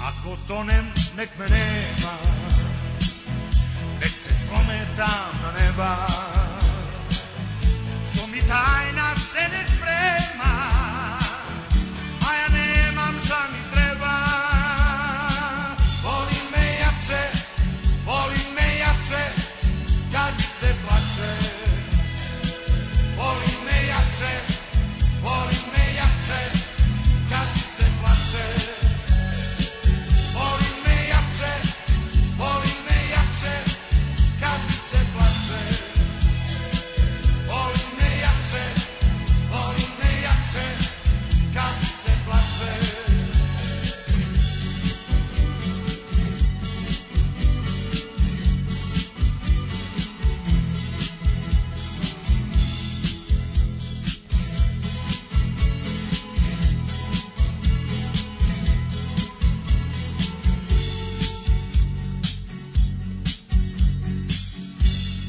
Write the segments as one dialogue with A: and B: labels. A: Ako tonem, nek me nema, nek se slome tamna neba, što mi tajna se ne sprema, a ja nemam šta mi treba. Boli me jače, boli me jače, kad mi se plače. Boli me jače, boli me jače, kad mi se plače. Boli me jače, boli me jače, kad mi se plače. Boli me jače, boli me jače, kad mi se plače.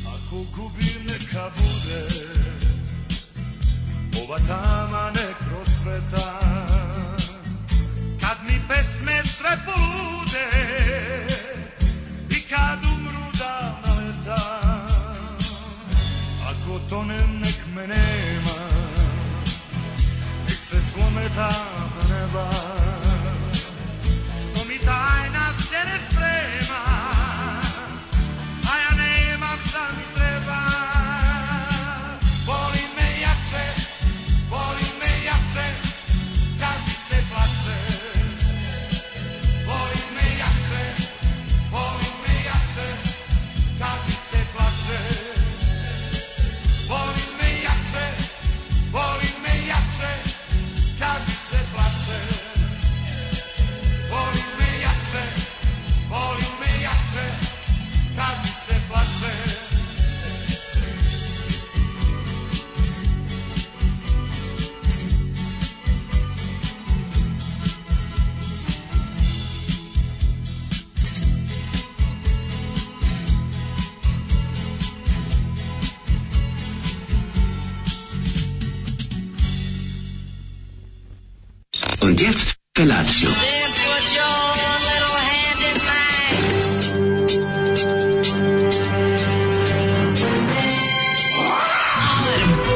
A: Ako gubim neka bude, ova tama nek prosveta. Kad mi pesme sve polude, i kad umru davna leta. Ako tonem nek me nema, nek se slome tamna neba. Što mi tajna se ne sprema, a ja nemam šta mi treba. Boli me jače, boli me jače, kad mi se plače. Boli me jače, boli me jače, kad mi se plače. Boli me jače, boli me jače, kad mi se plače. Boli me jače, boli me jače, kad mi se plače.
B: Und jetzt Felatio.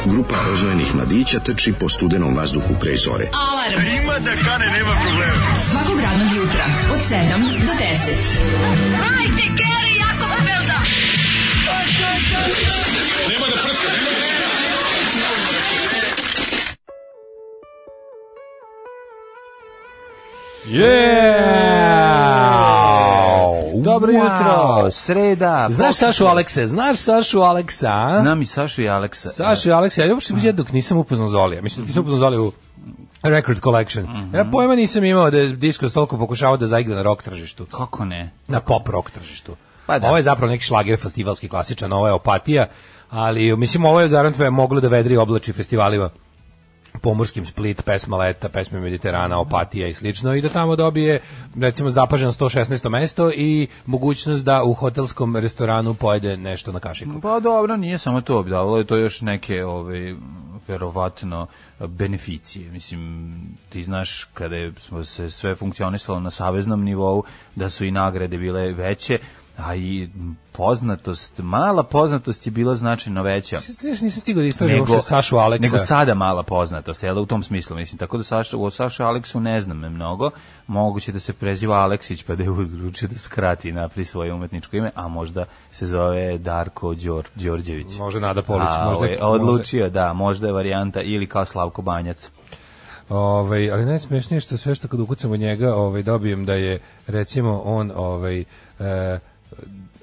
C: Grupa rozvojenih mladića trči po studenom vazduhu pre zore.
D: Alarm. Ima da kane, nema problema. Svakog radnog jutra, od 7 do 10. Hajde, Keri, jako pobelda.
E: Yeah!
F: Dobro
E: Wow!
F: jutro, sreda.
E: Znaš
F: pokušaj.
E: Sašu Aleksa, znaš Sašu Aleksa, a?
F: Znam i Sašu i Aleksa.
E: Sašu i Aleksa, ja uopšte ja dok nisam upoznao Zolija, mislim, nisam upoznao Zolija u Record Collection.
F: Mhm.
E: Ja pojma nisam imao da je Disco toliko pokušavao da zaigra na rock tržištu,
F: Kako ne?
E: na pop rock tržištu.
F: Pa da.
E: Ovo je zapravo neki šlager festivalski klasičan, ovo je opatija, ali mislim ovo je garantuje moglo da vedri i oblači festivalima pomorskim Split, pesma Leta, pesme Mediterana, Opatija i slično i da tamo dobije recimo zapaženo 116. mesto i mogućnost da u hotelskom restoranu pojede nešto na kašiku.
F: Pa dobro, nije samo to obdavalo, je to još neke ove verovatno beneficije. Mislim, ti znaš kada je, smo se sve funkcionisalo na saveznom nivou, da su i nagrade bile veće, a i poznatost, mala poznatost je bila značajno veća.
E: Znaš, nisam stigao da istražim uopšte Sašu Aleksa.
F: Nego sada mala poznatost, jel, da, u tom smislu, mislim, tako da Saša, o Saša Aleksu ne znam mnogo, moguće da se preziva Aleksić, pa da je odlučio da skrati i napri svoje umetničko ime, a možda se zove Darko Đor, Đorđević.
E: Možda Nada Polić,
F: A,
E: možda-
F: ovaj, odlučio, da, možda je varijanta ili kao Slavko Banjac.
E: Ovaj, ali najsmešnije je što sve što kad ukucam u njega, ovaj dobijem da je recimo on ovaj e,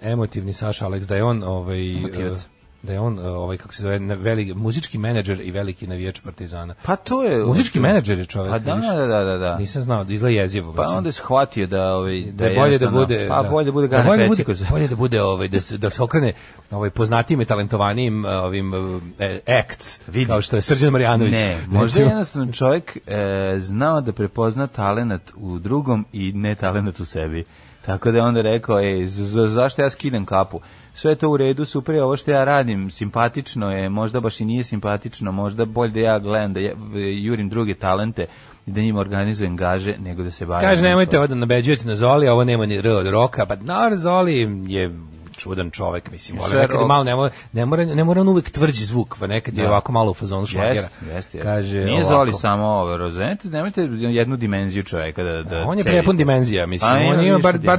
E: emotivni Saša Alex da je on ovaj
F: Emotivac.
E: e, da je on e, ovaj kako se zove na- veliki muzički menadžer i veliki navijač Partizana.
F: Pa to je...
E: Muzički menadžer je čovjek.
F: Pa da,
E: vidiš.
F: da, da, da, da.
E: Nisam znao, da izgleda jezivo.
F: Pa
E: mislim.
F: onda je shvatio da, ovaj,
E: da je bolje da
F: jednostavno-
E: bude
F: pa bolje da bude Gane
E: bolje da bude,
F: Pecikoza.
E: bolje da bude ovaj da se da se okrene ovaj poznatijim i talentovanijim eh, ovim eh, acts
F: Vidi.
E: kao što je Srđan Marjanović
F: Ne, možda je
E: Recimo.
F: jednostavno čovjek e, znao da prepozna talenat u drugom i ne talenat u sebi. Tako da je onda rekao, ej, z- z- zašto ja skidam kapu? Sve je to u redu, super je ovo što ja radim, simpatično je, možda baš i nije simpatično, možda bolje da ja gledam, da ja, e, jurim druge talente, i da njima organizujem gaže nego da se bavim.
E: Kaže, nemojte
F: nečim.
E: ovdje nabeđujete na Zoli, a ovo nema ni R od roka, pa no, Zoli je čudan čovek, mislim, volim.
F: Sve
E: Nekad je
F: rock.
E: malo, ne mora, ne mora, ne mora on uvek tvrđi zvuk, pa nekad je
F: Da.
E: ovako malo u fazonu šlagera.
F: Jeste, jeste, jeste.
E: Kaže,
F: Nije
E: ovako.
F: Zoli samo ovo, razumete, nemojte jednu dimenziju čoveka da, da
E: On je
F: cedite.
E: prepun dimenzija, mislim,
F: Pa,
E: on ima
F: više
E: bar, bar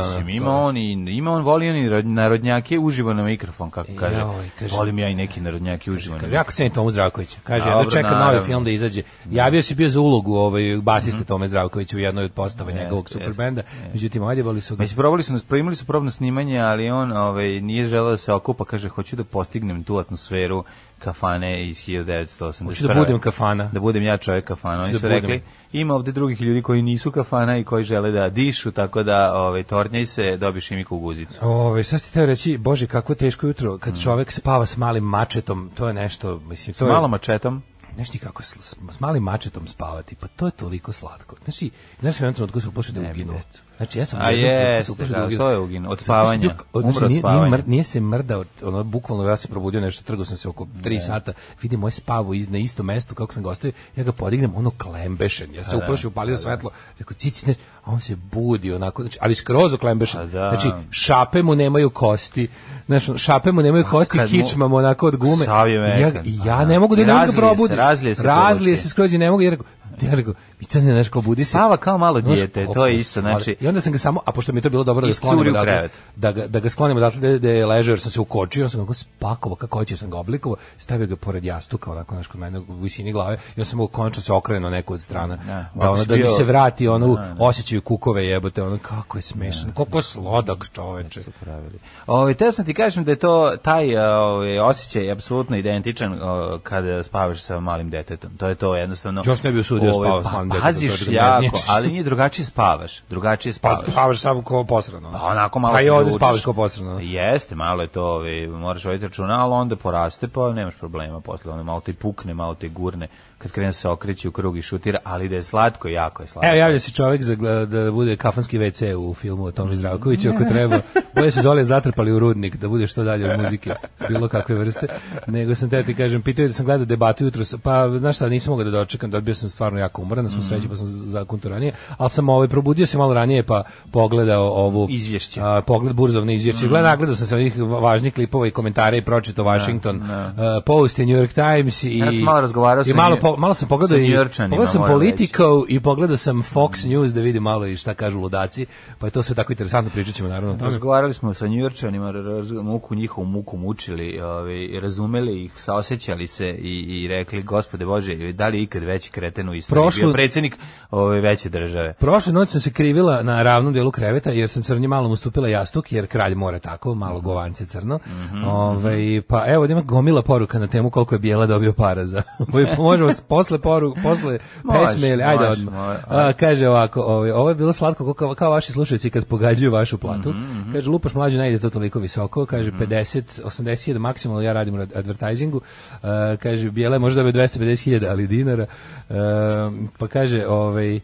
E: 12. ono.
F: Mislim,
E: To
F: ima
E: je.
F: on, i, ima on, voli on i rod- narodnjake uživo na mikrofon, kako kaže.
E: Joj, kaže-
F: volim ja i neki narodnjake uživo na
E: Kaže,
F: mikrofon.
E: jako cenim Tomu Zdravkovića. Kaže,
F: Dobro,
E: jedno čeka novi
F: naravno. Mhm.
E: film da izađe. Javio se bio za ulogu ovaj, basiste Tome Zdravkovića u jednoj od postava njegovog
F: jeste,
E: superbenda. Međutim, odjebali su ga.
F: Mislim, probali su nas, primili su probno snimanje, ali on ovaj, nije želeo da se okupa, kaže, hoću da postignem tu atmosferu kafane iz 1981.
E: Hoću da budem kafana.
F: Da budem ja čovjek kafana. Oni
E: da
F: su
E: budem.
F: rekli, ima ovde drugih ljudi koji nisu kafana i koji žele da dišu, tako da ovaj, tornjaj se, dobiš i miku guzicu.
E: Ove, sad ste teo reći, bože, kakvo teško jutro, kad čovek spava s malim mačetom, to je nešto, mislim, to je...
F: Malo mačetom.
E: Znaš ti kako s, s- s malim mačetom spavati, pa to je toliko slatko. Znaš ti, znaš u jednom trenutku se uplašio da
F: Ne bi
E: uginu.
F: deco.
E: Znači, ja sam
F: A
E: u jednom trenutku se
F: jeste,
E: uplašio
F: da,
E: uginu.
F: to je uginuo, od
E: Zato što je bio-
F: spavanja,
E: od-
F: umro od
E: nije, nije,
F: spavanja.
E: mr- nije se mrdao, ono, bukvalno ja sam probudio nešto, trgao sam se oko 3 sata, vidim moje spavo iz, na istom mestu, kako sam ga ostavio, ja ga podignem, ono klembešen,
F: Pa
E: ja se uplašio, upalio svetlo, rekao, cici, ne, a on se budi, onako, znači, ali skroz
F: A
E: oklembešen,
F: Pa da.
E: znači, šape mu nemaju kosti, Znaš, ono, šape mu nemaju kosti,
F: Pa kad mu-
E: kičma mu onako od gume.
F: Sav je
E: I ja,
F: mekan.
E: i ja
F: Aha.
E: ne mogu da
F: I
E: ne mogu
F: razlije
E: da
F: se,
E: probudim.
F: razlije se
E: Razlije
F: po
E: se skroz i ne mogu. Ja rekao, ja rekao, mi sad ne znaš kao budi se.
F: Spava kao malo
E: Znaš,
F: dijete, to
E: opasno,
F: je isto, znači,
E: I onda sam ga samo, a pošto mi je to bilo dobro da ga
F: Iscuri
E: sklonim
F: u
E: odatle,
F: krevet.
E: da ga, da ga sklonim odatle da, da je ležao jer sam se ukočio, sam ga spakovao kako hoće, sam ga oblikovao, stavio ga pored jastuka, onako znaš kod mene u visini glave, i onda sam mu konačno se okrenuo neku od strana, da,
F: ovako
E: ono,
F: si
E: da mi
F: bio-
E: se vrati ono u osjećaju kukove jebote, ono kako je smešan, koliko je slodak čoveče.
F: pravili. Ovaj te sam ti kažem da je to taj a, ovaj osjećaj apsolutno identičan o, kada spavaš sa malim detetom. To je to jednostavno.
E: Ja se ne bi usudio
F: Ovaj,
E: spavam s
F: pa-
E: malim detetom, to je
F: Paziš
E: da me
F: jako,
E: gnječiš.
F: ali nije drugačije spavaš. Drugačije
E: Pa
F: spavaš.
E: spavaš samo kao posrano.
F: Pa onako malo
E: Pa i
F: se
E: ovde
F: zavučeš.
E: spavaš kao posrano.
F: Jeste, malo je to, ovaj, moraš voditi računa, ali onda poraste, pa nemaš problema posle. Ono malo te pukne, malo te gurne, kad krene se okreći u krug i šutira, ali da je slatko, jako je slatko.
E: Evo javlja se čovjek za gla- da bude kafanski WC u filmu o Tomi Zdravkoviću ako treba. Bolje su Zolije zatrpali u rudnik da bude što dalje od muzike, bilo kakve vrste. Nego sam te ti kažem, pitao da sam gledao debatu jutro, pa znaš šta, nisam mogao da dočekam, dobio sam stvarno jako umoran, na
F: Mm.
E: svu sreću pa sam zakunto ranije, ali sam ovaj, probudio se malo ranije pa pogledao ovu...
F: Izvješće. Mm.
E: A, pogled burzovne izvješće. Gledao, nagledao sam se ovih važnih klipova i komentara i pročito Washington a, Post i New York Times i...
F: Ja sam malo razgovarao
E: i
F: sa
E: malo,
F: New-
E: po- malo sam pogledao
F: sa
E: i...
F: New Yorkčanima,
E: Pogledao sam
F: moram reći.
E: politiku Politico i pogledao sam Fox News da vidim malo i šta kažu ludaci, pa je to sve tako interesantno, pričat ćemo naravno o tome.
F: Razgovarali smo sa Njujorčanima, raz- muku njihovu muku mučili, ovaj, razumeli ih, saosećali se i, i rekli, gospode Bože, da li je ikad veći kreten u istoriji
E: Prošlu-
F: bio predsjednik ove veće države?
E: Prošle noć sam se krivila na ravnom delu kreveta jer sam crnje malom ustupila jastuk jer kralj mora tako, malo govance crno.
F: Mhm,
E: Ovaj, pa evo ima gomila poruka na temu koliko je Bijela dobio para za. ovaj, možemo s- posle poru, posle
F: Može,
E: pesme ili ajde
F: može,
E: odmah.
F: može,
E: A, kaže ovako, ovaj, ovo je bilo slatko kao, kao vaši slušatelji kad pogađaju vašu platu.
F: Mhm,
E: Kaže lupaš mlađi ne ide to toliko visoko, kaže 50, 81 maksimalno ja radim u ad- advertisingu. A, kaže Bijela je možda dobio 250.000 ali dinara. Ehm, pa kaže, ovaj, em,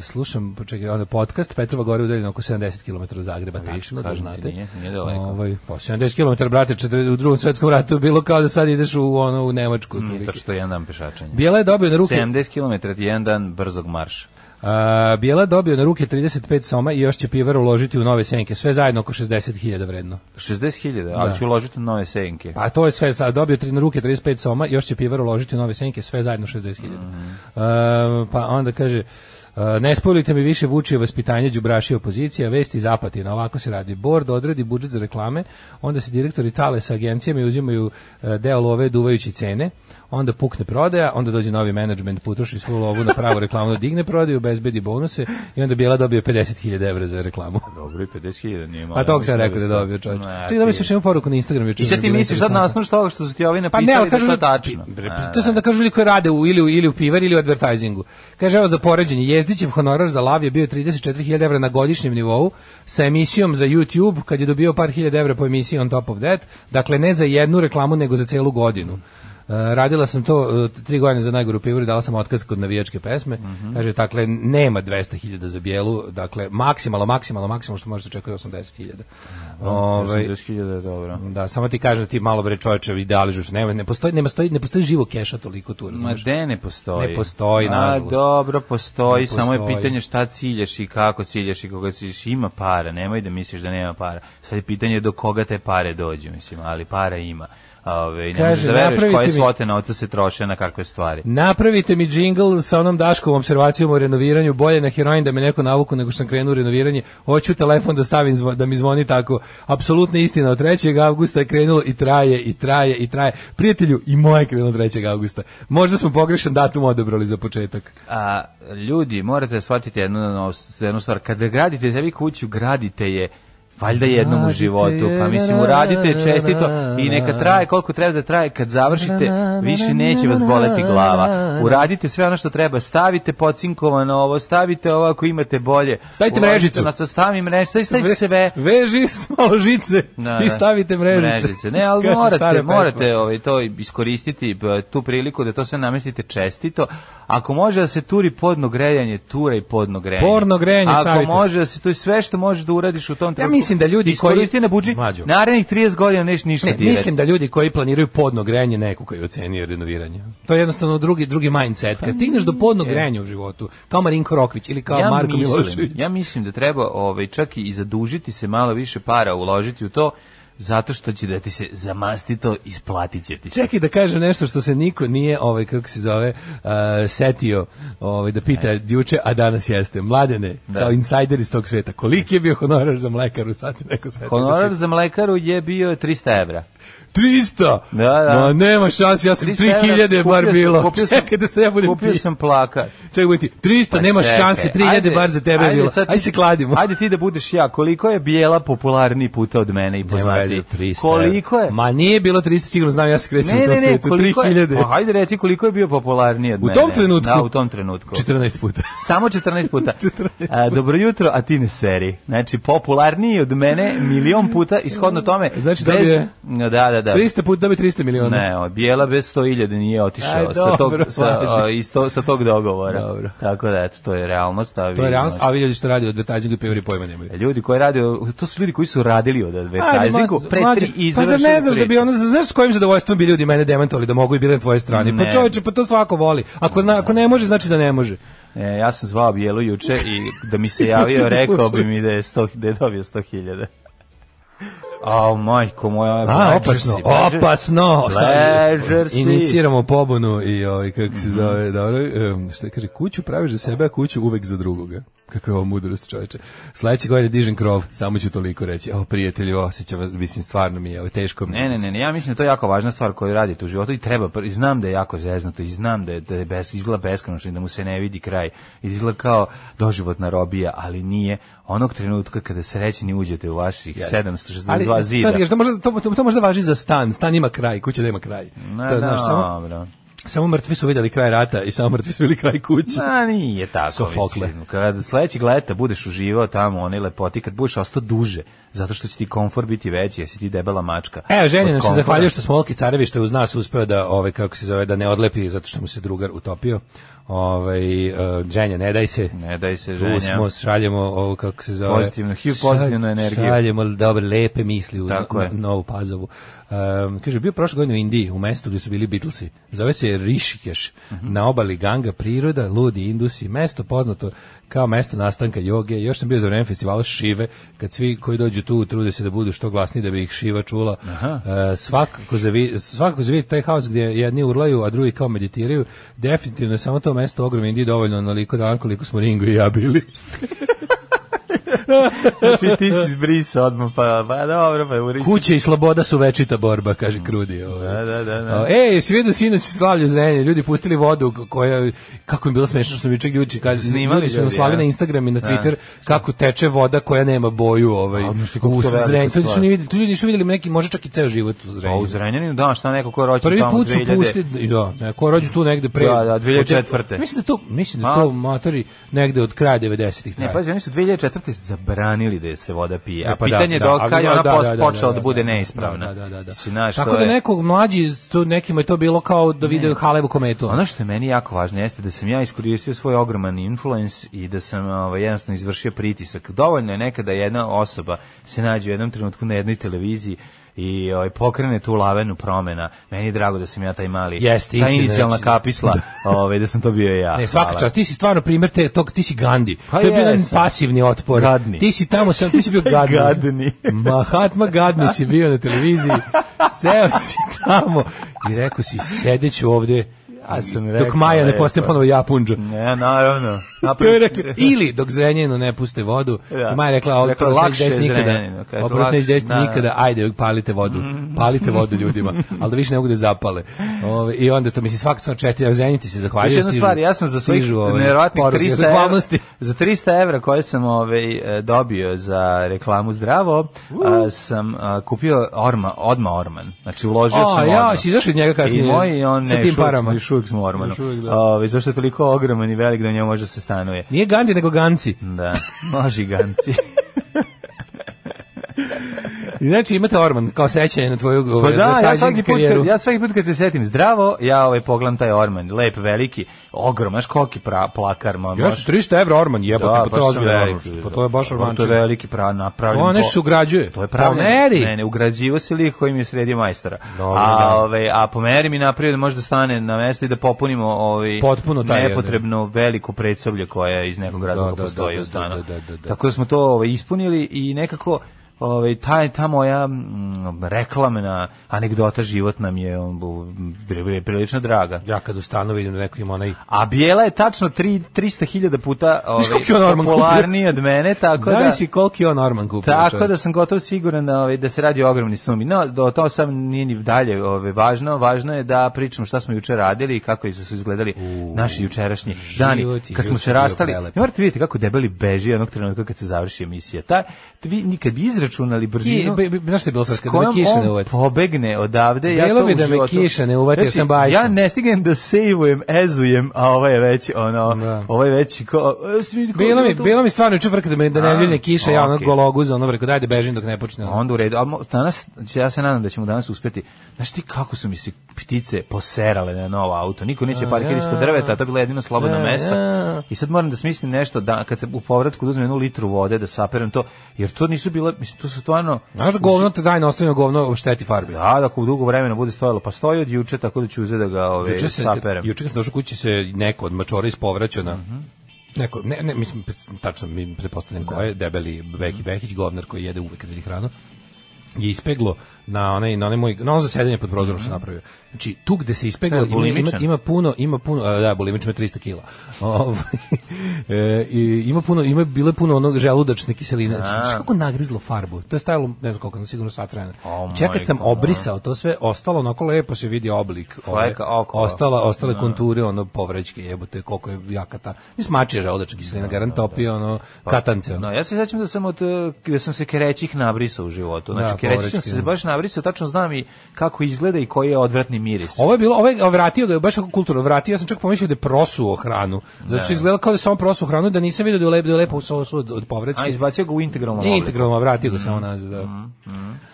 E: slušam, počekaj, onda podcast, Petrova gore udaljeno oko 70 km od Zagreba, tačno, da
F: kažem Pa ti,
E: znate.
F: nije- nije daleko.
E: Ovaj, pa 70 km, brate, četiri- u drugom svetskom ratu je bilo kao da sad ideš u, ono, u Nemačku. otprilike.
F: To što je jedan dan pešačenja.
E: Bijela je dobio na ruke
F: 70 km je jedan dan brzog marša.
E: a, Bijela je dobio na ruke 35 soma i još će pivar uložiti u nove senke. Sve zajedno oko 60.000 vredno.
F: 60.000, ali
E: Da.
F: ću uložiti u nove senke.
E: Pa to je sve, sa- dobio tri na ruke 35 soma, još će pivar uložiti u nove senke, sve zajedno 60.000.
F: Mm.
E: E, pa onda kaže, e, ne spojljujte mi više vučije vaspitanje đubraši opozicija, vesti iz Apatina, ovako se radi. Bord odredi budžet za reklame, onda se direktori tale sa agencijama i uzimaju e, deo love duvajući cene, onda pukne prodaja, onda dođe novi menadžment, potroši svu lovu na pravu reklamu, da digne prodaju, bezbedi bonuse i onda Bijela dobio 50.000 evra za reklamu.
F: Dobro, i 50.000 nije malo.
E: A Pa tog sam
F: Pa
E: rekao
F: Mislim
E: da je
F: sto-
E: dobio čovječ.
F: Ma,
E: Čekaj, dobio
F: ti-
E: sam još jednu poruku na Instagramu. juče
F: I sad
E: mi je
F: ti
E: bila
F: misliš sad na
E: interesantna.
F: osnovu što, što su ti ovi
E: Pa ne,
F: napisali
E: ali kažu,
F: da je to tačno. E.
E: pi- pi-
F: Ma,
E: to sam da kažu ljudi koji rade u, ili, u- ili u pivari ili u advertisingu. Kaže, evo za poređenje, jezdićev honorar za lav je bio 34.000 evra na godišnjem nivou sa emisijom za YouTube, kad je dobio par hiljada evra po emisiji on top of that, dakle ne za jednu reklamu, nego za celu godinu. radila sam to e, tri godine za najgoru pivoru, dala sam otkaz kod navijačke pesme.
F: Mhm.
E: Kaže, dakle, nema 200.000 za bijelu, dakle, maksimalno, maksimalno, maksimalno što možete očekati je 80.000. Ovaj,
F: 80.000 je dobro.
E: da, samo ti kažem da ti malo bre čoveče idealižuš, nema, ne postoji, ne postoji, ne postoji živo keša toliko tu,
F: Ma
E: razumeš?
F: de ne postoji.
E: Ne postoji, nažalost.
F: A dobro, postoji,
E: Ne
F: samo je
E: postoji.
F: pitanje šta ciljaš i kako ciljaš i koga ciljaš. Ima para, nemoj da misliš da nema para. Sad je pitanje do koga te pare dođu, mislim, ali para ima. Ove, ne
E: Kaže,
F: možeš da veruješ
E: napravite
F: koje
E: mi-
F: svote novca se troše na kakve stvari.
E: Napravite mi džingl sa onom Daškovom observacijom o renoviranju, bolje na heroin da me neko navuku nego što sam krenuo u renoviranje. Hoću telefon da stavim zvo- da mi zvoni tako. Apsolutna istina od 3. avgusta je krenulo i traje i traje i traje. Prijatelju, i moje je krenulo 3. avgusta. Možda smo pogrešan datum odebrali za početak.
F: a, ljudi, morate shvatiti jednu, jednu stvar. Kada gradite sebi kuću, gradite je valjda jednom u
E: Gradite
F: životu.
E: je,
F: Pa mislim,
E: na,
F: uradite je
E: na,
F: čestito
E: na,
F: i neka
E: na.
F: traje koliko treba da traje. Kad završite, više neće vas boleti glava. Uradite sve ono što treba. Stavite pocinkovano ovo, stavite ovo ako imate bolje.
E: Stavite
F: Uložite
E: mrežicu.
F: Na to, stavi mrežicu, stavi, stavi
E: Ve-
F: sve.
E: Veži s malo žice
F: Da,
E: i
F: da.
E: stavite mrežice.
F: Ne, ali
E: Kako stare
F: morate,
E: pesme.
F: morate ovaj, to iskoristiti, b- tu priliku da to sve namestite čestito. Ako može da se turi podno grejanje, tura i podno grejanje.
E: Porno grejanje
F: Ako
E: stavite.
F: može da se to sve što možeš da uradiš u tom trenutku.
E: mislim da ljudi koji-
F: iskoristi na budžet,
E: Mlađo.
F: narednih 30 godina neš ništa
E: Ne,
F: dirati.
E: mislim da ljudi koji planiraju podno grejanje ne kukaju o ceni i renoviranje. To je jednostavno drugi drugi mindset. Kad stigneš do podnog grejanja u životu, kao Marinko Rokvić ili kao
F: Pa ja
E: Marko
F: mislim,
E: Milošević.
F: Ja mislim da treba ovaj, čak i zadužiti se malo više para, uložiti u to, zato što će da ti se zamasti to, isplatit će ti se.
E: Čekaj da kažem nešto što se niko nije, ovaj kako se zove, uh, setio, ovaj da pita juče, a danas jeste. Mladene,
F: Da.
E: kao insajder iz tog sveta, koliki je bio honorar za mlekaru, sad se neko setio.
F: Honorar za mlekaru je bio 300 evra.
E: 300!
F: Da, da.
E: Ma nema šanse, ja sam 3000 je bar bilo. Čekaj da se ja budem
F: Kupio
E: ti.
F: sam plakat.
E: Čekaj, budem ti. 300,
F: Pa
E: nema
F: čekaj,
E: šanse, 3000
F: ajde,
E: bar za tebe je
F: ajde
E: bilo.
F: sad ti-
E: Ajde se kladimo.
F: Ajde ti da budeš ja. Koliko je bijela popularniji puta od mene i
E: Nema
F: poznati?
E: veze, 300
F: Koliko je?
E: Ma nije bilo 300, sigurno znam, ja se krećem
F: ne,
E: u tom
F: ne, ne,
E: svijetu.
F: koliko je?
E: 3000.
F: Oh, ajde reci koliko je bio popularniji od
E: U
F: mene.
E: tom trenutku?
F: Da, u tom trenutku.
E: 14 puta.
F: Samo 14 puta. A, dobro jutro, a ti ne seri. Znači, popularniji od mene milion puta, ishodno tome.
E: Znači, dobio
F: bez-
E: je-
F: Da, da, da.
E: 300 puta dobi 300 miliona.
F: Ne, o, bijela bez 100.000 nije otišao
E: Aj,
F: sa, tog,
E: dobro,
F: sa,
E: važi.
F: o, iz to, sa tog dogovora.
E: Dobro.
F: Tako da, eto, to je realnost. A vi
E: To je realnost, a
F: znate.
E: vi ljudi što radi od detajzinga i peveri pojma nemaju.
F: Ljudi koji rade, to su ljudi koji su radili od advertisingu,
E: Ajde,
F: pa pre
E: mlađe,
F: tri i
E: Pa zar ne
F: završili
E: znaš da bi
F: priču.
E: ono, znaš s kojim zadovoljstvom bi ljudi mene demantovali da mogu i bili na tvojoj strani?
F: Ne.
E: Pa čoveče, pa to svako voli. Ako, zna, ako ne može, znači da ne može.
F: E, ja sam zvao Bijelu juče i da mi se
E: Ispustite
F: javio, rekao bi
E: slušalice.
F: mi da je, 100, da je dobio 100.000. A, majko moja,
E: A,
F: bležer
E: opasno,
F: Pa si, bležer-
E: opasno.
F: Bležer si.
E: Iniciramo pobunu i ovaj, kako se zove, dobro, em, šta kaže, kuću praviš za sebe, a kuću uvek za drugoga. Kako je ovo mudrost čoveče. Sledeće godine dižem krov, samo ću toliko reći. O, prijatelju, osjećam, vas, mislim, stvarno mi je, ovo teško mi je.
F: Ne, ne, ne, ne, ja mislim da to je jako važna stvar koju radite u životu i treba, pr- i znam da je jako zeznuto i znam da je, da je bes, izgleda beskonačno i da mu se ne vidi kraj i da izgleda kao doživotna robija, ali nije onog trenutka kada srećni uđete u vaših 762
E: Ali,
F: zida.
E: sad, još, to, možda, to, to, to možda važi za stan, stan ima kraj, kuća nema kraj.
F: Na,
E: to, znaš, samo,
F: dobro.
E: Samo mrtvi su vidjeli kraj rata i samo mrtvi su vidjeli kraj kuće.
F: Ma nije tako.
E: Sofokle.
F: mislim. Kad sledećeg leta budeš uživao tamo one lepoti, kad budeš ostao duže, zato što će ti komfor biti veći, jer si ti debela mačka.
E: Evo, ženje znači,
F: Od
E: nam se
F: komfora.
E: zahvalio što smo Olki Carević što je uz nas uspeo da, ovaj, kako se zove, da ne odlepi zato što mu se drugar utopio. Ovaj, uh, ženja, ne daj se.
F: Ne daj se
E: Tu
F: ženja.
E: smo, šaljemo ovo, kako se zove.
F: Pozitivno, HIV pozitivnu
E: Šalj-
F: energiju.
E: Šaljemo dobre, lepe misli u
F: Tako
E: no-
F: je.
E: Novu Pazovu. Um, kaže, bio prošle godine u Indiji, u mestu gdje su bili Beatlesi. Zove se Rishikesh.
F: Mhm.
E: Na obali Ganga, priroda, ludi, indusi. Mesto poznato kao mesto nastanka joge. Još sam bio za vreme festivala Šive, kad svi koji dođu tu trude se da budu što glasniji, da bi ih Šiva čula. E, svakako zavi, svakako zavi taj haos gdje jedni urlaju, a drugi kao meditiraju. Definitivno je samo to mesto ogromno Indiji dovoljno onoliko dan koliko smo Ringo i ja bili.
F: Znači ti si zbrisao odmah, pa, pa dobro, pa urisi.
E: Kuće i sloboda su večita borba, kaže Krudi.
F: Da,
E: Ovaj.
F: da, da, da.
E: A, Ej, svi vidio sinoć slavlju zrenje, ljudi pustili vodu k- koja, kako im bilo smešno što su mi čak ljudi, kad,
F: su snimali
E: ljudi su nam
F: ljudi,
E: slali
F: ja.
E: na Instagram i na Twitter kako teče voda koja nema boju ovaj,
F: A, znaš ti kako
E: u
F: to velika
E: zrenju. To nisu
F: stvar.
E: ni vidjeli, tu ljudi nisu vidjeli neki, može čak i ceo život u
F: Pa u
E: zrenju.
F: Zrenjaninu, da, šta neko ko je rođen
E: Prvi
F: tamo
E: put su
F: 2000.
E: pustili, da, ne, ko je rođen tu negde pre...
F: Da, da, 2004..
E: Mislim da to, mislim da
F: Ma.
E: to matori negde od kraja 90-ih
F: Ne,
E: traje.
F: pazi, oni su 2004. zabranili da je se voda pije. A
E: E, pa da,
F: pitanje je
E: da,
F: do
E: ali
F: kad je
E: da,
F: ona
E: da,
F: pos-
E: da, da,
F: počela
E: da,
F: da bude
E: da, da,
F: neispravna.
E: da, da, da, da.
F: Mislim, znaš,
E: Tako
F: to
E: da
F: je-
E: nekog mlađi, tu nekima je to bilo kao da vide Halevu kometu.
F: Ono što je meni jako važno jeste da sam ja iskoristio svoj ogroman influence i da sam ovaj, jednostavno izvršio pritisak. Dovoljno je nekada jedna osoba se nađe u jednom trenutku na jednoj televiziji i ovaj, pokrene tu lavenu promena. Meni je drago da sam ja taj mali,
E: Jeste,
F: ta
E: istina,
F: inicijalna
E: znači.
F: kapisla, ovaj, da sam to bio ja.
E: Ne, svaka
F: Hvala.
E: čast, ti si stvarno primjer te, tog, ti si Gandhi.
F: Pa
E: to je bio jedan
F: jesam.
E: pasivni otpor.
F: Gadni.
E: Ti si tamo, sam, ti si bio
F: Ti si
E: gadni.
F: gadni.
E: Mahatma Gadni si bio na televiziji, seo si tamo i rekao si, sedeću ovde
F: Ja sam
E: dok
F: rekao,
E: Maja ne
F: lepo.
E: postane ponovo Japunđa.
F: Ne, naravno.
E: To je
F: Napravim-
E: rekla, ili dok Zrenjaninu ne puste vodu,
F: Da.
E: i Maja je rekla,
F: Rekla,
E: oprost neće
F: lakše
E: desiti
F: je
E: nikada,
F: Zrenjaninu, kaže,
E: oprost neće
F: lakše,
E: desiti
F: da, da.
E: nikada, ajde, palite vodu, palite vodu ljudima, ali da više ne mogu da zapale. Ove, I onda to, mislim, svaka sam čestila, Zrenjanin ti se zahvaljuje.
F: Još jedna
E: stižu-
F: stvar, ja sam za svojih
E: stižu, ove,
F: nevjerovatnih
E: poruke
F: 300 evra,
E: zahvalnosti.
F: za 300 evra koje sam ovaj, e, dobio za reklamu zdravo,
E: Uh.
F: a, sam a, kupio orma, odma orman. Znači uložio
E: A,
F: sam
E: ja,
F: odmah.
E: si izašao iz njega kasnije,
F: I moj, i on
E: sa
F: ne,
E: tim
F: još uvijek
E: parama.
F: smo- Još uvijek smo u ormanu.
E: Još uvijek, da.
F: Ovaj, zašto je toliko ogroman i velik da u njemu može da se stanuje.
E: Nije Gandhi, nego Ganci.
F: Da, može ganci.
E: I Znači, imate Orman, kao sećanje na tvoju
F: Pa
E: ove,
F: da, ja
E: advertising
F: svaki put
E: karijeru.
F: kad, ja svaki put kad se setim zdravo, ja ovaj pogledam taj orman, lep, veliki, ogroman, znaš koliki pra, plakar, ma,
E: Ja
F: baš-
E: sam 300 evra Orman, jebote, pa to je
F: baš sam
E: ozbiljno.
F: veliki,
E: Orman, Pa to je baš
F: To je
E: Ormančina.
F: veliki prav napravljen.
E: To nešto
F: po-
E: se ugrađuje.
F: To je pravno.
E: Pomeri.
F: Ne, ne, ugrađivo se lik koji mi je sredio majstora.
E: Dobro,
F: a,
E: da.
F: ovaj, a pomeri mi napravio da može da stane na mesto i da popunimo ovaj
E: Potpuno taj,
F: nepotrebno veliko predstavlje koje iz nekog razloga
E: da,
F: postoji
E: da,
F: u stanu.
E: da, da, da, da.
F: Tako da smo to ovaj, ispunili i nekako Ovaj taj ta moja mm, reklamna anegdota životna mi je um, pri- pri- prilično draga.
E: Ja kad u stanu vidim da neko ima onaj
F: A bijela je tačno tri- 300.000 puta
E: koliko je on
F: ovaj,
E: Norman kupio?
F: popularniji od mene, tako da...
E: Zavisi koliko je on Orman kupio.
F: Tako
E: čovječe.
F: da sam gotovo siguran da, ovaj, da se radi o ogromni sumi. No, do to sam nije ni dalje ovaj, važno. Važno je da pričamo šta smo juče radili i kako su izgledali naši jučerašnji dani.
E: život je
F: Kad smo
E: juče
F: se
E: bio
F: rastali.
E: prelep.
F: Ne morate vidjeti kako debeli beži onog trenutka kad se završi emisija. Ta, vi nikad bi izračunali
E: Ki,
F: brzinu
E: bi- bi- znaš što je bilo sad,
F: s
E: kad me
F: kojom
E: kiša ne
F: on
E: uvati.
F: pobegne odavde. ja
E: Bilo
F: to
E: bi
F: u
E: da me
F: životu-
E: kiša ne uvati, ja
F: Znači,
E: sam bajsan.
F: Ja ne stignem da sejvujem, ezujem, a ovo je već ono,
E: Da.
F: ovo je već ko... e, svi- ko-
E: Bilo mi,
F: to-
E: bilo mi stvarno juče vrk da me da
F: A,
E: ne ljulje kiša, ja ono
F: okej.
E: gologu za ono rekao dajde bežim dok ne počne. ono.
F: Onda u redu, ali mo- danas, znači, ja se nadam da ćemo danas uspeti, znaš ti kako su mi se ptice poserale na novo auto, niko neće parkirati ispod drveta, a to je bilo jedino slobodno
E: Ja,
F: mesto.
E: ja.
F: I sad moram da smislim nešto, da, kad se u povratku da uzmem jednu litru vode, da saperem to, jer to nisu bile, mislim, to su stvarno...
E: Znaš da govno te daj na ostavljeno govno šteti farbi.
F: Da, da, ako u dugo vremena bude stojalo, pa stoji od juče, tako da ću uzeti da ga ove,
E: Juče se
F: saperem.
E: juče kad sam došao kući se neko od mačora ispovraćao na Mhm. Neko, ne, ne, mislim, tačno mi pretpostavljam ko je, debeli Beki Bekić, govnar koji jede uvek kad vidi hranu, je ispeglo na onaj, na onaj moj, na ono zasedanje pod prozorom što sam napravio. Znači, tu gde se ispeglo,
F: Šta je,
E: ima, ima,
F: bulimičan?
E: ima puno, ima puno, a, da, bulimičan ima 300 kila. Ovaj, e, i ima puno, ima, bilo je puno onog želudačne kiseline. Znači, znaš kako nagrizlo farbu? To je stajalo, ne znam koliko, sigurno sat vremena.
F: O
E: Čak kad
F: Oh my
E: sam
F: God.
E: obrisao to sve, ostalo onako lepo se vidi oblik
F: Fleka
E: ove,
F: okolo.
E: Ostala, ostale konture, ono, povrećke jebote, koliko je jakata. Mislim, mačija želudačka kiselina, garant topio, ono,
F: Pa,
E: katance. ono.
F: No, ja se sećam da sam od eh, da sam se kerećih nabrisao u životu. Znači
E: Da,
F: kerećih sam
E: povraćki,
F: se
E: da.
F: baš nabrisao, tačno znam i kako izgleda i koji je odvratni miris.
E: Ovo je bilo, ovo je vratio ga, je baš kako kulturno vratio, ja sam čak pomislio da je prosuo hranu. Zato što izgleda kao da je samo prosuo hranu, da nisam vidio da je lepo, da je lepo u sosu od, od
F: A
E: povrećke.
F: izbacio ga u integralnom
E: Nije
F: obliku.
E: integralno, vratio ga
F: Mm-hmm.
E: samo nazad. Da.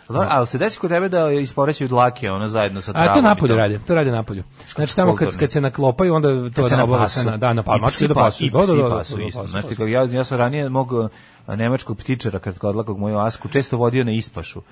F: Dobro, ali se desi kod tebe da isporećaju dlake ono zajedno sa travom.
E: A to
F: i
E: napolju rade, to rade napolju. Znači tamo kad,
F: kulturno.
E: kad se naklopaju, onda to
F: Kad se
E: je obavlja
F: napasu.
E: se na, da, na
F: Pa I
E: palmaču
F: psi
E: da
F: pa-
E: pasu.
F: I
E: Da, da,
F: psi
E: da, da,
F: pasu,
E: da,
F: isto. Znači,
E: pasu,
F: Znaš ti,
E: pasu.
F: kako ja, ja sam ranije mog eh, nemačkog ptičara, kratkoodlakog moju asku, često vodio na ispašu.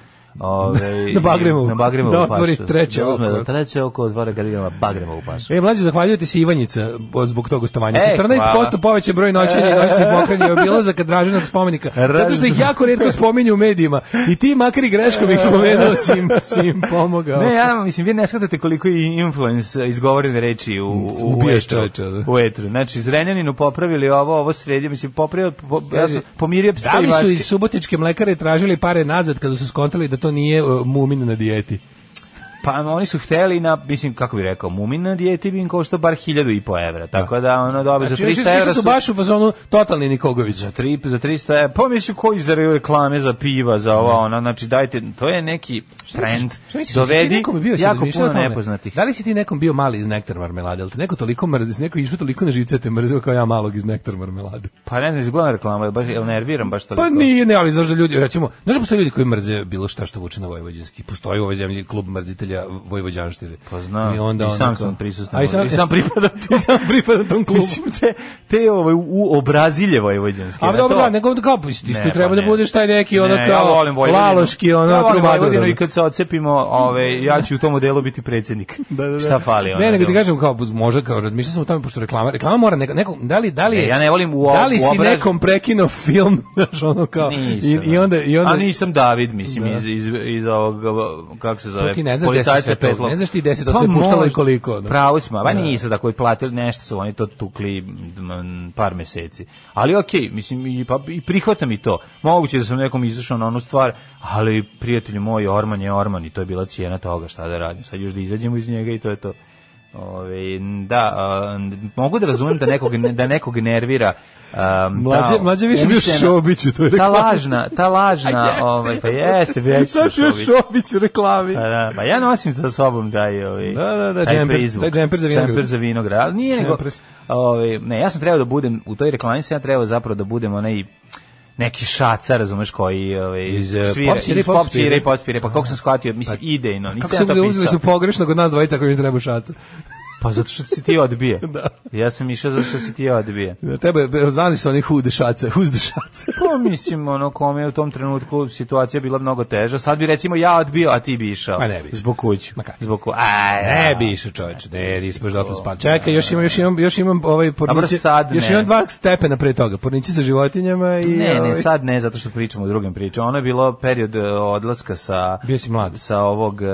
F: Ove,
E: Na Bagremovu.
F: Na Bagremovu
E: Da
F: pašu.
E: otvori treće
F: da uzme,
E: oko.
F: Da treće oko otvara kad igra na Bagremovu pašu.
E: E, mlađe, zahvaljujete se Ivanjica bo- zbog tog gostovanja.
F: E,
E: 14% povećan broj noćenja i noćnih pokrenja i obilazaka Draženog spomenika. Zato što ih jako redko spominju u medijima. I ti makar i greškom ih spomenuo si im, si im pomogao.
F: Ne, ja mislim, vi ne shvatate koliko je influence izgovorene reči u, u, u,
E: Ubiješ
F: etru.
E: čoveče, Mm, da.
F: u etru. Znači, Zrenjaninu popravili ovo, ovo sredio, mislim, popravio, po, ja sam pomirio psa
E: da
F: i
E: li su
F: mačke.
E: iz subotičke mlekare tražili pare nazad kada su skontali da to nije e, mumin na dijeti?
F: Pa oni su hteli na, mislim, kako bi rekao, mumina dijete bi im košta bar hiljadu i po evra. Tako da, ono, dobro,
E: Znači,
F: za
E: oni su
F: 300 evra
E: su baš u fazonu totalni Nikogović.
F: za tri, za 300 evra, pa mislim koji za reklame za piva, za ova, ona, znači dajte, to je neki trend,
E: Šta misliš, jesi ti
F: dovedi
E: nekome bio, jesi
F: jako
E: razmišljao o
F: puno
E: tome?
F: nepoznatih.
E: Da li si ti nekom bio mali iz nektar marmelade? Jel te neko toliko mrzis, neko je išao toliko na živce da te mrzio kao ja malog iz nektar marmelade?
F: Pa ne znam, izgleda reklama, jel baš, jel nerviram baš toliko?
E: Pa nije, ne, ali zašto ljudi, recimo, znaš da postoje ljudi koji mrze bilo šta što vuče na vojvođanski. Postoji u ovoj zemlji klub mrzitelja vojvođanštine.
F: Pa znam,
E: I, onda
F: i sam
E: onako-
F: sam prisutan.
E: A i sam,
F: I sam pripadam
E: I sam pripadam tom klubu.
F: Mislim, te, te ovaj, u obrazilje vojvođanske.
E: A
F: na
E: dobro,
F: to-
E: da, nego kao pa isti,
F: Ne,
E: tu treba
F: pa
E: da
F: ne.
E: budeš taj neki ono
F: Ne, ja
E: kao
F: volim Vojvodinu.
E: laloški ono
F: ja volim
E: trubadur,
F: Vojvodinu
E: ono.
F: i kad se odcepimo, ovaj ja ću u tom delu biti predsjednik. Šta fali ono?
E: Ne, nego ti
F: jel?
E: kažem kao može kao razmišljao sam o tome pošto reklama, reklama mora neko, neko da li da li je,
F: Ne, ja ne volim u
E: da li
F: u
E: si
F: obraz-
E: nekom prekinuo film, znaš, ono kao
F: Nisam,
E: i, i onda i onda
F: A nisam David, mislim,
E: Da.
F: iz, iz, iz ovog, kako se zove,
E: ti ne znaš
F: policajca
E: gde su sve to-
F: Petlov.
E: ne znaš ti gde se to sve puštalo
F: možda.
E: i koliko, ono. da.
F: Pravo smo, ba nisu tako i dakle, platili, nešto su oni to tukli mm, par meseci. Ali okej, mislim, i, pa, i prihvatam i to. Moguće da sam nekom izašao na onu stvar, ali prijatelju moj, Orman je Orman i to je bila cijena toga, šta da radim. Sad još da izađemo iz njega i to je to. Ove, da, a, mogu da razumem da nekog, da nekog nervira a,
E: Mlađe-
F: ta
E: mlađe više bio
F: umišljena-
E: Šobić u toj
F: Ta
E: reklami.
F: lažna, ta lažna, ovaj, pa jeste, već
E: Sad ću
F: su
E: još
F: Šobić.
E: Šobić u reklami.
F: Pa da, pa ja nosim sa sobom taj ovaj
E: Da, da, da,
F: taj
E: džemper,
F: prizvuk.
E: taj džemper za vinograd.
F: Džemper za vinograd, ali nije nego
E: Džempers.
F: ovaj ne, ja sam trebao da budem u toj reklami, sam ja trebao zapravo da budem onaj neki šaca, razumeš, koji ovaj
E: Iz, eh,
F: svira,
E: pop svira i
F: iz
E: pop
F: pop svira i
E: svira.
F: pop svira, pa kako sam shvatio, mislim idejno,
E: Kako
F: nisam
E: su
F: ja to
E: uzeli su
F: pisao.
E: pogrešno kod nas dvojica koji mi treba šaca.
F: Pa zato što si ti odbije.
E: Da.
F: Ja sam išao zato što si ti odbije.
E: Tebe znali su oni hude šace, huzde šace.
F: Pa mislim, ono, kome je u tom trenutku situacija bila mnogo teža. Sad bi recimo ja odbio, a ti bi išao.
E: Ma ne bi.
F: Zbog kuću.
E: Ma kako?
F: Zbog kuću. Aj,
E: Ne
F: ja.
E: bi išao čoveče, ne, nispoš dotle span. Čekaj, još imam, još imam, još imam ovaj
F: Dobro,
E: porniče,
F: sad
E: još
F: ne.
E: imam dva stepena pre toga, porniče sa životinjama i...
F: Ne, ne,
E: ovaj,
F: sad ne, zato što pričamo o drugim pričama. Ono je bilo period e, odlaska sa
E: Bio si mlad.
F: sa ovog e,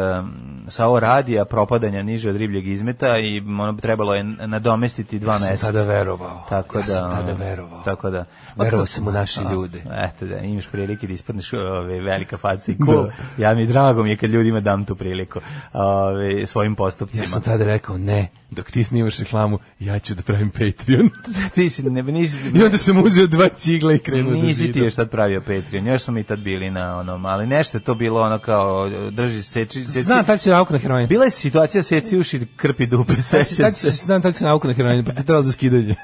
F: sa ovog radija propadanja niže od ribljeg izmeta i ono bi trebalo je nadomestiti dva
E: sam
F: meseca.
E: tada verovao.
F: Tako
E: Pa, Ja
F: da,
E: sam tada
F: ono,
E: verovao.
F: Tako da.
E: Verovao sam u naše ljude.
F: Eto da, imaš prilike da ispadneš ove, velika faca i cool. Ja mi drago mi je kad ljudima dam tu priliku ove, svojim postupcima.
E: Ja sam tada rekao, ne, dok ti snimaš reklamu, ja ću da pravim Patreon.
F: Ti si, ne, nisi,
E: I onda sam uzeo dva cigla i krenuo da
F: nisi ti
E: zidam.
F: još tad pravio Patreon, još smo mi tad bili na onom, ali nešto je to bilo ono kao, drži seči, seči.
E: Znam, tad si nauk na heroin.
F: Bila je situacija seci uši, krpi dupe, sećam
E: Tad si,
F: se.
E: znam, tad si nauk na heroin, pa ti je trebalo za skidanje.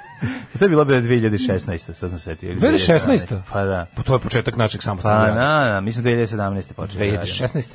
F: To je bilo bilo 2016. Sad sam setio. ili
E: 2016?
F: Pa da.
E: Pa to je početak našeg samostalnog
F: Pa
E: rada.
F: na, na, mislim 2017. počeo.
E: 2016.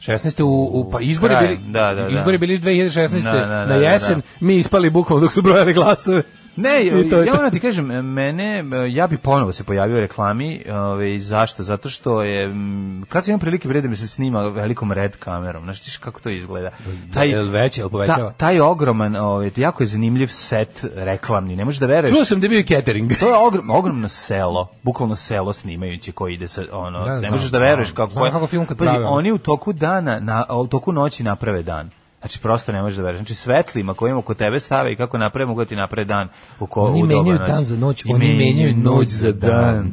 E: 16. U, u, pa izbori
F: Krajem,
E: bili,
F: da, da, da.
E: izbori bili 2016.
F: Da, da, da,
E: na
F: da, da.
E: jesen, mi ispali bukvalno dok su brojali glasove.
F: Ne,
E: I to
F: ja
E: je to.
F: moram ti kažem, mene, ja bi ponovo se pojavio u reklami, ovaj, zašto? Zato što je, mm, kad sam imam prilike bre da mi se snima velikom red kamerom, znaš tiš kako to izgleda. Taj,
E: Jel veće, jel povećava?
F: ta, taj ogroman, ovaj, jako je zanimljiv set reklamni, ne možeš da veruješ.
E: Čuo sam da je bio i catering.
F: To je ogrom, ogromno selo, bukvalno selo snimajući koji ide sa ono,
E: Da,
F: ne
E: znam,
F: možeš da veruješ
E: znam.
F: kako
E: Znam kako film kad
F: Pazi,
E: prave, ono.
F: oni u toku dana, na a u toku noći naprave dan. Znači prosto ne možeš da veruješ. Znači svetlima koje ima oko tebe stave i kako naprave mogu da ti naprave dan u ko
E: Oni
F: u doba
E: menjaju
F: noći.
E: dan za noć,
F: I
E: oni menjaju noć za dan.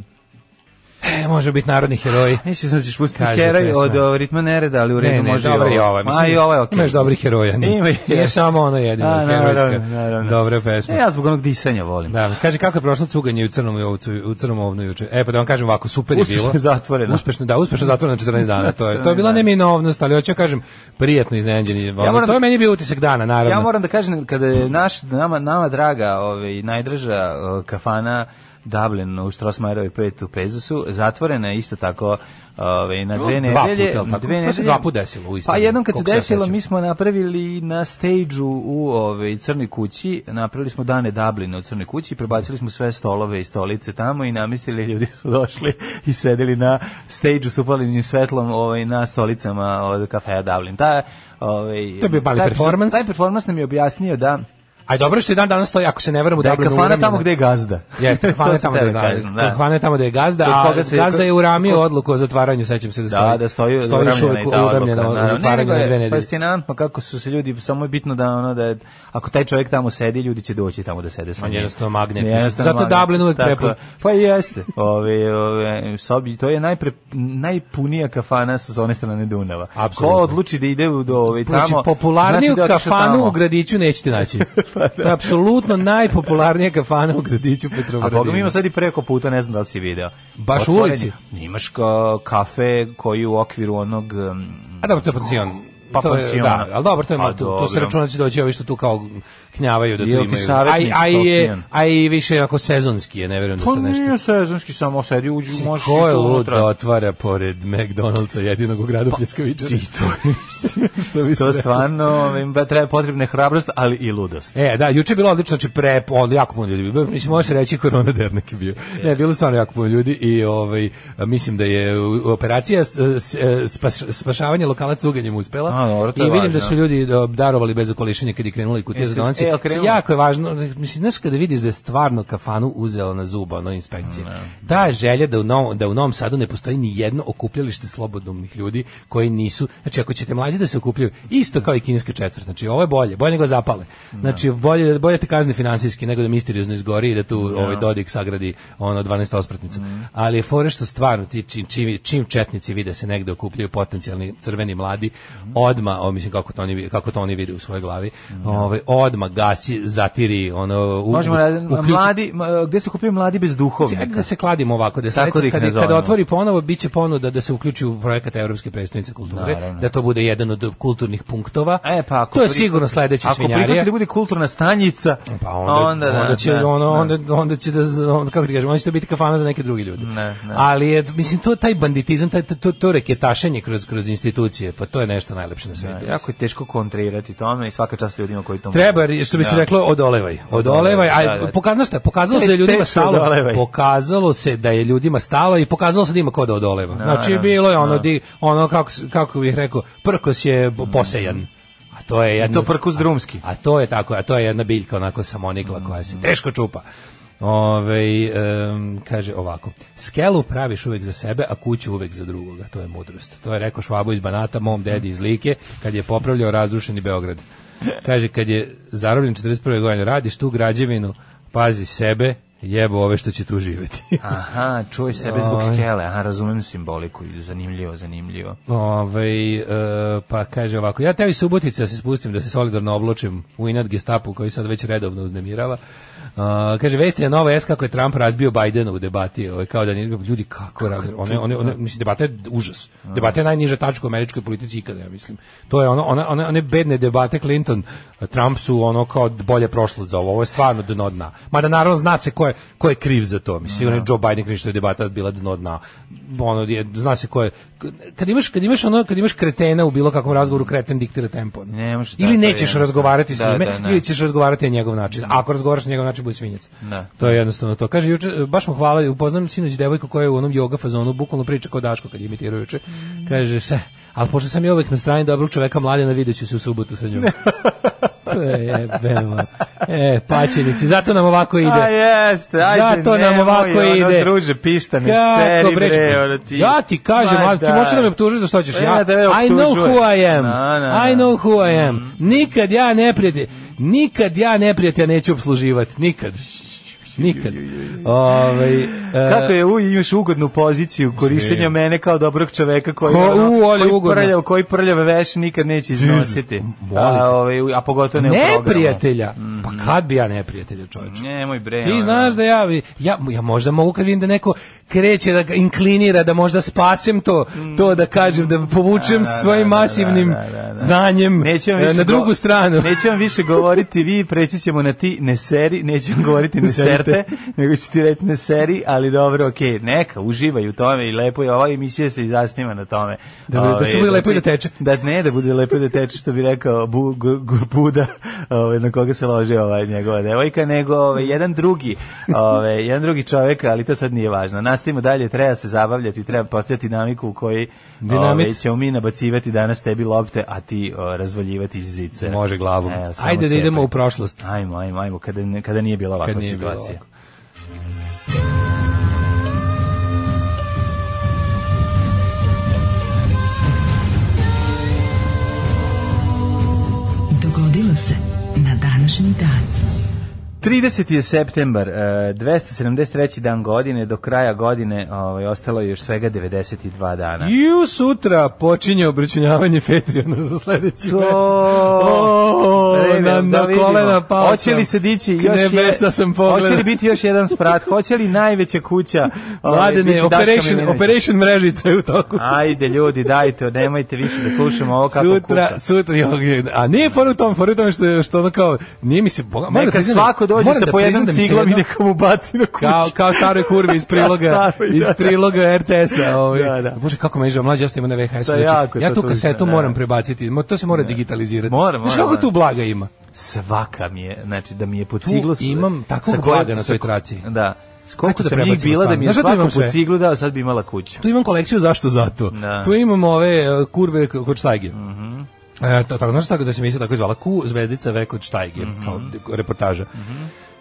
E: E, može biti narodni heroj.
F: Neće znači ćeš pustiti
E: Kaže
F: heroj
E: pesma.
F: od o, ritma nereda, ali u redu
E: Ne, ovaj ne,
F: može
E: dobra
F: i
E: je
F: ovo.
E: ova.
F: Ma i ovo je okej.
E: Imaš dobrih heroja. Nije,
F: Ima i-
E: nije samo ono jedino,
F: A, naravno,
E: herojska.
F: naravno.
E: Dobra pesma.
F: E, ja zbog onog disanja volim.
E: Da, kaže kako je prošlo cuganje u crnom i ovcu, u crnom ovnu juče. E pa da vam kažem ovako super je bilo.
F: Uspešno je zatvoreno.
E: Uspešno, da, uspešno zatvoreno 14 dana. To je to je bila neminovnost, ali hoću kažem prijatno iznenađeni. Ono,
F: moram
E: to
F: da-
E: je meni bio utisak dana, naravno.
F: Ja moram da kažem kada je naš nama nama draga, ovaj najdraža eh, kafana Dublin u Strossmayerovoj 5 u Pezusu, zatvorena je isto tako ovaj na dve
E: Dva
F: nedelje.
E: puta, jel
F: na
E: tako?
F: dve
E: To se
F: nedelje.
E: dva puta desilo u istom,
F: Pa jednom kad se
E: koliko se ja
F: desilo,
E: sećam.
F: mi smo napravili na stage-u u ovaj Crnoj kući, napravili smo dane Dublina u Crnoj kući, prebacili smo sve stolove i stolice tamo i namestili ljudi su došli i sedeli na stage-u s upaljenim svetlom, ovaj na stolicama od kafeja Dublin. Ta ovaj
E: To je bio mali
F: taj-
E: performans.
F: Taj performans nam je objasnio da
E: Aj dobro što je dan danas stoji, ako se ne varam u
F: Da je
E: Dublinu
F: kafana
E: uramljena.
F: tamo gde je gazda.
E: Jeste, kafana
F: To
E: je
F: sam
E: tamo
F: teo
E: da, da,
F: kažem, da.
E: kafana je tamo da je gazda,
F: Kod
E: a
F: koga se-
E: gazda je uramio
F: kod-
E: odluku o zatvaranju, sećam se da stoji.
F: Da, da stoji,
E: stoji još uvek uramljena o zatvaranju na
F: pa
E: dve nedelje.
F: Fascinantno kako su se ljudi, samo je bitno da ono da je- ako taj čovjek tamo sedi, ljudi će doći tamo da sede sa
E: On je
F: njim.
E: jednostavno magnet,
F: Jednostavno
E: mislim. Zato
F: magnet.
E: Dublin uvek
F: Tako
E: prepun.
F: je. Pa jeste. Ove, ove, sobi, to je najpre, najpunija kafana sa one strane Dunava.
E: Apsolutno.
F: Ko odluči da ide u do, ove, tamo,
E: Znači, popularniju
F: znači da je otišao
E: kafanu
F: tamo.
E: u Gradiću nećete naći. To je apsolutno najpopularnija kafana u Gradiću
F: A
E: Petrovaradinu.
F: Boga mi ima sad i preko puta, ne znam da li si video.
E: Baš u
F: Otvoren
E: ulici?
F: je- Imaš ka, kafe koji u okviru onog... um,
E: A dobro, to je pansion.
F: Pa
E: to je,
F: pansion.
E: da, ali dobro, to, je,
F: Pa
E: malo- tu, tu se
F: dobro.
E: računa da će doći ovi što tu kao knjavaju da tu
F: Jel ti
E: imaju. Aj,
F: savjetnik
E: aj, je,
F: pansion?
E: aj i više ako sezonski je, ne verujem da
F: Pa
E: se nešto...
F: nije sezonski, samo sedi, uđi, možeš
E: Ko je
F: i tu
E: lud
F: unutra.
E: da otvara pored McDonald'sa jedinog u gradu pa, Pljeskovičara?
F: Ti to
E: što bi se
F: To
E: reklo.
F: stvarno im ba- treba potrebne hrabrost, ali i ludost.
E: E, da, juče je bilo odlično, znači pre, on, jako puno ljudi. bilo. Mislim, može se reći korona dernek je bio. Ne, bilo je stvarno jako puno ljudi i ovaj, a, mislim da je u- u operacija s- s- e, spas, spašavanje lokala cuganjem uspela.
F: A, dobro, to
E: I
F: je
E: vidim
F: važno.
E: da su ljudi da, darovali bez okolišenja kad je krenula i kutija za
F: Jesi-
E: donacije.
F: e, jel
E: Mislim,
F: krenula?
E: jako je važno, mislim, znaš kada vidiš da je stvarno kafanu uzela na zuba ono inspekcija. Ta želja da u, novom, da u Novom Sadu ne postoji ni jedno okupljalište slobodnomnih ljudi koji nisu, znači ako ćete mlađi da se okupljaju, isto kao i kineska četvrt, znači ovo je bolje, bolje nego zapale. Znači bolje, bolje te kazne finansijski nego da misteriozno izgori i da tu ovaj Dodik sagradi ono 12 ospratnica.
F: Mm.
E: Ali je fore što stvarno ti čim, čim, čim četnici vide se negde okupljaju potencijalni crveni mladi,
F: Mm.
E: odma, o, mislim kako to oni kako to oni vide u svojoj glavi, ovaj odma gasi, zatiri ono u,
F: Možemo, da-
E: uključi-
F: mladi, ma, gde se kupio mladi bez
E: Čekaj
F: duhovnika?
E: da se kladimo ovako, da se
F: Tako da ih
E: kada,
F: ne
E: kada
F: zovemo.
E: otvori ponovo, bit će ponuda da se uključi u projekat Evropske predstavnice kulture,
F: Naravno.
E: da to bude jedan od kulturnih punktova.
F: E, pa ako
E: to je
F: prihvati-
E: sigurno sledeća
F: Ako
E: svinjarija.
F: prihvati da bude kulturna stanjica,
E: Pa onda, onda,
F: da,
E: će,
F: da,
E: ono,
F: da.
E: onda, onda će da, onda, kako ti kažem, onda će to biti kafana za neke druge ljude.
F: Ne, ne.
E: Ali je, mislim, to taj banditizam, taj, to, to reketašenje kroz, kroz institucije, pa to je nešto najlepše na svijetu.
F: Da, jako je teško kontrirati tome i svaka čast ljudima koji to mogu.
E: Treba, što bi se
F: Da.
E: reklo, odolevaj. Odolevaj,
F: Da,
E: a
F: da.
E: pokazano šta je, pokazalo se da je
F: Te-
E: ljudima
F: teško
E: stalo,
F: odolevaj.
E: pokazalo se da je ljudima stalo i pokazalo se da ima ko da odoleva. Znači,
F: da,
E: bilo je ono, di, ono kako, s- kako bih rekao, prkos je bo- posejan. A to je jedno,
F: Mm. to prkos drumski.
E: A, a to je tako, a to je jedna biljka onako samonikla koja se teško čupa. Ove, kaže ovako skelu praviš uvek za sebe a kuću uvek za drugoga, to je mudrost to je rekao Švabo iz Banata, mom dedi iz Like kad je popravljao razrušeni Beograd kaže kad je zarobljen 41. godine radiš tu građevinu pazi sebe, jebo ove što će tu živeti
F: Aha, čuj sebe zbog
E: Ovaj.
F: skele. Aha, razumem simboliku. Zanimljivo, zanimljivo.
E: Ovaj e, pa kaže ovako, ja tebi Subotica se spustim da se solidarno obločim u inat gestapu koji sad već redovno uznemirava. E, kaže, vesti je nova S kako je Trump razbio Bajdena u debati. Ovaj, kao da nije, ljudi, kako, razbio? One, one, one, mislim, debata je užas. Debata je najniža tačka u američkoj politici ikada, ja mislim. To je ono, one, one, one bedne debate Clinton, Trump su ono kao bolje prošlo za ovo. Ovo je stvarno dno dna. Mada naravno zna se ko je, ko je kriv za to. Mislim, sigurno je Joe Biden kriv što je debata bila dno dna. Ono, je, zna se ko je... Kad imaš, kad imaš ono, kad imaš kretena u bilo kakvom razgovoru, kreten diktira tempo.
F: Ne može
E: ili
F: tako,
E: nećeš
F: je.
E: razgovarati s
F: Da,
E: njime,
F: da, da.
E: ili ćeš razgovarati na njegov način. A ako razgovaraš na njegov način, bude svinjac.
F: Da.
E: To je jednostavno to. Kaže, juče, baš mu hvala, upoznam sinoć devojku koja je u onom joga fazonu, bukvalno priča kao Daško kad je imitirao juče.
F: Mm.
E: Kaže, se, ali pošto sam ja uvek na strani dobrog čoveka mladena, vidjet ću se u subotu sa njom. To je jebeno. Pa E, paćenici, zato nam ovako ide.
F: A jeste, ajde,
E: Zato nam
F: nemoj,
E: ovako
F: ono,
E: ide.
F: druže, pišta mi,
E: Kako,
F: seri,
E: bre,
F: bre, ono, ti-
E: Ja ti kažem,
F: Ma
E: ali ti
F: da.
E: možeš da me optužiš za što ćeš.
F: E,
E: Ja,
F: da me
E: I know
F: optužuje.
E: who I am.
F: Na, na, na. Mm.
E: I know who I am. Nikad ja ne prijatelj, nikad ja ne prijatelj neću obsluživati. Nikad. Nikad. Ovaj, e,
F: Kako je u imaš ugodnu poziciju korišćenja mene kao dobrog čoveka koji
E: Ko-
F: ono,
E: u, ali
F: koji
E: ugodno.
F: prljav, koji prljave veš nikad neće iznositi.
E: molim te.
F: A, ovaj, a pogotovo ne, u programu. Mm.
E: neprijatelja. Pa kad bi ja neprijatelja, čoveče?
F: Nemoj bre.
E: Ti
F: ono.
E: znaš da ja, ja, ja možda mogu kad vidim da neko kreće, da ga inklinira, da možda spasem to, to da kažem, da povučem
F: Da, da,
E: svojim
F: da, da,
E: masivnim
F: da, da, da.
E: znanjem
F: Neću vam
E: e,
F: više
E: na drugu
F: go-
E: stranu.
F: Neću vam više govoriti vi, preći ćemo na ti ne seri, neću vam govoriti ne
E: Serte.
F: serte, nego ću ti reći ne seri, ali dobro, okej, neka, uživaj u tome i lepo je, ova emisija se i zasniva na tome.
E: Da bude- da
F: Ovaj,
E: se bude lepo i da
F: ti-
E: teče.
F: Da ne, da bude lepo i da teče, što bi rekao Bu- Gu- Gu- Buda, ovaj, na koga se loži ova pustila je njegova devojka, nego ove, jedan drugi, ove, jedan drugi čovjek, ali to sad nije važno. Nastavimo dalje, treba se zabavljati, treba postaviti dinamiku u kojoj ove,
E: Dinamit.
F: ćemo mi nabacivati danas tebi lopte, a ti o, razvaljivati iz zice.
E: Može glavom.
F: Evo, samo
E: Ajde da idemo
F: cepaj.
E: u prošlost.
F: Ajmo, ajmo, ajmo, kada, ne- kada nije bila ovakva
E: Kad nije bilo
F: situacija.
E: ovako.
G: Dogodilo se na današnji dan.
F: 30. je septembar, e, 273. dan godine, do kraja godine ovaj, ostalo je još svega 92 dana.
E: Ju sutra počinje obračunjavanje Patreona za sledeći
F: To-
E: mesec. O,
F: E,
E: na,
F: da
E: na
F: vidimo.
E: kolena pao
F: Hoće
E: sam.
F: li se dići
E: K
F: još
E: nebesa sam pogledao.
F: Hoće li biti još jedan sprat? Hoće li najveća kuća? ovaj, biti
E: Mladene,
F: Daška
E: Operation,
F: Milinovića?
E: Operation mrežica je u toku.
F: Ajde ljudi, dajte, nemojte više da slušamo ovo kako
E: sutra,
F: kuka.
E: sutra, jo, je- a nije fora u tom, fora u tome što, je- što ono kao, nije mi se, boga, moram da
F: Neka
E: priznam-
F: svako dođe
E: moram
F: sa
E: da
F: po jednom
E: priznam da mi se
F: ciglom i
E: jedno-
F: neka mu baci na kuću.
E: kao kao stare kurve iz
F: Kao
E: priloga
F: staroj,
E: iz
F: da, da.
E: priloga RTS-a, ovaj.
F: Da, da.
E: Bože kako me žao, mlađi ja što ima na VHS-u.
F: To je
E: znači,
F: jako, to
E: ja tu
F: tužno,
E: kasetu
F: da.
E: moram prebaciti. mo- To se mora digitalizirati.
F: Mora, mora,
E: Znaš kako
F: mora.
E: tu blaga ima?
F: Svaka mi je, znači da mi je po
E: Tu
F: ciglu... s-
E: imam takvog
F: sa kojom-
E: blaga na
F: sa
E: toj
F: ko-
E: traci.
F: Da. S koliko
E: Eto da
F: sam njih
E: prebacimo
F: bila da
E: stvarno.
F: mi je
E: Znaš da tu
F: svakom
E: imam
F: po
E: sve?
F: ciglu dao, sad bi imala kuću.
E: Tu imam kolekciju zašto zato.
F: Da. Mhm.
E: Tu imam ove e, kurve k- kod štajge. E, to, tako, znaš tako da se misli tako je zvala Ku zvezdica V kod štajge,
F: Mhm.
E: kao de- reportaža.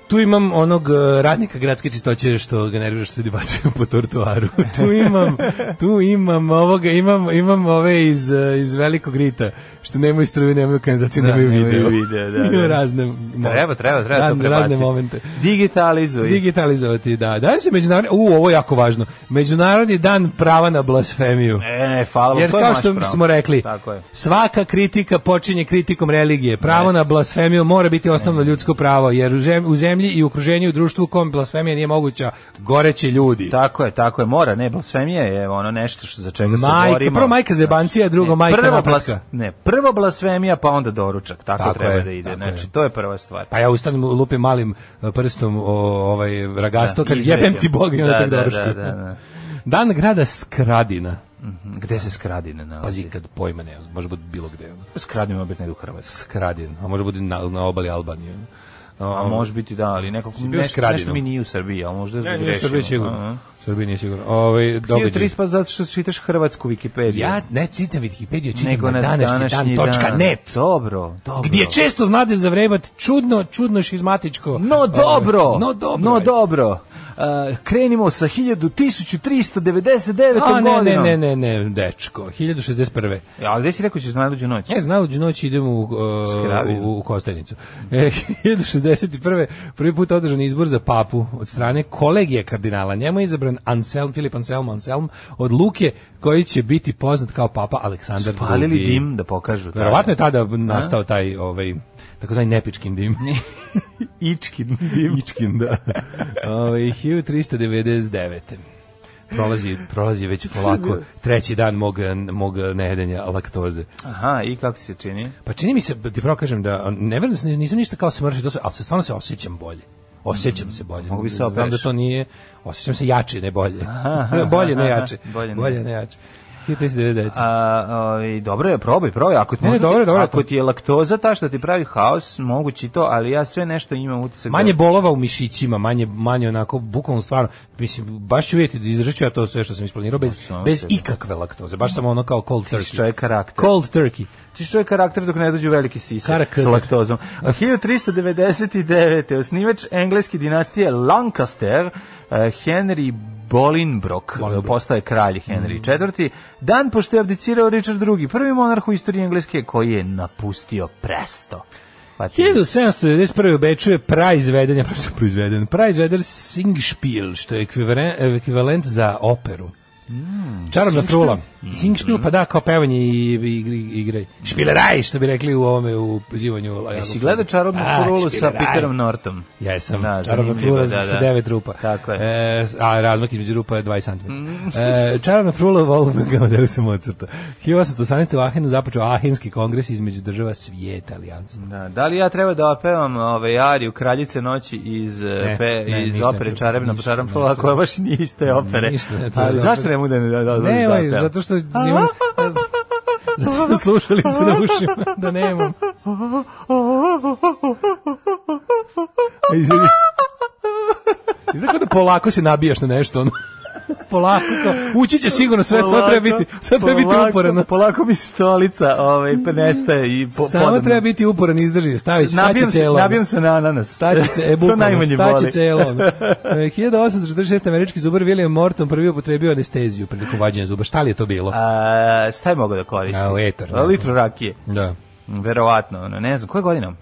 E: Tu imam onog e, radnika gradske čistoće što ga nervira što ljudi bacaju po tortuaru. tu imam, tu imam ovoga, imam, imam ove iz, e, iz velikog rita što nemaju struju, nemaju kanalizaciju,
F: Da,
E: nemaju
F: nemaju
E: video.
F: video, da, da.
E: razne, mo-
F: Treba, treba, treba to
E: razne, razne
F: prebaciti.
E: momente.
F: Digitalizuj.
E: Digitalizovati, da. Da se međunarodni, u, ovo je jako važno. Međunarodni dan prava na blasfemiju.
F: E, hvala, vam,
E: Jer
F: to je
E: kao
F: baš
E: što
F: pravo.
E: smo rekli,
F: Tako je.
E: svaka kritika počinje kritikom religije. Pravo na blasfemiju mora biti
F: E.
E: osnovno ljudsko pravo, jer u žem- u zemlji i okruženju i društvu u kom blasfemija nije moguća, goreći ljudi.
F: Tako je, tako je, mora, ne, blasfemija je ono nešto što, za čega se
E: Majka,
F: borimo. Znači,
E: prvo majka zebancija, drugo
F: Ne,
E: majka
F: prvo
E: napretka.
F: ne, prvo blasfemija, pa onda doručak, tako,
E: Tako
F: treba
E: je,
F: da ide,
E: tako
F: znači,
E: je.
F: to je prva stvar.
E: Pa ja ustanem, lupim malim e, prstom o, ovaj ragasto, kad
F: izrećem.
E: jebem ti Bog i onda
F: Da,
E: tak
F: da,
E: doručku.
F: da, da, da.
E: Dan grada Skradina.
F: Gde se skradine nalazi?
E: Pazi, kad pojma ne, može biti bilo gde. ono.
F: Skradine opet negdje u Hrvatskoj.
E: Skradin, a može biti na, na obali Albanije.
F: A može biti da, ali nekako
E: bio
F: nešto,
E: Skradinom?
F: nešto mi nije u Srbiji, ali možda
E: Ne,
F: grešimo.
E: nije Srbija
F: Aha.
E: sigurno. Srbija nije sigurno. Ovaj
F: Ti
E: događaj.
F: 35 zato što čitaš hrvatsku Wikipediju.
E: Ja ne citam Wikipediju, čitam
F: nego na
E: današnji
F: današnji
E: dan, točka net.
F: Dobro, dobro.
E: Gdje često znade zavrebat čudno, čudno šizmatičko.
F: No dobro.
E: Ovaj, No dobro.
F: No
E: je.
F: dobro. Uh, krenimo sa 1399.
E: A, ne,
F: godinom.
E: ne, ne, ne, ne, dečko, 1061.
F: A E, gde si rekao ćeš najluđu noć?
E: Ja znam, uđu noći idem u, uh,
F: Skravinu.
E: u, u Kostajnicu. E, 1061. prvi put održan izbor za papu od strane kolegije kardinala. Njemu je izabran Anselm, Filip Anselm Anselm od Luke, koji će biti poznat kao papa Aleksandar
F: Palili
E: II.
F: dim da pokažu.
E: Verovatno je tada nastao taj ovaj takozvani nepičkin dim.
F: Ičkin dim.
E: Ičkin, da. Ovaj 1399. Prolazi, prolazi već polako treći dan mog, mog nejedenja laktoze.
F: Aha, i kako se čini?
E: Pa čini mi se, ti pravo kažem da ne verujem da se- nisam ništa kao smršao, to sve, ali se stvarno se osjećam bolje. Osjećam se bolje.
F: Mogu bi se
E: Znam da
F: opereš.
E: to nije, osjećam se jače, ne bolje. bolje, ne
F: aha,
E: jače.
F: bolje ne
E: Bolje,
F: jače.
E: ne jače. 1399.
F: A, ovaj, dobro je, probaj, probaj. Ako, ti,
E: Ne, ne,
F: možda
E: dobro je,
F: ti,
E: dobro je to.
F: ako ti je laktoza ta što ti pravi haos, mogući to, ali ja sve nešto imam utisak. da-
E: Manje bolova u mišićima, manje manje onako bukvalno stvarno, mislim baš ću vidjeti da izdržaću ja to sve što sam isplanirao bez
F: samo
E: bez
F: sebe.
E: ikakve laktoze, baš samo ono kao cold turkey.
F: čovjek karakter.
E: Cold turkey.
F: Ti što je karakter dok ne dođu veliki sisa
E: Karakter.
F: s laktozom. A 1399. osnivač engleske dinastije Lancaster, eh, Henry Bolingbroke,
E: Bolingbroke.
F: postaje kralj Henry
E: Mm.
F: IV. Dan pošto je abdicirao Richard II, prvi monarh u istoriji Engleske koji je napustio presto. Pa ti-
E: 1791. u Beču je praizveden, ja prosto proizveden, praizveden Singspiel, što je ekvivalen- ekvivalent za operu.
F: Mm,
E: Čarobna frula. Singspiel, pa da, kao pevanje i, i, i igre. Špileraj, što bi rekli u ovome, u zivanju.
F: Jesi gledao čarobnu
E: A,
F: frulu sa
E: špileraj.
F: Peterom Nortom?
E: Ja sam
F: Da,
E: čarobna
F: zanimljivo,
E: frula
F: da,
E: sa
F: da.
E: devet rupa.
F: Tako je. Mm.
E: E, s- a razmak između rupa je 20 cm. e, čarobna frula Wolfganga od Eusa Mozarta. 1818. u Ahenu započeo Ahenski kongres između država svijeta alijansa.
F: Da, da li ja treba da opevam ove Ariju Kraljice noći iz ne,
E: Ne,
F: pe,
E: ne,
F: iz
E: ništa ne
F: opere
E: treba,
F: Čarobna
E: ništa,
F: čarobna
E: ne
F: frula
E: treba.
F: koja baš nije iste opere.
E: ništa ne treba
F: Ali
E: da
F: zašto
E: opevam.
F: ne modu da da da
E: Ne, ovaj,
F: da
E: zato što imam... Zato što slušalice na ušima, da nemam. E, Izvini. Izgleda kao da polako se nabijaš na nešto, ono. polako, kao, ući će sigurno sve, sve treba biti, sve treba biti uporano.
F: Polako mi stolica ovaj, pa nestaje i po,
E: Samo
F: podane.
E: treba biti uporan, izdrži, stavi, stavi
F: Nabijam se,
E: celo. ono.
F: nabijam se na ananas.
E: Staći ce, e,
F: to
E: bukvalno,
F: najmanje
E: staći
F: boli.
E: celo. ono. E, 1846. američki zubar William Morton prvi upotrebio anesteziju prilikom vađenja zuba. Šta li je to bilo?
F: A, šta je mogao da koristi?
E: A, u etar,
F: A,
E: ne.
F: Litru rakije.
E: Da.
F: Verovatno, ono, ne znam, koje godine?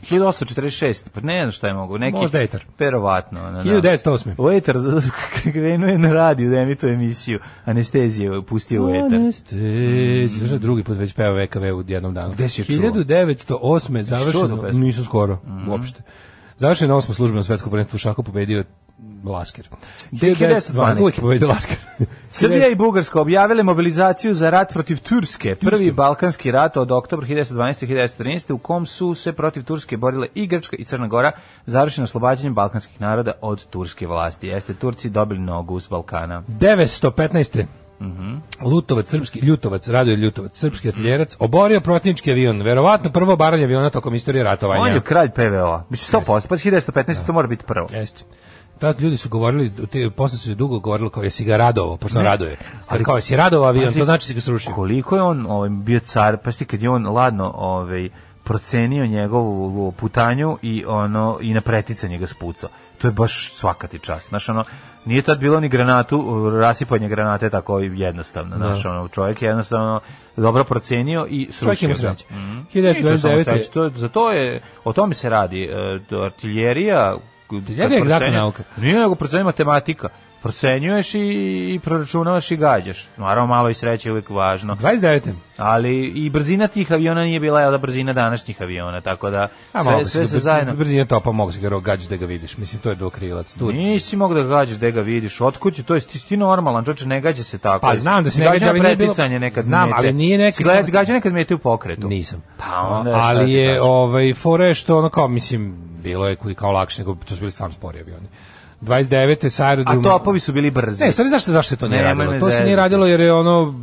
F: 1846, pa ne znam šta je mogu, neki...
E: Možda etar.
F: Verovatno, ono, da.
E: 1908.
F: U etar, krenuo je na radiju da emituje emisiju, anesteziju je pustio u etar.
E: Anestezija. Znaš da drugi put već peva VKV u jednom danu.
F: Gde si je čuo?
E: 1908.
F: čuo tu
E: završeno,
F: pesmu? Mhm.
E: nisu skoro, uopšte. Završeno osmo službeno svetsko prvenstvo u šaku pobedio Lasker.
F: 1912.
E: Uvijek je pobedio Lasker.
F: Srbija i Bugarska objavile mobilizaciju za rat protiv Turske, prvi balkanski rat od oktobra 1912. i 1913. u kom su se protiv Turske borile i Grčka i Crna Gora, završeno oslobađanjem balkanskih naroda od turske vlasti. Jeste Turci dobili nogu s Balkana.
E: 915.
F: Mhm.
E: Lutovac, srpski, Ljutovac, Radoje Ljutovac, srpski atljerac, oborio protivnički avion, verovatno prvo obaranje aviona tokom istorije ratovanja.
F: On je kralj PVO. Mislim 100%, pa 1915. to mora biti prvo.
E: Jeste. Tad ljudi su govorili, te, posle su dugo govorili kao jesi ga radovo, pošto on raduje. Ali kao jesi radovo avion,
F: Pazi,
E: to znači si ga srušio.
F: Koliko je on ovaj, bio car, pa sti kad je on ladno ovaj, procenio njegovu putanju i ono i na preticanje ga spucao. To je baš svaka ti čast. Znaš, ono, nije tad bilo ni granatu, rasipanje granate tako jednostavno. Znaš, ono, čovjek je jednostavno dobro procenio i
E: Čovjek
F: srušio
E: ima
F: ga.
E: sreće.
F: Mm. Nije to samo
E: 1929.
F: sreće, to, za to je, o tome se radi. E, to artiljerija,
E: Artiljerija je egzaktna nauka.
F: Nije nego procenjuje matematika. Procenjuješ i, i proračunavaš i gađaš. Naravno, malo i sreće je uvijek važno.
E: 29.
F: Ali i brzina tih aviona nije bila jel da brzina današnjih aviona, tako da
E: A,
F: sve,
E: mogu si
F: sve
E: ga
F: se
E: br-
F: zajedno...
E: Brzina topa, mogu se ga ro- gađaš da ga vidiš. Mislim, to je dvokrilac. Tu.
F: Nisi mogu da gađaš da ga vidiš, otkud ti to, jesi ti, si ti normalan, čoče, ne gađa se tako.
E: Pa, znam da se ne
F: Gađa
E: gađa,
F: na
E: ali nije bilo-
F: preticanje nekad
E: Znam, ali nije nekad-
F: Si gleda- gađa nekad mete u pokretu.
E: Nisam.
F: Pa onda šta ti
E: ali je
F: kažem?
E: ovaj fore je što ono kao mislim bilo je koji kao lakše nego to su bili stvarno spori avioni. 29. sa
F: A
E: aerodroma.
F: topovi su bili brzi.
E: Ne, stvari znaš šta- zašto se to nije
F: Nemoj me
E: radilo? To se
F: zezati.
E: nije radilo jer je ono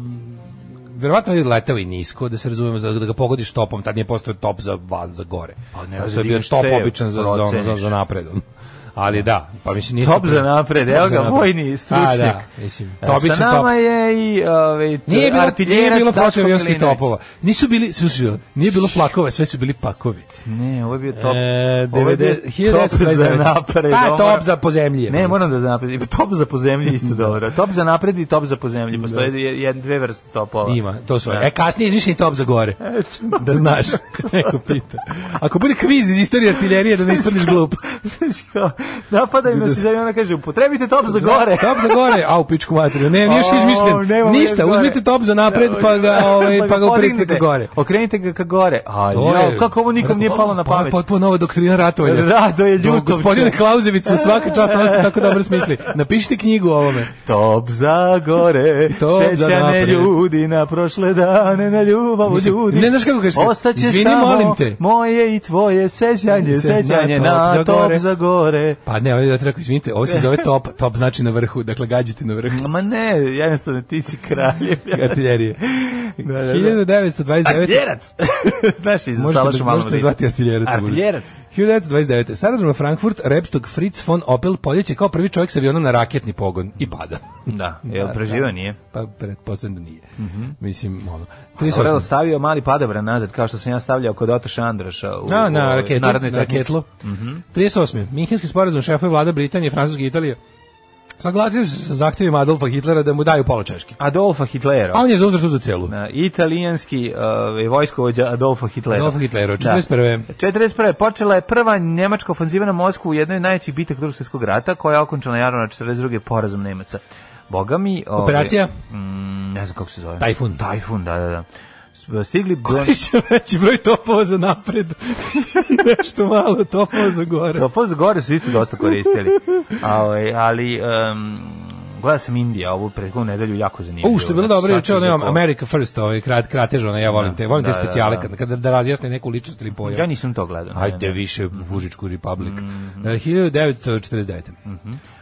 E: verovatno je letao i nisko, da se razumemo, za- da ga pogodiš topom, tad nije postojao top za, va- za gore.
F: Pa ne,
E: Tad
F: da
E: je bio
F: digneš
E: top
F: cev,
E: običan za, za, ono- za,
F: proceniš.
E: za napred. Ali da, pa mislim nije...
F: Top za napred, evo ga, vojni stručnjak.
E: A, da, mislim,
F: E,
E: to običan
F: Sa nama
E: top.
F: je i ovaj, to-
E: Nije bilo, nije
F: artiljerac
E: bilo
F: Daško
E: protivavionskih
F: Milinović.
E: topova. Nisu bili, slušaj, nije bilo plakova, sve su bili pakovi.
F: Ne, ovo je bio
E: E,
F: top. ovo je bio
E: 90
F: top za
E: 1929.
F: napred.
E: Pa
F: ovo-
E: top za pozemlje.
F: Ne, moram da za napred. i Top za pozemlje je isto dobro. Top za napred i top za pozemlje. Postoje je- jedne dve vrste topova.
E: Ima, to su. E, kasnije izmišljeni top za gore. Da znaš, kad neko pita. Ako bude kviz iz istorije artiljerije, da ne ispadneš glup.
F: Znaš kao, Napadaju nas i zemlje, ona kaže, upotrebite top za gore.
E: Top za gore, a u pičku materiju. Ne, još
F: O,
E: izmišljen.
F: nemamo
E: Ništa,
F: još gore.
E: uzmite top za napred, pa ga, ovaj, pa ga uprite ka
F: podignite.
E: gore.
F: Okrenite ga ka gore. A,
E: To
F: jao,
E: je-
F: kako ovo nikom nije palo na
E: Pa, ovo je
F: pamet.
E: Potpuno nova doktrina ratovanja.
F: Rado je ljutov
E: Gospodine
F: čovjek.
E: Klauzevicu, svaka čast, ovo ste tako dobro smisli. Napišite knjigu o ovome.
F: Top za gore,
E: Top za
F: sećane
E: napred.
F: ljudi na prošle dane, na ljubav
E: Mislim,
F: ljudi.
E: ne znaš kako kažeš,
F: Ostaće
E: izvini,
F: samo
E: molim te.
F: moje i tvoje sećanje,
E: Se-
F: sećanje
E: na top za
F: na, top
E: gore.
F: za gore.
E: Pa ne, ovdje da treba, izvinite, ovo se zove top, top znači na vrhu, dakle gađite na vrhu
F: Ma ne, jednostavno ti si kralj.
E: artiljerije.
F: Da, da, da.
E: 1929.
F: Artiljerac! Znaš, iz
E: Možete,
F: Salašu
E: da-
F: malo
E: možete zvati artiljerac. ako budete.
F: Artiljerac.
E: 1929. Saradžama Frankfurt, Repstog Fritz von Opel poljeće kao prvi čovjek s aviona na raketni pogon i pada.
F: Da, jel preživio nije?
E: Pa pretpostavljam da nije.
F: Mhm.
E: Mislim, ono.
F: Orel
E: 38.
F: stavio mali padobran nazad, kao što sam ja stavljao kod Otoša Andraša u,
E: Na,
F: u
E: na
F: ovoj
E: raketu,
F: narodnoj Mhm.
E: na
F: takmici.
E: raketlu. 38. Minhenski sporazum šefa vlada Britanije, Francuske i Italije. Saglasili su se sa zahtjevima Adolfa Hitlera da mu daju pola Češke.
F: Adolfa Hitlera.
E: A on je zauzrat uz celu.
F: Na, E, italijanski uh, vojskovođa Adolfo Hitlero.
E: Adolfo Hitlero,
F: Da.
E: 41..
F: 41. Počela je prva njemačka ofenziva na Moskvu u jednoj od najvećih bitak drugog svjetskog rata, koja je okončena januara 42. porazom Nemaca. Boga mi... ovaj,
E: Operacija?
F: Mm, ne znam kako se zove.
E: Tajfun.
F: Tajfun, da, da, da. S- Stigli...
E: Više veći broj topova za napred. Nešto malo topova za gore.
F: Topaz gore Pa, su isto dosta koristili. Ali, ali um, gledao sam Indija ovu prethodnu nedelju, jako zanimljivo.
E: Pa U, što je bilo
F: Znači,
E: dobro,
F: sad
E: juče
F: sam
E: ono imam
F: zapao.
E: America First, ovaj krat, kratež, ono, ja volim te, volim
F: Da,
E: te
F: da,
E: specijale,
F: da.
E: kad, kad da razjasne neku ličnost ili pojam.
F: Ja nisam to gledao. ne,
E: Ajde
F: ne. Mhm,
E: više Vužičku republik. E, 1949.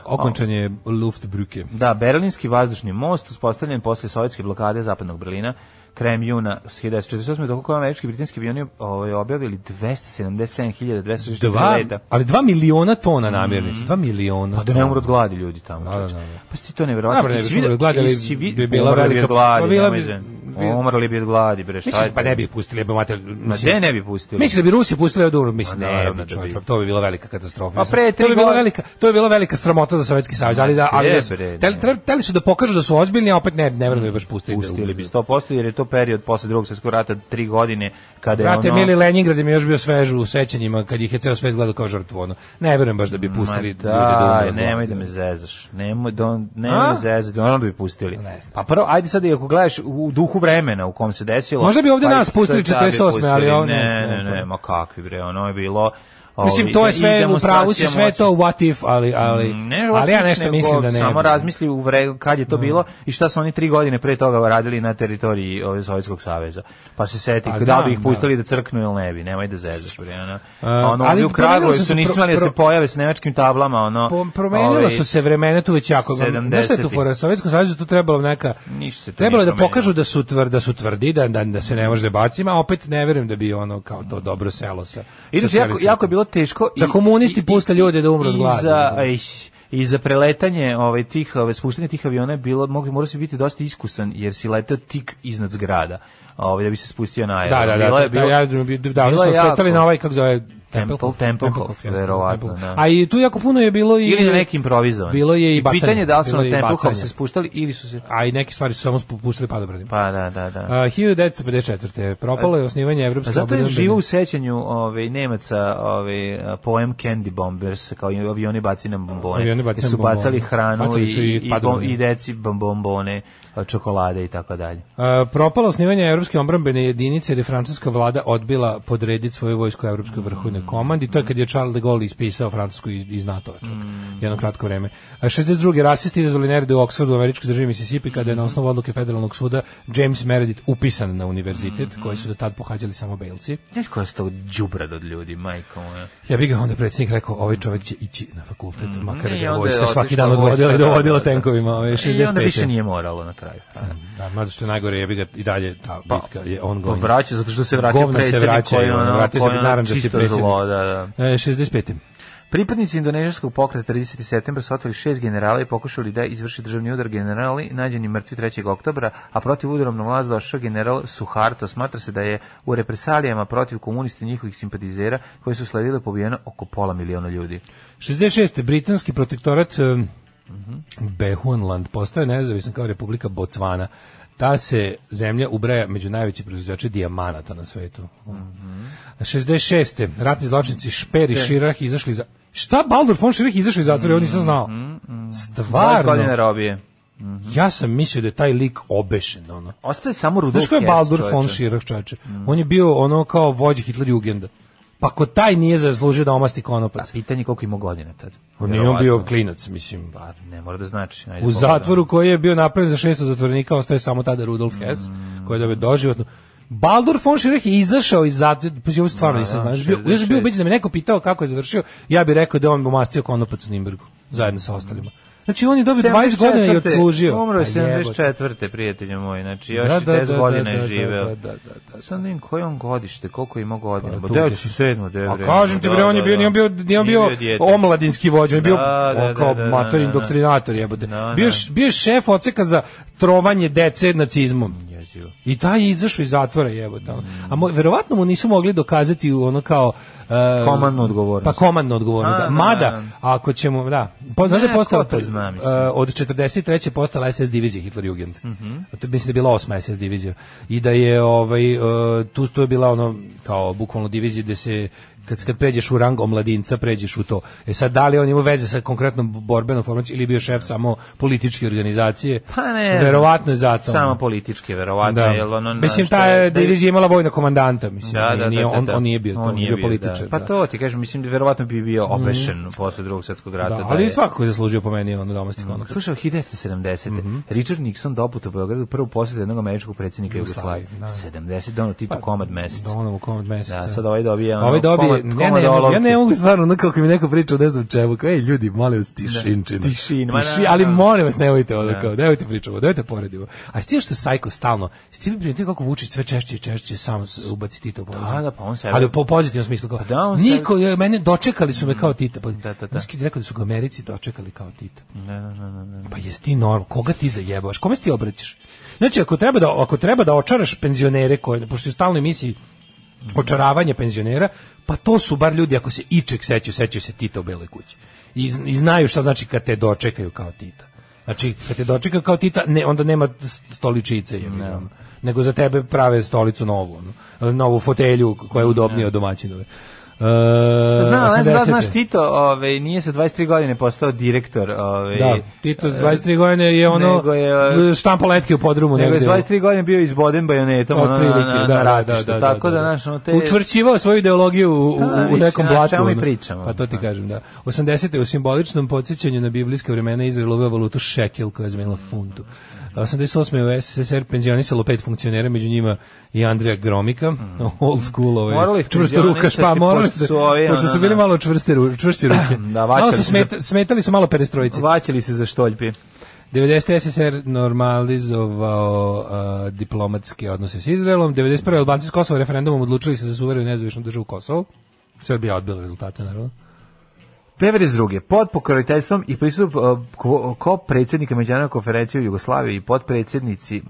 E: Okončan je Luftbrücke.
F: Da, Berlinski vazdušni most uspostavljen posle sovjetske blokade zapadnog Berlina krajem juna 1948. dok koje američki i britanski avioni ovaj, objavili 277.260
E: Dva,
F: leta.
E: ali dva miliona tona namirnica, dva miliona.
F: Pa da ne umru od gladi ljudi tamo.
E: da,
F: čoveče.
E: da, da.
F: Pa si to nevjerovatno.
E: Dobro, ne bi
F: Jesi
E: umrli
F: vidio-
E: od gladi, ali
F: jesi vi-
E: bi bila
F: umrli bi
E: velika-
F: od gladi,
E: pa bila
F: nemoj
E: bi-
F: zem.
E: bi-
F: Umrli bi od gladi, bre, šta
E: Mislim,
F: je
E: pa
F: to?
E: ne bi ih pustili, jebe mater,
F: Ma
E: mislim,
F: gde ne bi pustili?
E: Mislim da bi Rusi pustili da umru, mislim,
F: Ma,
E: ne,
F: naravno
E: bi,
F: da bi.
E: čovječe, to bi bila velika katastrofa.
F: Pa
E: Mislim,
F: pre
E: to
F: tri
E: bi bila
F: godine-
E: velika, to bi bila velika sramota za Sovjetski savez, ali da, ali da, su-
F: Jebe, ne.
E: teli- tre- teli su da pokažu da su ozbiljni, a opet ne, ne verujem da bi baš pustili. da
F: Pustili
E: umru.
F: bi 100%, jer je to period posle drugog svjetskog rata, tri godine, kada je
E: Brate,
F: ono...
E: mili Leningrad im je još bio svež u sećanjima kad ih je ceo svet gledao kao žrtvu. Ono. Ne verujem baš da bi
F: Ma
E: pustili ljude da
F: da,
E: umru. ono. od
F: nemoj da
E: gladi.
F: me zezaš. Nemoj da on, nemoj
E: A?
F: me zezaš, da bi pustili.
E: Ne znam.
F: Pa prvo, ajde sad i ako gledaš u duhu vremena u kom se desilo.
E: Možda bi ovde
F: pa
E: nas
F: i-
E: pustili
F: sad bi
E: 48., ali ovo ne
F: ne,
E: znam,
F: ne, ne,
E: to je.
F: ma kakvi bre, ono je bilo ovaj,
E: Mislim, to je
F: i
E: sve u pravu si,
F: demonstracija
E: sve je to
F: moći.
E: what if, ali, ali,
F: Mm, Ne,
E: ali ja
F: nego
E: nešto mislim da ne.
F: Samo
E: bi. Mm.
F: razmisli u vre, kad je to bilo i šta su oni tri godine pre toga radili na teritoriji ovaj, Sovjetskog saveza. Pa se seti,
E: Pa
F: pa, da li
E: znam,
F: bi ih pustili da. crknu ili ne bi, nemoj da zezaš. Bre, ono,
E: E,
F: ono,
E: ali
F: ali
E: promenilo
F: u Kragujevcu
E: se se
F: nisu
E: pro-
F: imali da
E: pro-
F: se pojave sa nemačkim tablama. Ono,
E: Po, promenila
F: ovaj,
E: su se vremena tu već jako. Znaš šta je tu
F: 70-ih?
E: fora? Sovjetskom savjezu tu trebalo neka...
F: Ništa se tu
E: Trebalo je
F: nije
E: da
F: promenilo.
E: pokažu da su, tvr, da su tvrdi, da, da, da se ne može da bacima, a opet ne verujem da bi ono kao to dobro selo sa...
F: Inače,
E: sa
F: jako,
E: celim
F: jako je bilo teško. i-
E: Da komunisti
F: i- i-
E: puste ljude da umru od
F: i
E: gladi,
F: Za,
E: razumeš?
F: ej, I za preletanje ovaj, tih, ovaj, spuštanje tih aviona je bilo, mogu, morao si biti dosta iskusan, jer si letao tik iznad zgrada. Ovaj, da bi se spustio na
E: Da, da,
F: aerodrom.
E: da,
F: Bilo
E: da,
F: je-
E: da,
F: bilo-
E: ja, da, da, oni
F: bilo
E: su
F: je
E: sletali
F: jako.
E: na ovaj, kako zove,
F: Templehof, Templehof,
E: jasno,
F: verovatno,
E: Templehof.
F: da.
E: A i tu jako puno je bilo i...
F: ili na neki improvizovan.
E: Bilo je i bacanje,
F: Pitanje da li su
E: bilo
F: na
E: je i
F: Templehof
E: bacanje.
F: se spuštali ili su se...
E: A i neke stvari su samo spuštili padobranima.
F: Pa da, da, da.
E: A, 1954. propalo je osnivanje
F: A
E: Evropske
F: zato je
E: obrambene-
F: živo u sećanju ovaj Nemaca ovaj poem Candy Bombers kao i avioni baci nam bombone.
E: Avioni baci
F: Jer su
E: nam bombone.
F: bacali hranu
E: Bacali
F: i
E: su i
F: i, bom,
E: padobranije.
F: i deci bom- bombone, čokolade i tako dalje.
E: A, E, propalo osnivanje Evropske obrambene jedinice jer je francuska vlada odbila podrediti svoju vojsku Evropskoj
F: Mm.
E: vrhovnoj komandi. To je kad je Charles de Gaulle ispisao Francusku iz, iz NATO-a čak,
F: Mm.
E: jedno kratko vreme. A, 62. rasisti izazvali nerede u Oxfordu u američkoj državi Mississippi kada
F: Mm.
E: je na osnovu odluke federalnog suda James Meredith upisan na univerzitet
F: Mm-hmm.
E: koji su do tad pohađali samo belci.
F: Znaš koja su to đubrad od ljudi, majko moja.
E: Ja bih ga onda predsjednik rekao, ovaj čovjek će ići na fakultet, makar
F: Mm-hmm. I
E: ga
F: onda je
E: vojska svaki
F: otišla
E: dan odvodila
F: vojska,
E: i dovodila
F: da, da, da.
E: tenkovima. Ovaj,
F: I onda
E: 65.
F: više nije moralo na kraju.
E: Da, mada što je najgore, ja bih ga i dalje ta
F: Pa,
E: bitka je ongoing.
F: Vraća, zato što se vraća
E: Govna se
F: predsjednik
E: vraćaju,
F: koji je ono,
E: ono, vratio se
F: koji je ono
E: narančasti
F: čisto
E: predsjednik.
F: zlo, da, da.
E: E, 65.
F: Pripadnici indonežanskog pokreta 30. septembra su otvorili šest generala i pokušali da izvrše državni udar generali nađeni mrtvi 3. oktobra, a protiv udarom na vlast došao general Suharto. Smatra se da je u represalijama protiv komunista i njihovih simpatizera koji su sledile pobijeno oko pola miliona ljudi.
E: 66. Britanski protektorat um, Behunland postaje nezavisan kao Republika Bocvana. Ta se zemlja ubraja među najveće proizvođače dijamanata na svetu.
F: Mhm.
E: 66. Ratni zločinci Šper i Širah izašli za... Šta Baldur von Širah izašli iz zatvora? Ja nisam znao.
F: Varno. Mhm, godina
E: Stvarno.
F: robije.
E: Ja sam mislio da je taj lik obešen. Ono.
F: Ostaje samo Rudolf
E: Znaš ko je
F: Hess,
E: Baldur von
F: čoveče. Mm.
E: Schirach, čoveče? On je bio ono kao vođa Hitler Jugenda. Pa ko taj nije zaslužio da omasti
F: A
E: konopac?
F: pitanje koliko ima godina tad.
E: On nije on bio klinac, mislim.
F: Pa ne mora da znači. Ajde,
E: U
F: pogledamo.
E: zatvoru koji je bio napravljen za 600 zatvorenika ostaje samo tada Rudolf Hess,
F: Mm.
E: koji je dobio doživotno. Baldur von Schirach je izašao iz zatvora, pa ovo stvarno nisam
F: da,
E: znaš, bio, ja sam bio
F: 66.
E: ubeđen da me neko pitao kako je završio, ja bih rekao da je on omastio konopac u Nimbergu, zajedno sa ostalima. Znači on je dobio 20 godina i
F: 74..
E: odslužio.
F: Umro je
E: Pa jebote.
F: 74. prijatelju moj, znači još
E: Da,
F: da,
E: da,
F: 10
E: da,
F: godina
E: da,
F: je
E: da,
F: živeo.
E: da, da, da, da.
F: Sad ne vidim koje on godište, koliko ima godina.
E: Pa,
F: Pa,
E: tu
F: Deo
E: gde
F: su
E: su.
F: sedmo, deo.
E: A kažem ti bre, on je bio, nije on bio, nije on bio omladinski vođa, on je bio
F: Da, da,
E: on kao
F: da, da,
E: mater
F: da, da.
E: indoktrinator jebote.
F: Da, da.
E: Bio, je š- bio je šef odseka za trovanje dece nacizmom.
F: Jezivo.
E: I taj je izašao iz zatvora jebote. ono. A mo, verovatno mu nisu mogli dokazati u ono kao e,
F: Komandnu odgovornost.
E: Pa komandnu odgovornost.
F: A,
E: da.
F: da,
E: Mada,
F: da, da.
E: ako ćemo, da. Po, znaš da je
F: Ne,
E: postala,
F: ko to zna,
E: e,
F: mislim.
E: od 43. postala SS divizija Hitlerjugend.
F: Mhm.
E: To mislim da je bila osma SS divizija. I da je ovaj e, tu tu je bila ono kao bukvalno divizija gde se kad kad pređeš u rang omladinca, pređeš u to. E sad da li on ima veze sa konkretnom borbenom formacijom ili je bio šef samo političke organizacije?
F: Pa ne znam.
E: Verovatno je zato.
F: Samo političke, verovatno.
E: Da.
F: Jel ono,
E: mislim,
F: znaš,
E: ta
F: da
E: je
F: je-
E: divizija imala vojna komandanta, mislim.
F: Da, da,
E: nije,
F: da, da,
E: on,
F: da.
E: on nije bio,
F: On
E: on,
F: nije
E: je bio
F: bio, da,
E: politički. čoveče.
F: Pa
E: da. Mhm.
F: to ti kažem, mislim, verovatno bi bio opešen posle drugog svetskog rata.
E: Da,
F: da
E: ali
F: je- Mhm.
E: svakako je zaslužio po meni on domestik mm.
F: Slušaj, 1970.
E: Mhm.
F: Richard Nixon doputa u Beogradu prvu posjetu jednog američkog predsjednika
E: Jugoslavije,
F: Jugoslavije.
E: da. Pa,
F: 70, dono Tito komad meseca.
E: Donovu komad meseca.
F: Da, sad ovaj dobija ono,
E: Ovaj dobije,
F: komad-
E: ne,
F: komad
E: ne, ja
F: olovke.
E: ne mogu stvarno, ono kako mi neko priča, ne znam čemu, kao, ej ljudi, molim vas, tišinčina.
F: tišin, ma
E: Tiši-
F: da,
E: ali
F: da.
E: molim vas, nemojte ono, kao, nemojte pričamo, nemojte poredimo. A ti što je sajko stalno, ti bi primetio kako Vučić sve češće i češće sam s- ubaci Tita u poziciju.
F: Da, da, pa on se-
E: Ali po pozitivnom smislu, kao,
F: Pa da, on se-
E: niko, je- mene dočekali su me kao Tita. Pa,
F: Da, da, da.
E: Znaš kad je rekao da su ga u Americi dočekali kao Tita.
F: Ne, ne, ne, ne, ne.
E: Pa jesi ti normal, koga ti zajebavaš, kome se ti obraćaš? Znači, ako treba da, ako treba da očaraš penzionere, koje, pošto je u stalnoj misiji očaravanje penzionera, pa to su bar ljudi, ako se iček sećaju, sećaju se Tita u Beloj kući. I, I znaju šta znači kad te dočekaju kao Tita. Znači, kad te dočekaju kao Tita, ne, onda nema stoličice, je ne. nego za tebe prave stolicu novu, ono, novu fotelju koja je udobnija od domaćinove. E,
F: Znam, ne znam,
E: 80-te.
F: znaš, Tito ovaj, nije sa 23 godine postao direktor. Ovaj,
E: Da, Tito 23 godine je ono
F: nego je, e,
E: je, štampa letke u podrumu
F: Nego je s
E: negde.
F: 23 godine bio izboden bajonetom ono, na,
E: Otprilike,
F: na, na,
E: da, da,
F: ratištu.
E: da, da,
F: Tako da,
E: da, da.
F: znaš, ono, te...
E: Učvrćivao svoju ideologiju u, u,
F: Pa,
E: u
F: mislim,
E: nekom
F: znaš,
E: blatu.
F: čemu mi
E: ono.
F: pričamo?
E: Pa to ti kažem, da. 80. u simboličnom podsjećanju na biblijske vremena Izrael uveo valutu šekel koja je zamenila funtu. 88. u SSR penzionisalo pet funkcionera, među njima i Andrija Gromika, old school, ovaj,
F: Mm. Morali ih
E: čvrsto rukaš, pa
F: penzionisati,
E: morali
F: pošto su
E: da-
F: ovi,
E: pošto su
F: ono,
E: bili
F: da.
E: malo čvrste, ru- čvršće ruke.
F: Da, vaćali
E: malo su
F: su
E: smeta- smetali su malo perestrojice.
F: Vaćali se za štoljpi.
E: 90. SSR normalizovao uh, diplomatske odnose s Izraelom, 91. Albanci s Kosova referendumom odlučili se za suverenu i nezavisnu državu Kosovo. Srbija je odbila rezultate, naravno.
F: 92. pod pokroviteljstvom i pristup ko predsjednika Međunarodne konferencije u Jugoslaviji i potpredsjednici, eh,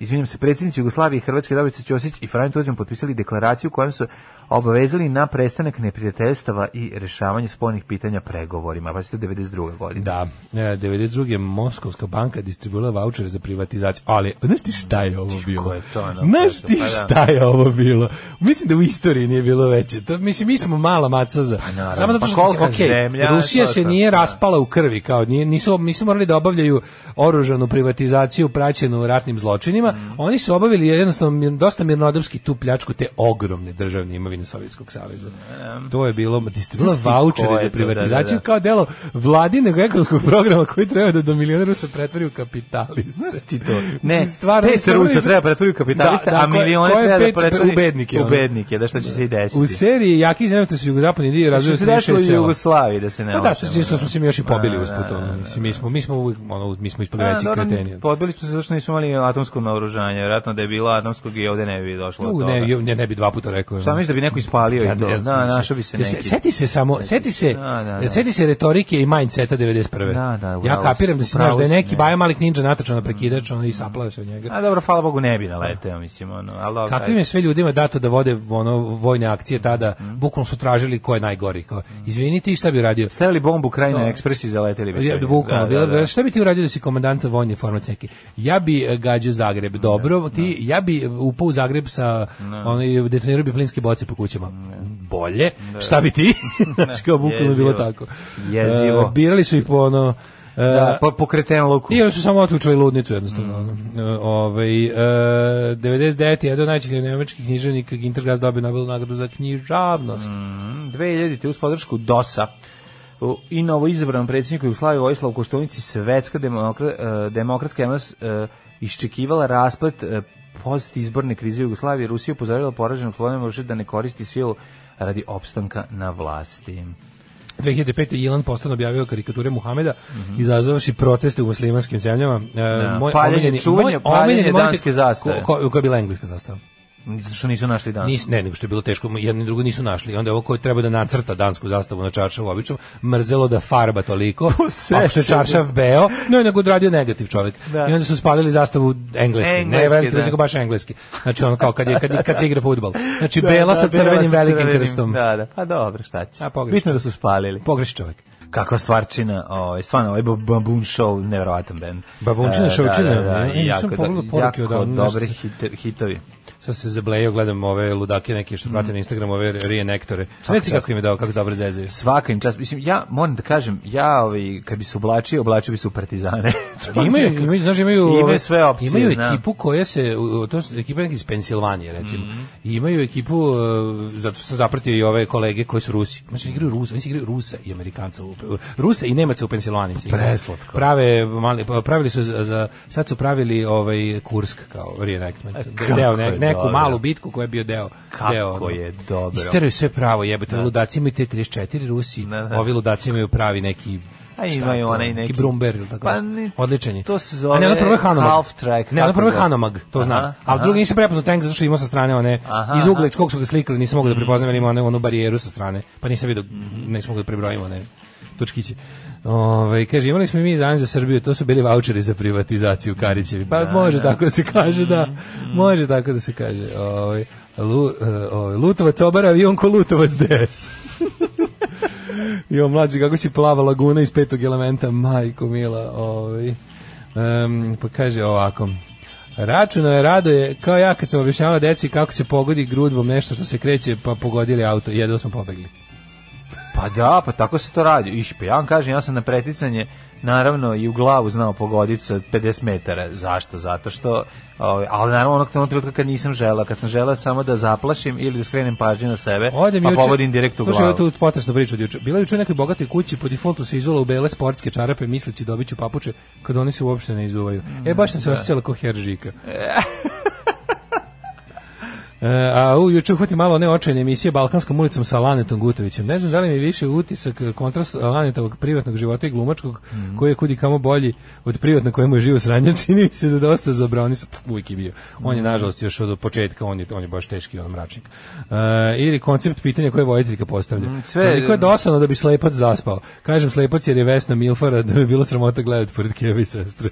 F: izvinjam se, predsjednici Jugoslavije i Hrvatske Davica Ćosić i Franjo Tuđman potpisali deklaraciju kojom su obavezali na prestanak neprijateljstava i rešavanje spolnih pitanja pregovorima. Pa je to 92. godine.
E: Da, e, 92. Moskovska banka distribuila vouchere za privatizaciju. Ali, znaš ti šta je ovo bilo?
F: je to napravio?
E: Znaš ti
F: Pa da.
E: šta je ovo bilo? Mislim da u istoriji nije bilo veće. To, mislim, mi smo mala maca za...
F: naravno.
E: Samo zato
F: Pa
E: što, mislim,
F: koliko
E: okej,
F: zemlja,
E: Rusija
F: to
E: se
F: sam,
E: nije
F: da.
E: raspala u krvi, kao nije, nisu, nisu morali da obavljaju oružanu privatizaciju praćenu ratnim zločinima.
F: Mhm.
E: Oni su obavili jednostavno mir- dosta mirnodopski tu pljačku te ogromne državne imovine Sovjetskog saveza. To je bilo distribuila
F: Znaš ti ko
E: vouchere
F: je
E: za
F: to, da, da,
E: privatizaciju
F: da.
E: kao delo vladinog ekonomskog programa koji treba da do milionera se pretvori u kapitaliste.
F: Znaš ti to? Ne,
E: Stvarno,
F: te se
E: stvarno
F: Rusa
E: nisu-
F: treba pretvoriti u
E: Da,
F: kapitaliste,
E: da,
F: a
E: ko je-
F: milione
E: ko je
F: treba da
E: pet-
F: pretvori
E: u bednike, ono.
F: U bednike, da što će se i desiti.
E: U seriji Jaki zemljotres u jugozapadni dio
F: što
E: razvoja
F: se desilo i u
E: sela.
F: Jugoslaviji, da se ne ono.
E: Pa da,
F: lažemo,
E: sad isto
F: da.
E: smo se mi još i pobili
F: Da,
E: uz
F: da,
E: put.
F: da,
E: ono,
F: da.
E: mislim, Mi smo, mi smo, uvijek, ono, mi smo ispali
F: Pa,
E: veći
F: dobro,
E: kreteni.
F: Podbili smo se zato što nismo imali atomsko naoružanje, vjerojatno da je bilo atomskog i ovde ne bi došlo do
E: Tu,
F: toga.
E: ne, ju- ne, ne bi dva puta rekao.
F: Šta misliš da bi neko ispalio
E: Ja
F: i to?
E: ne znam,
F: Da,
E: mislim.
F: našao bi se
E: Ja se-
F: neki.
E: Seti se samo, seti se,
F: Da, da, da.
E: seti se retorike i mindseta 91.
F: Da, da,
E: ja
F: upravo
E: kapiram da
F: si,
E: si, znaš, da je
F: upravo si,
E: neki
F: ne. Mm.
E: Bajo Malik Ninja natačan na prekidač, ono i saplao se od njega.
F: A dobro, hvala Bogu ne bi naleteo, mislim, ono. Ali, dobro,
E: Kakvim
F: ajde.
E: je sve ljudima dato da vode ono vojne akcije tada,
F: Mhm.
E: bukvalno su tražili ko je najgori. Kao, izvini ti šta bi uradio?
F: Stavili bombu kraj na ekspres i zaleteli bi.
E: Ja bi bukvalno bila bi- šta bi ti uradio da si komandant vojne formacije neki? Ja bi e, gađao Zagreb, dobro, ti ja bi upao u Zagreb sa onaj detonirao bi plinske boce po kućama. Bolje. Šta bi ti? Znači kao bukvalno bilo
F: Jezivo.
E: tako.
F: Jezivo.
E: E, birali su ih po ono e,
F: Da, po, po luku.
E: i oni su samo otključali ludnicu jednostavno. Mm. Ovaj e, 99 jedan od najvećih nemačkih književnika Ginter Grass dobio Nobelovu nagradu za književnost.
F: Mm. 2000. uz podršku DOS-a u- i novo izabranom predsjedniku Jugoslavije Vojislavu Koštunici svetska demokra, eh, demokratska javnost eh, iščekivala rasplet eh, post izborne krize Jugoslavije. Rusija upozorila poraženom Slovenijom može da ne koristi silu radi opstanka na vlasti.
E: 2005. je Ilan Postan objavio karikature Muhameda,
F: Mhm.
E: izazvavši proteste u muslimanskim zemljama. E, moj
F: paljenje,
E: omiljeni-
F: čuvanje,
E: moj
F: paljenje
E: omiljeni moment-
F: danske zastave.
E: Ko, ko, koja je bila engleska zastava?
F: Zato što nisu našli danas.
E: Nis, ne, nego što je bilo teško, jedno i drugo nisu našli. I Onda je ovo koji treba da nacrta dansku zastavu na čaršavu obično, mrzelo da farba toliko,
F: Posesio
E: a što je čaršav beo, no nego odradio negativ čovjek.
F: Da.
E: I onda su spalili zastavu engleski, ne
F: Engleski,
E: veliki,
F: da.
E: nego baš engleski. Znači ono kao kad, je, kad, kad se igra futbal. Znači bela sa crvenim velikim krstom.
F: Da, da, pa dobro, šta će.
E: A, pogrešno.
F: Bitno da su spalili.
E: Pogreši čovjek.
F: Kakva stvarčina, ovaj, stvarno, ovaj Ba- Baboon Show, nevjerovatan band.
E: Baboončina,
F: E,
E: šovčina,
F: da, da, da,
E: ja nisam
F: jako,
E: pogledao
F: do-
E: poruke
F: jako
E: odavno,
F: dobri
E: nešto.
F: hit, hitovi.
E: Sad se zablejo, gledam ove ludake neke što
F: Mm.
E: prate na Instagramu, ove reenektore. Reci kako im je dao, kako se dobro zezaju.
F: Svaka im čast. Mislim, ja moram da kažem, ja ovaj, kad bi se oblačio, oblačio bi se u partizane. To mi
E: imaju,
F: je-
E: imaju, znaš, imaju,
F: Znači, Imaju
E: ove-
F: sve opcije,
E: Imaju
F: znam.
E: ekipu koja se, u- to su ekipa neka iz Pensilvanije, recimo.
F: Mhm.
E: I imaju ekipu, e, zato što sam zapratio i ove kolege koji su Rusi. Znači, igraju Rusa, oni se igraju Rusa i Amerikanca. u- Rusa i Nemaca u Pensilvaniji. se igraju.
F: Preslatko.
E: Prave, mali, pa, pravili su, za, za- sad su pravili ovaj Kursk kao reenactment.
F: E, kako
E: Deo, ne-
F: je
E: neku
F: dobro.
E: malu bitku koja je bio deo.
F: Kako
E: deo, ono.
F: je dobro.
E: Isteraju sve pravo, jebate. Ludaci imaju te 34 Rusi,
F: Da, da.
E: ovi ludaci imaju pravi neki
F: A
E: Šta
F: imaju
E: je to?
F: onaj neki-
E: Brumber ili tako
F: Pa
E: nešto.
F: ne-
E: Odličan je.
F: to se
E: A ne,
F: zove
E: ono prvo je Hanomag.
F: half track,
E: Ne, ono
F: kako
E: prvo je
F: zove?
E: Hanomag, to znam.
F: Aha,
E: Ali
F: aha.
E: drugi nisam prepoznao tank zato što imao sa strane one,
F: Aha, Mhm.
E: iz ugla
F: aha.
E: iz kog su ga slikali, nisam mogao da prepoznam jer ima one, onu barijeru sa strane. Pa nisam vidio,
F: Mhm.
E: nisam mogao da prebrojim one točkiće. Ove, kaže, imali smo i mi zanje za Srbiju, to su bili voucheri za privatizaciju Karićevi. Pa može tako da se kaže, da.
F: Mhm.
E: Može tako da se kaže. Ove, Lu, e, ove, Lutovac obarav i on ko Lutovac DS. Jo, mlađi, kako si plava laguna iz petog elementa, majko mila. Ovaj. Em, pa kaže ovako. Računo je radoje, kao ja kad sam objašnjavala deci kako se pogodi grudvom nešto što se kreće, pa pogodili auto, jedva smo pobegli.
F: Pa da, pa tako se to radi. Iš, pa ja vam kažem, ja sam na preticanje naravno i u glavu znao pogoditi sa 50 metara. Zašto? Zato što, ovaj, ali naravno onog onog trenutka kad nisam žela, kad sam žela samo da zaplašim ili da skrenem pažnju na sebe,
E: Odem
F: pa
E: juče-
F: pogodim direkt u
E: Slušaj,
F: glavu.
E: evo tu potresnu priču od juče. Bila je juče u nekoj bogatoj kući, po defaultu se izula u bele sportske čarape, misleći dobit ću papuče, kad oni se uopšte ne izuvaju. e, baš sam se osjećala ko heržika. E, a u juče uhvati malo one očajne emisije Balkanskom ulicom sa Lanetom Gutovićem. Ne znam da li mi je više utisak e, kontrast Lanetovog privatnog života i glumačkog
F: Mhm.
E: koji je kudi kamo bolji od privatnog kojemu je živo sranja. Čini mi se da dosta zabrani sa uvijek je bio. On je
F: Mhm.
E: nažalost još od početka, on je, on je baš teški on mračnik. E, ili koncept pitanja koje voditeljka postavlja.
F: Mm, sve-
E: Koliko je dosadno da bi slepac zaspao. Kažem slepac jer je Vesna Milfara da bi bilo sramota gledati pored Keve i sestre.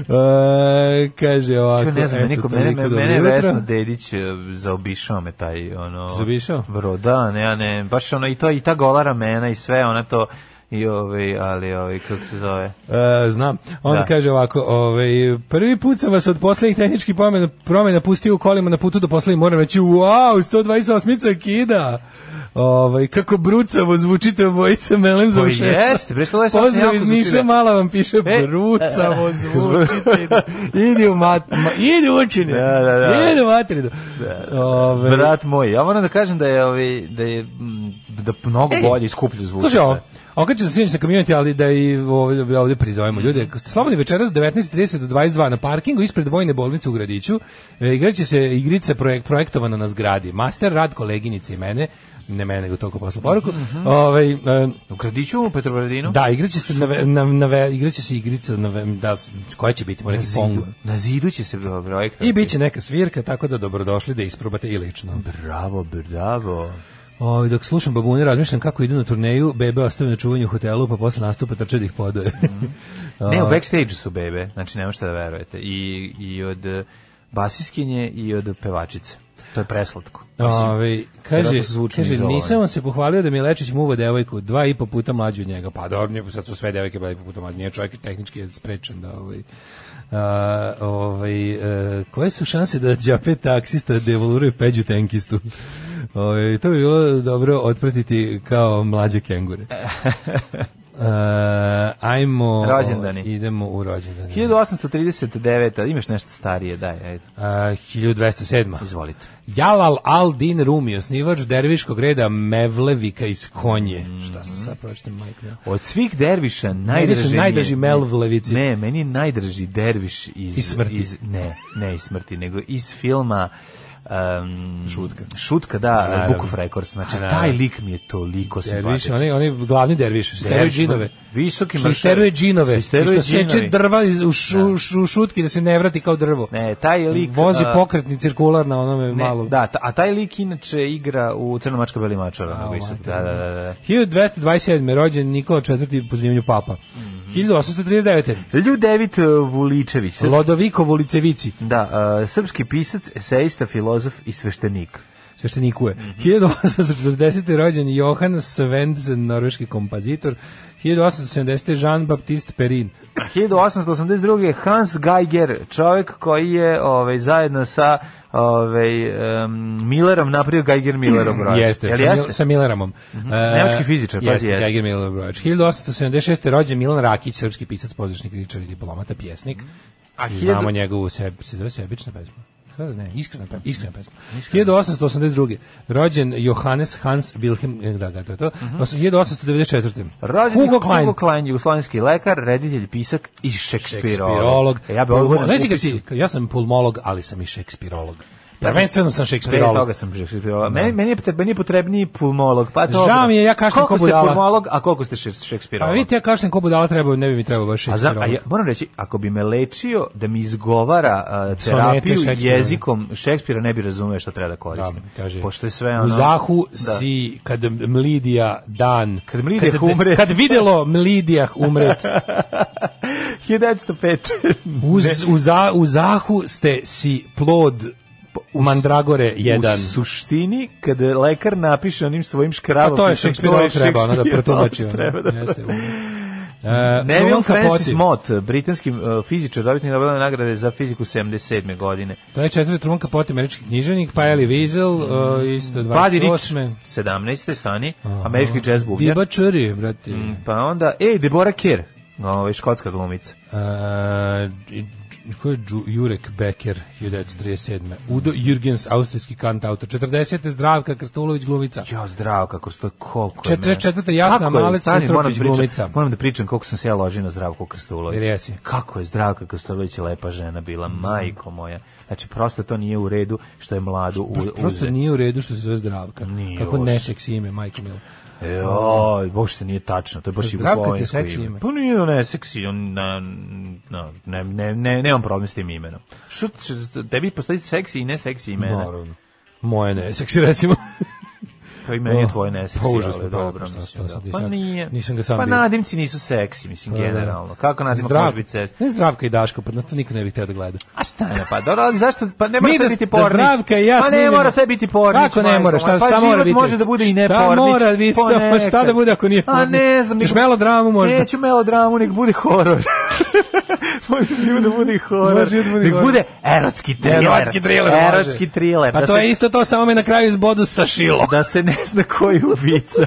E: E, kaže ovako.
F: Mhm. Čuj, ne znam, meni,
E: eto,
F: mene,
E: toliko,
F: mene,
E: dobro
F: mene je
E: jutro.
F: Vesna Dedić e, zaobišao me taj, ono...
E: Zaobišao?
F: Bro, da, ne, ja ne, baš ono, i to, i ta gola ramena i sve, ona to, i ovaj, ali, ovaj, kako se zove?
E: E, znam. Onda
F: Da.
E: kaže ovako, ovaj, prvi put sam vas od poslednjih tehničkih promjena, promjena pustio u kolima na putu do poslednjih moram reći, wow, 128 kida. Ovaj, kako brucavo zvučite obojice melem za
F: Pa
E: ušesa.
F: jeste, bre, što ovo je sasvim
E: Pozdrav
F: jako
E: iz Niša,
F: zvučilo.
E: mala vam piše,
F: E,
E: brucavo zvučite. idi u mat, ma, idi učine.
F: Da, da, da.
E: Idi u materinu. Ovaj,
F: Brat moj, ja moram da kažem da je, ovaj, da je, mm, da mnogo bolje i skuplje zvuči.
E: E, Slušaj ovo,
F: sve.
E: okreće se sinoć na community, ali da i ovdje, ovdje prizovemo ljude. Ako ste slobodni večeras 19.30 do 22 na parkingu ispred Vojne bolnice u Gradiću, e, igraće se igrica projek, projektovana na zgradi. Master, rad koleginice i mene, ne mene nego toliko posla poruku, ovaj, e,
F: U Kradiću, u Petrobradinu?
E: da, igraće se, na, ve- na, na, ve- igraće se igrica na, ve- da, li s- koja će biti, možda
F: Na
E: neki pong.
F: zidu, na zidu će se projekt.
E: I bit će neka svirka, tako da dobrodošli da isprobate i lično.
F: Bravo, bravo.
E: O, Ovaj, dok slušam babune, razmišljam kako idu na turneju, bebe ostavim na čuvanju u hotelu, pa posle nastupa trče da ih podaje.
F: Ne, u backstage su bebe, znači nema šta da verujete. I, i od e, basiskinje i od pevačice. To je preslatko. Mislim,
E: Ove, kaže,
F: vjerojatno su zvučno
E: kaže
F: izolovani.
E: nisam vam se pohvalio da mi je Lečić muva devojku, dva i po puta mlađu od njega. Pa dobro, njegu sad su sve devojke dva i po puta mlađe. Nije čovjek je tehnički sprečen da ovaj... A, ovaj, e, koje su šanse da džape taksista devoluruje peđu tenkistu? Ovaj, to bi bilo dobro otpratiti kao mlađe kengure. E, ajmo...
F: Rođendani.
E: Idemo u rođendani.
F: 1839. ali Imaš nešto starije, daj, ajde.
E: A, 1207.
F: Izvolite.
E: Jalal al-Din Rumi, osnivač derviškog reda Mevlevika iz Konje.
F: Mhm.
E: Šta sam sad pročitam, majko? ja?
F: Od svih derviša
E: Meni
F: najdraži...
E: su
F: mi je-
E: najdraži Mevlevici.
F: Ne, meni je najdraži derviš iz...
E: Iz smrti.
F: Iz, ne, ne iz smrti, nego iz filma... Um,
E: Šutka.
F: Šutka, da,
E: Naravno.
F: Book of Records. Znači,
E: Naravno.
F: taj lik mi je toliko
E: Derviš,
F: simpatičan.
E: oni, oni glavni derviš, steruje
F: Derviš,
E: džinove.
F: visoki
E: Što
F: mršavi.
E: steruje džinove, i
F: Isteruje
E: što seče
F: džinovi.
E: drva iz, u, šu, šu- šutki da se ne vrati kao drvo.
F: Ne, taj lik...
E: Vozi
F: a,
E: pokretni cirkular na onome
F: ne,
E: malo.
F: Da, ta- a taj lik inače igra u Crnomačka Belimačara.
E: A,
F: na Visu.
E: majke,
F: Da, da, da, da.
E: 1227. je rođen Nikola IV. po zanimlju papa.
F: Mhm.
E: 1839.
F: Ljudevit e, Vuličević. srpski-
E: Lodoviko Vulicevici.
F: Da, e, srpski pisac, eseista, filozof i sveštenik.
E: sveštenikuje. 1840. rođen je Johan Svendsen, norveški kompozitor. 1870. Jean-Baptiste Perrin.
F: 1882. Hans Geiger, čovjek koji je ovaj, zajedno sa ovaj, em, Millerom napravio Geiger Millerom brojač.
E: Jeste,
F: Jel
E: sa, Mil-
F: jeste?
E: sa Milleramom. E,
F: Nemački fizičar, pazi,
E: jeste.
F: jeste.
E: Geiger Miller Brojač. 1876. rođen Milan Rakić, srpski pisac, pozdrašnik, kritičar i diplomata, pjesnik. A
F: hiljadu-
E: Znamo njegovu, se, se zove sebična pesma. Šta da ne, iskrena pesma. Iskrena pesma. 1882. Rođen Johannes Hans Wilhelm, e, da, da, to je to. 1894.
F: Rođen je
E: Hugo Klein.
F: Hugo Klein, jugoslovenski lekar, reditelj, pisak i šekspirolog.
E: Šekspirolog.
F: E, ja bi ovo
E: Znaš ti kad si, ja sam pulmolog, ali sam i šekspirolog. Prvenstveno sam
F: Pre
E: šekspirolog.
F: toga sam šekspirolog. Meni, meni, je potrebni, meni je potrebniji pulmolog. Pa to
E: Žao mi je, ja kašljem
F: Koliko
E: ko
F: ste
E: budala.
F: pulmolog, a koliko ste šek-
E: Pa
F: šekspirolog?
E: vidite, ja kažem ko budala treba, ne bi mi trebao baš
F: A, Pa za,
E: šekspirolog.
F: a ja, moram reći, ako bi me lečio da mi izgovara a,
E: Sonete
F: terapiju
E: Šekspira.
F: jezikom Šekspira, ne bi razumeo šta treba da koristim.
E: Da, kaže,
F: Pošto je sve ono...
E: U zahu
F: Da.
E: si kad mlidija dan.
F: Kad mlidijah umre.
E: Kad videlo mlidijah umret.
F: 1905.
E: Uz, u, za, u zahu ste si plod Mandragore jedan.
F: U suštini, kada lekar napiše onim svojim
E: A
F: škravom...
E: to je
F: pisom,
E: Šekspirolog treba, ono da
F: Šekspirolog,
E: protumači. ono.
F: treba da-
E: Jeste, u- E, Truman
F: Neville Francis
E: Capote.
F: Mott, britanski uh, fizičar, dobitnik Nobelove nagrade za fiziku 77. godine.
E: To je četvrti Truman Capote, američki knjiženik, pa Elie Wiesel,
F: Mm.
E: e, isto
F: Buddy Rich,
E: 28.
F: 17. stani, američki jazz bubnjar.
E: Diba Čuri, brate.
F: Pa onda, ej, Deborah Kerr, ovaj, škotska glumica.
E: E, i- ko je Đu- Jurek Becker 1937. Udo Jürgens, austrijski kantautor. 40. Zdravka Krstulović glumica.
F: Jo, zdravo, kako što koliko je...
E: 44.
F: mene-
E: Jasna
F: Kako je,
E: Malec
F: stani, moram
E: Petrović
F: pričam-
E: glumica.
F: Moram da pričam koliko sam se ja ložio na Zdravku Krstulović.
E: Jer jesi.
F: Kako je Zdravka Krstulović lepa žena bila, majko moja. Znači, prosto to nije u redu što je mladu u,
E: Prosto, prosto
F: uze.
E: nije u redu što se zove Zdravka.
F: Nije
E: Kako
F: uopšte.
E: neseksi ime, majko milo.
F: Joj, uopšte nije tačno, to je baš
E: Zdravko ti je
F: jugoslovensko
E: seksi
F: ime.
E: ime.
F: Pa nije on ne seksi, on, na, na, ne, ne, ne, nemam problem s tim imenom. Što, što- tebi postoji seksi i ne seksi imena?
E: Naravno. Moje neseksi, recimo.
F: Pa i meni je tvoje neseksi,
E: Pa užasno,
F: ali
E: da,
F: dobro,
E: pa šta,
F: mislim,
E: šta sad
F: da.
E: nisam-
F: Pa nije.
E: nisam ga sam
F: Pa
E: bio. Pa
F: nadimci nisu seksi, mislim, generalno. Kako nadima
E: Zdravka-
F: može biti seksi?
E: Ne Zdravka i Daško, pa na to niko ne bih htio da gleda.
F: A šta je, pa dobro, ali zašto, pa ne mora
E: Mi
F: sve
E: da-
F: biti
E: da
F: pornić.
E: Zdravka i ja
F: pa ne
E: snimimo.
F: mora sve biti pornić.
E: Kako ne
F: majko
E: mora,
F: moja,
E: šta,
F: pa
E: šta mora
F: život
E: biti?
F: može da bude i ne
E: Šta
F: pornić.
E: mora biti, šta-
F: ponekad.
E: šta da bude ako nije
F: A ne
E: pornić?
F: znam.
E: Ćeš
F: niko-
E: melodramu možda?
F: Neću melodramu, nek bude horor. može život da bude i horor.
E: Može život da bude
F: Nek
E: horor.
F: bude erotski thriller.
E: Erotski thriller. može.
F: Erotski thriller.
E: Pa
F: E, da
E: to
F: se-
E: je isto to, samo me na kraju izbodu sa šilo.
F: Da se ne zna ko je ubica.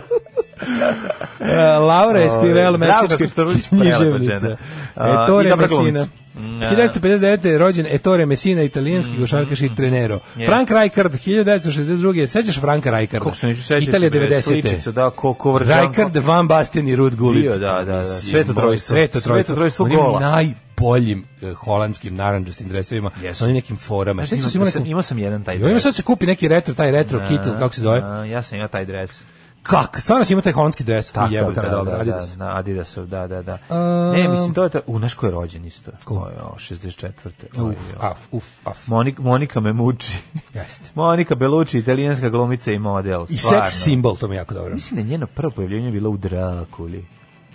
E: E, Laura Espivel,
F: Zdravko
E: meksička
F: Ovaj, Krstulović, prelepa žena.
E: književnica.
F: A, i
E: E, Ettore
F: dobra
E: Messina.
F: glumica. Mm, a.
E: 1959. je rođen Ettore Messina, italijanski košarkaš
F: mm,
E: i trenero. Frank Rijkaard, 1962. Sećaš Franka Rijkaarda?
F: Kako se neću sećati.
E: Italija
F: bre,
E: 90.
F: Sličica, da, ko, ko vržanko.
E: Rijkaard, Van Basten i Ruud Gullit.
F: Bio, da, da, da.
E: Mislim,
F: Sveto trojstvo.
E: Sveto trojstvo.
F: Sveto trojstvo
E: Onim
F: gola.
E: najboljim eh, holandskim naranđastim dresovima
F: Jesu.
E: sa onim nekim forama.
F: Znaš,
E: Sećaš se
F: imao,
E: ima
F: sam,
E: neku-
F: imao sam jedan taj
E: Jo, ima
F: dres.
E: sad se kupi neki retro, taj retro kittel, kako se zove?
F: A, ja sam imao taj dres.
E: Kak, stvarno si imao taj holandski dres. Tako, jebote, da, dobro,
F: da,
E: ajde
F: da,
E: da se.
F: na Adidasov, da, da, da.
E: Um,
F: ne, mislim, to je ta... U, znaš ko je rođen isto? Ko je, o, 64. Oj,
E: Uf,
F: jo.
E: af, uf, af.
F: Monik, Monika me muči.
E: Jeste.
F: Monika Bellucci, italijanska glumica i model.
E: I
F: stvarno.
E: seks simbol, to mi je jako dobro.
F: Mislim da je njeno prvo pojavljenje bilo u Drakuli.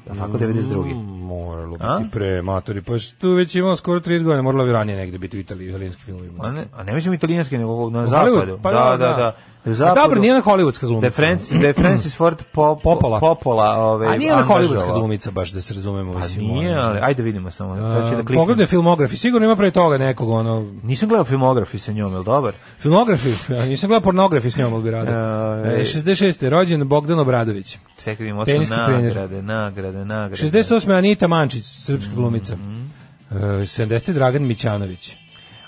F: Da, tako, 92.
E: Mm, Moralo
F: A?
E: biti pre matori, pa što tu već imala skoro 30 godina, morala bi ranije negde biti u Italiji, italijanski
F: A
E: filmovima.
F: ne, a ne mislim italijanski, nego na
E: U
F: zapadu.
E: Hollywoodu? Pa
F: da,
E: da,
F: da,
E: da.
F: da. da. U
E: Pa dobro, nije ona hollywoodska
F: Da je
E: glumica.
F: Francis, da je Francis Ford Pop,
E: Popola.
F: Popola. Popola ovaj,
E: A nije ona hollywoodska
F: angažovao.
E: glumica, baš da se razumemo.
F: Pa
E: mislim,
F: nije,
E: ona-
F: ali ajde vidimo samo. Sad
E: A,
F: ću da kliknem.
E: Pogledaj filmografi, sigurno ima pre toga nekog, ono,
F: Nisam gledao filmografi sa njom, je li dobar?
E: filmografi, ja nisam gledao pornografi s njom, ali bi radio.
F: Ej.
E: E, 66. rođen Bogdan Obradović.
F: Čekaj, vidimo osam
E: Teniski trener.
F: nagrade, nagrade, nagrade.
E: 68. Anita Mančić, srpska glumica. E, 70. Dragan Mićanović.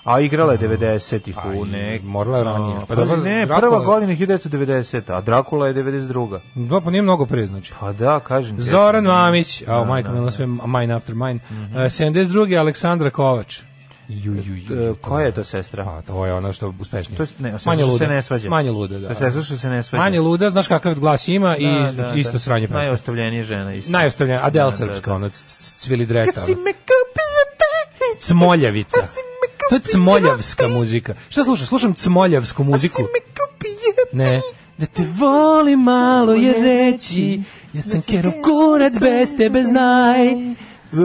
F: A igrala je 90-ih
E: Pa
F: u
E: i
F: nek...
E: morala je ranije.
F: Pa
E: Pa
F: dobro,
E: dobro,
F: ne,
E: Drakula-
F: prva godina je 1990, a Drakula je 92.
E: Da, pa nije mnogo pre, znači.
F: Pa da, kažem. ti.
E: Zoran Mamić, a o majkom je sve Mine After Mine. E, 72. Aleksandra Kovač. Ju, ju, ju,
F: E,
E: ju,
F: Koja je to sestra?
E: Pa to je ona što je uspešnija.
F: To je- ne, sestra
E: manje
F: što se
E: luda.
F: ne svađa.
E: Manje luda, da.
F: To je sestra što se ne svađa.
E: Manje luda, znaš kakav glas ima i
F: Da, da,
E: isto
F: da.
E: sranje pesma.
F: Najostavljenija žena isto.
E: Najostavljena, Adele
F: Da, da,
E: srpska,
F: da.
E: ona ono, c- c- cvili dreta. ono.
F: Kad si
E: ona.
F: me kupio taj,
E: Cmoljavica.
F: kad si me kupio
E: To je cmoljavska muzika. Šta slušam? Slušam cmoljavsku muziku.
F: Kad si me kupio taj.
E: Ne. Da te volim malo je reći, ja sam kerov kurac bez tebe znaj.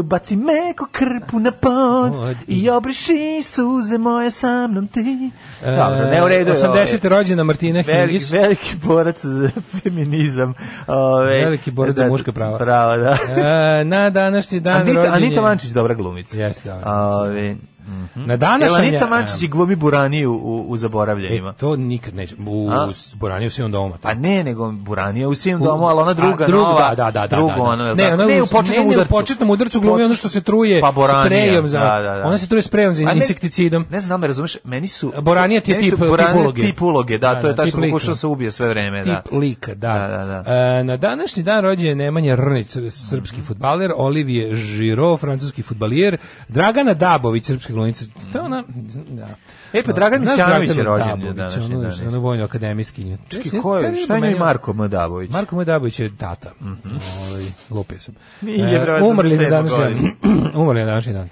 F: Baci meko krpu na pod
E: Od-
F: i obriši suze moje sa mnom ti.
E: E,
F: Dobro, ne u redu. je ovo.
E: 80. rođena Martina
F: Veliki,
E: Hingis.
F: veliki borac za feminizam. Ove,
E: Veliki borac za muška prava.
F: Prava, da.
E: E, na današnji dan
F: Anita,
E: rođen
F: Anita
E: je-
F: Mančić, dobra glumica.
E: Jeste, Anita.
F: Ove,
E: Na
F: Jel
E: današnji
F: Anita Mančić i glumi Buraniju u, u zaboravljenima?
E: E, to nikad neće. U,
F: A?
E: s- Boraniju se on doma.
F: Pa ne, nego Buranija u svim domu, ali ona druga
E: A, drug,
F: nova.
E: Da, da, da, da,
F: drugu
E: da.
F: ona,
E: ne,
F: da.
E: ona
F: ne,
E: u-
F: u početnom
E: ne, ne, u
F: udarcu.
E: početnom udarcu glumi ono što se truje
F: Pa Boranija,
E: sprejom za,
F: da, da, da.
E: ona se truje sprejom za
F: A ne-
E: insekticidom.
F: Ne znam, da me razumeš, meni su...
E: Boranija ti je
F: meni su
E: tip- tip
F: Boranija
E: uloge.
F: Tip uloge, da,
E: Da,
F: to je
E: da,
F: ta
E: tip
F: što pokušao
E: lika.
F: se ubije sve vreme, da.
E: Tip lika, da.
F: Da, da, Mhm. da.
E: E, na današnji dan rođen je Nemanja Rnić, srpski futbaler, Olivije Žiro, francuski futbalijer, Dragana Dabović, srpska glumica. To je ona, da.
F: Mhm. E, pa Dragan
E: Znaš
F: Mićanović je
E: Draganu
F: rođen je
E: Dabović, ono,
F: današnji
E: onu-
F: dan,
E: Onu vojnu akademijskinju.
F: Čekaj, ko je, šta je njoj Marko M. Davović?
E: Marko Moj Dabović je tata. Mm lupio sam.
F: Mhm. Nije,
E: E,
F: brate,
E: umrli na
F: 27
E: današnji dan.
F: godište.
E: umrli na današnji dan.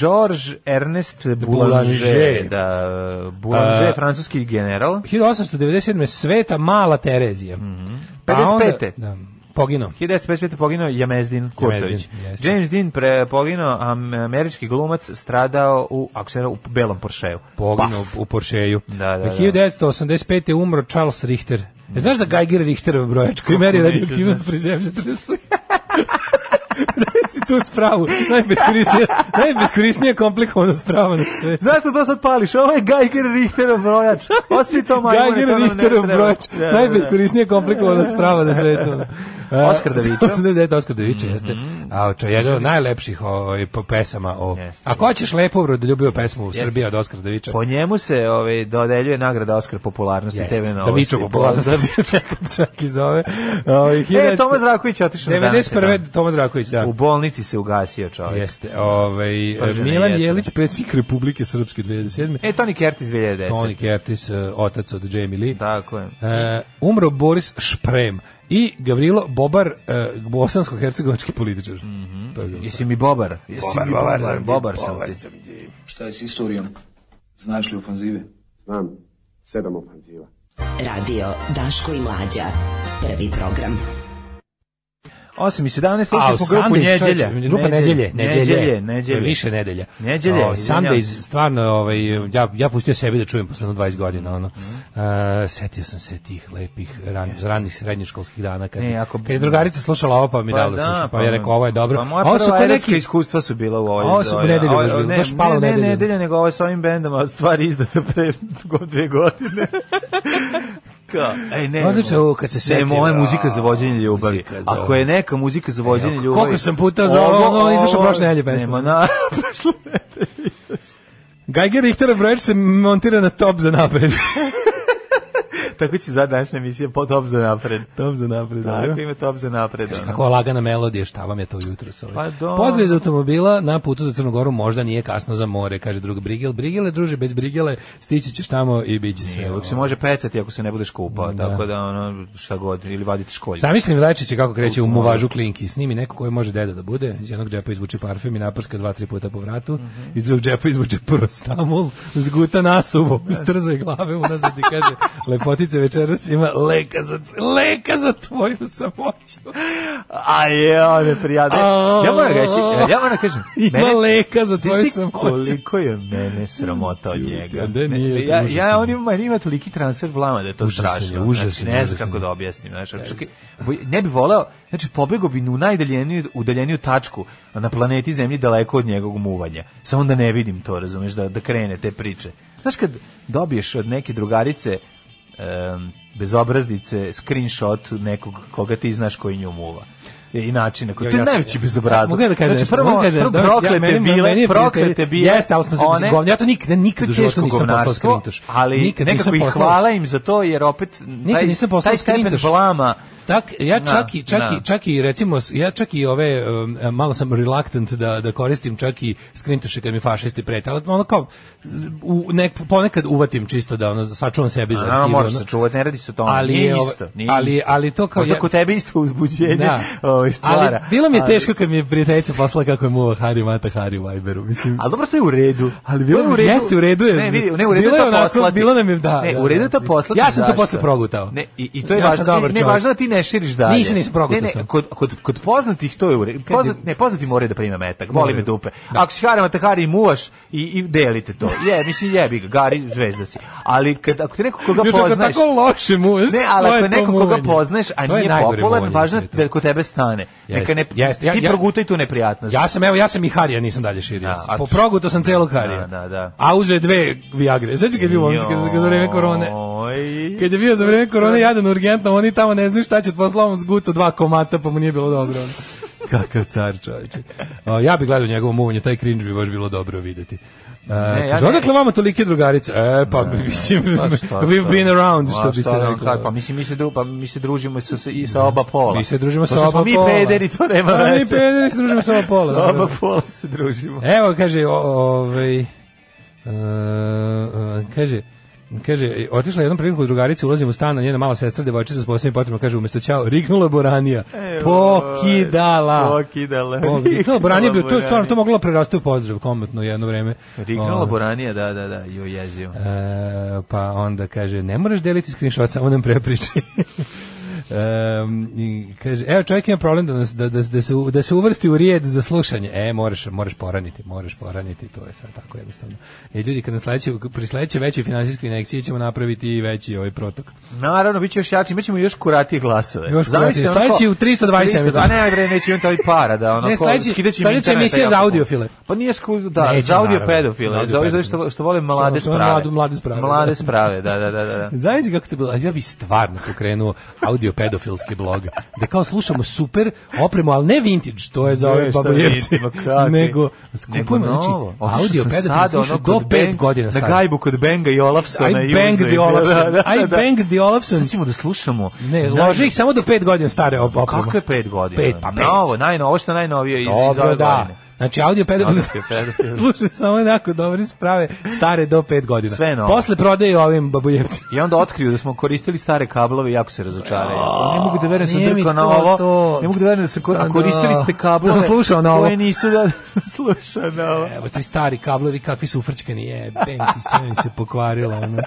F: Georges Ernest Boulanger,
E: Boulanger.
F: da, Boulanger,
E: A-
F: francuski general.
E: 1897. Sveta Mala Terezija. Mm
F: Mhm. 55..
E: da, poginuo.
F: 1955. poginuo Jamezdin Kurtović.
E: jeste.
F: James Dean pre poginuo, a američki glumac stradao u, ako se ne varam, u belom Porscheu.
E: Poginuo
F: Paf.
E: u Porscheju.
F: Da, da, da.
E: 1985. je umro Charles Richter. E, Znaš da Geiger Richterov brojač koji meri
F: neću
E: radioaktivnost pri zemlji tresu? Zavisi tu spravu. Najbeskorisnija, najbeskorisnija komplikovana sprava na svetu.
F: Zašto to sad pališ? Ovo je Geiger Richterov brojač. Osvi to Pa majmune. to
E: Geiger
F: nam ne
E: Richterov
F: treba.
E: brojač,
F: Da, da, da.
E: najbeskorisnija komplikovana sprava na svetu. E,
F: Oskar Davičo.
E: 89 Oskar Davičo jeste. A oče, jedan od najlepših ovaj, po pesama. O.
F: Jeste.
E: Ako hoćeš lepo da ljubio pesmu u Srbiji od Oskar Daviča.
F: Po njemu se ovaj, dodeljuje nagrada Oskar popularnosti
E: Jeste.
F: TV novosti.
E: Davičo popularno
F: Da,
E: se čak- čak i zove. Ovaj,
F: E,
E: 1900
F: Toma Zraković je otišao na danas.
E: 91. Tomas Raković, da.
F: U bolnici se ugasio čovjek.
E: Jeste. Ovaj,
F: Spržena
E: Milan
F: jetra.
E: Jelić, predsjednik Republike Srpske 2007.
F: E, Toni Kertis 2010.
E: Tony Curtis, eh, otac od Jamie Lee.
F: Tako je.
E: E, umro Boris Šprem i Gavrilo Bobar, e, bosansko-hercegovački političar.
F: Mhm.
E: To je bilo.
F: Jesi mi bobar? Jesi mi bobar? Bobar, sam ti.
H: Šta je s istorijom? Znaš li ofanzive?
I: Znam, sedam ofanziva.
G: Radio Daško i Mlađa. Prvi program.
F: 8 i 17,
E: A,
F: slušali smo grupu
E: Sundays, čovječe,
F: Njeđelja.
E: Grupa Neđelje,
F: Neđelje,
E: Neđelje,
F: Neđelje.
E: Više nedelja.
F: Neđelje,
E: O,
F: izvinjavam
E: Sundays, stvarno, ovaj, ja, ja pustio sebi da čujem posle jedno 20 godina. Ono.
F: Mhm.
E: E, setio sam se tih lepih ran, ranih srednješkolskih dana. Kad,
F: Ne, ako-
E: kad je drugarica slušala ovo, pa mi dala da, slušam, pa ja rekao, ovo je dobro.
F: Pa moja
E: A ovo su
F: prva
E: kao
F: erotska
E: neki-
F: iskustva su bila u ovoj.
E: Ovo su
F: ovoj-
E: nedelje
F: ovoj-
E: baš bile,
F: ne,
E: baš palo
F: ne, ne,
E: nedelje.
F: nedelje, nego ovo sa ovim bendom, a stvari izdata pre god- dve godine. Kao, ej, ne.
E: Odlično, ovo kad se
F: Ne,
E: setim,
F: moja je
E: a,
F: muzika za vođenje ljubavi.
E: muzika za-
F: Ako je neka muzika za vođenje
E: Evo,
F: ljubavi...
E: koliko sam puta za ovo, ono, izašla
F: ovo-
E: prošle nedelje pesma.
F: Nema na...
E: Geiger Richter brojač se montira na top za napred.
F: Tako će za današnja emisija po top za napred.
E: top za napred,
F: Tako ima top za napred. ono.
E: Kako lagana melodija, šta vam je to jutro sa
F: Pa dobro.
E: Pozdrav iz automobila na putu za Crnu Goru, možda nije kasno za more, kaže drug Brigel. Brigele, druže, bez Brigele stići ćeš tamo i bit će sve.
F: E, Uvijek se može pecati ako se ne budeš kupao, tako da ono, šta god, ili vaditi školje.
E: Zamislim Lečiće kako kreće u muvažu klinki. Snimi neko koji može deda da bude. Iz jednog džepa izvuče parfem i naprska dva, tri puta po vratu.
F: Mhm.
E: Iz drugog džepa izvuče prostamul, zguta nasuvo, strza glave unazad i kaže lepotice večeras ima leka za, tvo- leka za tvoju samoću.
F: A je, one prijade.
E: A-
F: Ja moram reći, ja moram kažem.
E: Ima leka za
F: Ti
E: tvoju
F: si
E: samoću.
F: Koliko je mene sramota od njega.
E: da nije,
F: Ne,
E: to
F: ja,
E: je
F: ja,
E: užasno.
F: on ima, meni ima toliki transfer vlama da je to
E: Užasan je,
F: strašno.
E: užasan
F: znači,
E: je,
F: ne
E: užasan
F: znam kako
E: je.
F: da objasnim. Znači, čak, i- boj- ne bi voleo, znači, pobego bi u najdaljeniju, udaljeniju tačku na planeti Zemlji daleko od njegovog muvanja. Samo da ne vidim to, razumeš, da, da krene te priče. Znaš, kad dobiješ od neke drugarice em, bezobraznice screenshot nekog koga ti znaš koji nju muva E, i način na koji
E: Ja,
F: to je
E: ja sam-
F: najveći
E: ja-
F: bezobrazluk
E: Mogu ja da kažem
F: znači,
E: nešto?
F: prvo,
E: Mogu da kažem,
F: prvo
E: dobro, ja-
F: proklete
E: meni-
F: bile,
E: meni je
F: proklete bile.
E: Jeste, ali smo se
F: one-
E: govnja, ja to nikad, nikad u
F: To je
E: životu
F: teško
E: nisam poslao
F: govnarstvo,
E: skrintoš.
F: Ali
E: nikad
F: nekako
E: nisam
F: ih
E: poslao.
F: hvala im za to, jer opet
E: Nikad nisam poslao
F: taj stepen
E: skrintoš.
F: vlama
E: Tak, ja
F: Da,
E: čak i čak
F: da.
E: i čak i recimo s- ja čak i ove um, malo sam reluctant da da koristim čak i skrintoše kad mi fašisti prete, ali ono kao z- u nek ponekad uvatim čisto da ono sačuvam sebi za
F: A,
E: arhivu.
F: možeš
E: ono.
F: se čuvati, ne radi se o tome.
E: Ali
F: nije
E: je ovo-
F: isto, nije
E: ali-
F: isto.
E: ali to kao
F: Možda
E: ja-
F: kod tebe isto uzbuđenje
E: Da.
F: ovaj, stvara.
E: Ali bilo mi je
F: ali-
E: teško kad mi je prijateljica poslala kako je muva Hari Mata Hari u Viberu, mislim.
F: Ali dobro, to je u redu.
E: Ali bilo
F: To je
E: mi- jeste, u redu je.
F: Ne, vidi, ne, u redu
E: Bilo
F: je
E: je
F: to
E: onako,
F: poslati.
E: bilo nam je- da,
F: Ne,
E: da,
F: u redu
E: da.
F: je to poslati.
E: Ja sam to
F: zašto?
E: posle progutao.
F: Ne, i, i to je
E: Ja sam
F: važno.
E: dobar
F: ne, ne,
E: čovjek.
F: važno da ti ne ne širiš dalje.
E: Nisam, nisam, progutao
F: Ne, ne,
E: sam.
F: Kod, kod, kod poznatih to je u redu. Poznat, ne, poznati moraju da prime metak, boli me dupe. Ako si harama, te hari i muvaš i, i delite to. Je, mislim, jebi ga, gari, zvezda si. Ali kad, ako ti neko koga
E: Još ako
F: poznaš...
E: tako loše muješ,
F: Ne, ali
E: to
F: ako
E: je
F: je
E: to
F: neko koga
E: muvanje.
F: poznaš, a
E: To je
F: nije
E: najgore
F: popularan,
E: muvanje
F: važno
E: na
F: je
E: svetu.
F: da kod tebe stane. Neka ne,
E: Jeste, ja-
F: ti
E: ja-
F: progutaj tu neprijatnost.
E: Ja sam, evo, ja sam i Harija nisam dalje širio.
F: Da, a-
E: po progu to sam celog Harija.
F: Da, da, da.
E: A uzeo je dve Viagre. Sveći kad je bio on, kad- kad za vreme korone.
F: Joj.
E: Kad je bio za vreme korone jadan urgentno, oni tamo ne znaju šta će od posla, on zguto dva komata, pa mu nije bilo dobro. ono. Kakav car čovječe. O, ja bih gledao njegovo muvanje, taj cringe bi baš bilo dobro videti. E,
F: Ne, ja
E: kaže,
F: ne.
E: odakle vama tolike drugarice? E, pa, mislim,
F: Pa šta,
E: we've
F: šta?
E: been around,
F: Ma
E: što bi
F: šta
E: se
F: da vam
E: reklo.
F: kažem, Pa mislim, mi se, dru, pa mi se družimo sa, sa, i sa oba pola.
E: Mi se družimo sa
F: To što
E: oba
F: smo
E: pola.
F: mi pederi, to nema
E: A,
F: veze.
E: Pa, Mi pederi se družimo sa oba pola.
F: Sa
E: dobro.
F: oba pola se družimo.
E: Evo kaže o, ovaj e, e, kaže kaže e, otišla je jednom priliku kod drugarice ulazim u stan a njena mala sestra devojčica s posebnim potrebama kaže umesto ćao riknula boranija E, pokidala
F: Pokidala.
E: Pok- riknula boranija bio to je stvarno to moglo prerasti u pozdrav komentno jedno vreme
F: Riknula
E: Ovaj,
F: boranija, da, da, da, joj jezio.
E: E, pa onda kaže, ne moraš deliti screenshot, samo nam prepriči. Em, i kaže, evo čovjek ima problem da, nas, da, da, da, se, u- da se uvrsti u rijed za slušanje. E, moraš, moraš poraniti, moraš poraniti, to je sad tako jednostavno. E, ljudi, kad nas sledeće, pri sledećoj većoj finansijskoj inekciji ćemo napraviti i veći ovaj protok.
F: Naravno, bit će još jači, imaćemo još kuratije glasove.
E: Još
F: Zamisli
E: kuratije.
F: ono ko-
E: Sledeći u 320
F: 300, A ne, bre, neće imati ovaj para da ono...
E: Ne,
F: ko-
E: sledeći-
F: skidaće im
E: sledeća
F: interneta
E: emisija
F: jako
E: za
F: puno.
E: audiofile.
F: Pa nije sku... Da,
E: Neće,
F: za audio
E: naravno. Za
F: pedofile. Za
E: audio
F: audio što, što vole mlade
E: Što- što vole
F: sprave.
E: mladu- mlade sprave, da.
F: Mlade sprave, da, da, da. da, da.
E: Znaš kako to bilo? Ja bi stvarno pokrenuo audio pedofilski blog. Da kao slušamo super opremu, ali ne vintage, to je za ove
F: Ne, šta
E: babojevce.
F: vidimo, kakvi.
E: Nego
F: Nego
E: skupujemo, znači,
F: novo. Otišao
E: audio
F: sam
E: pedofil
F: sad,
E: slušao
F: ono,
E: do
F: kod
E: pet
F: Bang-
E: godina
F: Na
E: stara.
F: gajbu kod Benga i Olafsona
E: I
F: i
E: bang
F: Uze.
E: the Olafson. I bang the Olafson.
F: Sad ćemo da slušamo.
E: Ne,
F: Naj-
E: loži ih samo do pet godina stare op- oprema.
F: Kako je pet godina?
E: Pet, pa pet.
F: Novo, najno, ovo što je najnovije iz, iz
E: Dobro,
F: ove
E: da.
F: godine.
E: Znači, audio pedofil
F: Audio pedofil.
E: slušaju samo onako dobre sprave, stare do pet godina.
F: Sve novo.
E: Posle prodaje ovim babojevcima.
F: I onda otkriju da smo koristili stare kablove i jako se razočaraju. Ne mogu da verujem da sam
E: nije mi
F: drkao na
E: to
F: ovo.
E: to.
F: Ne mogu da verujem da sam ko- a
E: Da.
F: koristili ste kablove.
E: Da sam slušao na ovo.
F: Koje nisu da da sam slušao na ovo.
E: Evo ti stari kablovi kakvi su ufrčkani, je, bem ti sve mi se pokvarilo. Ono.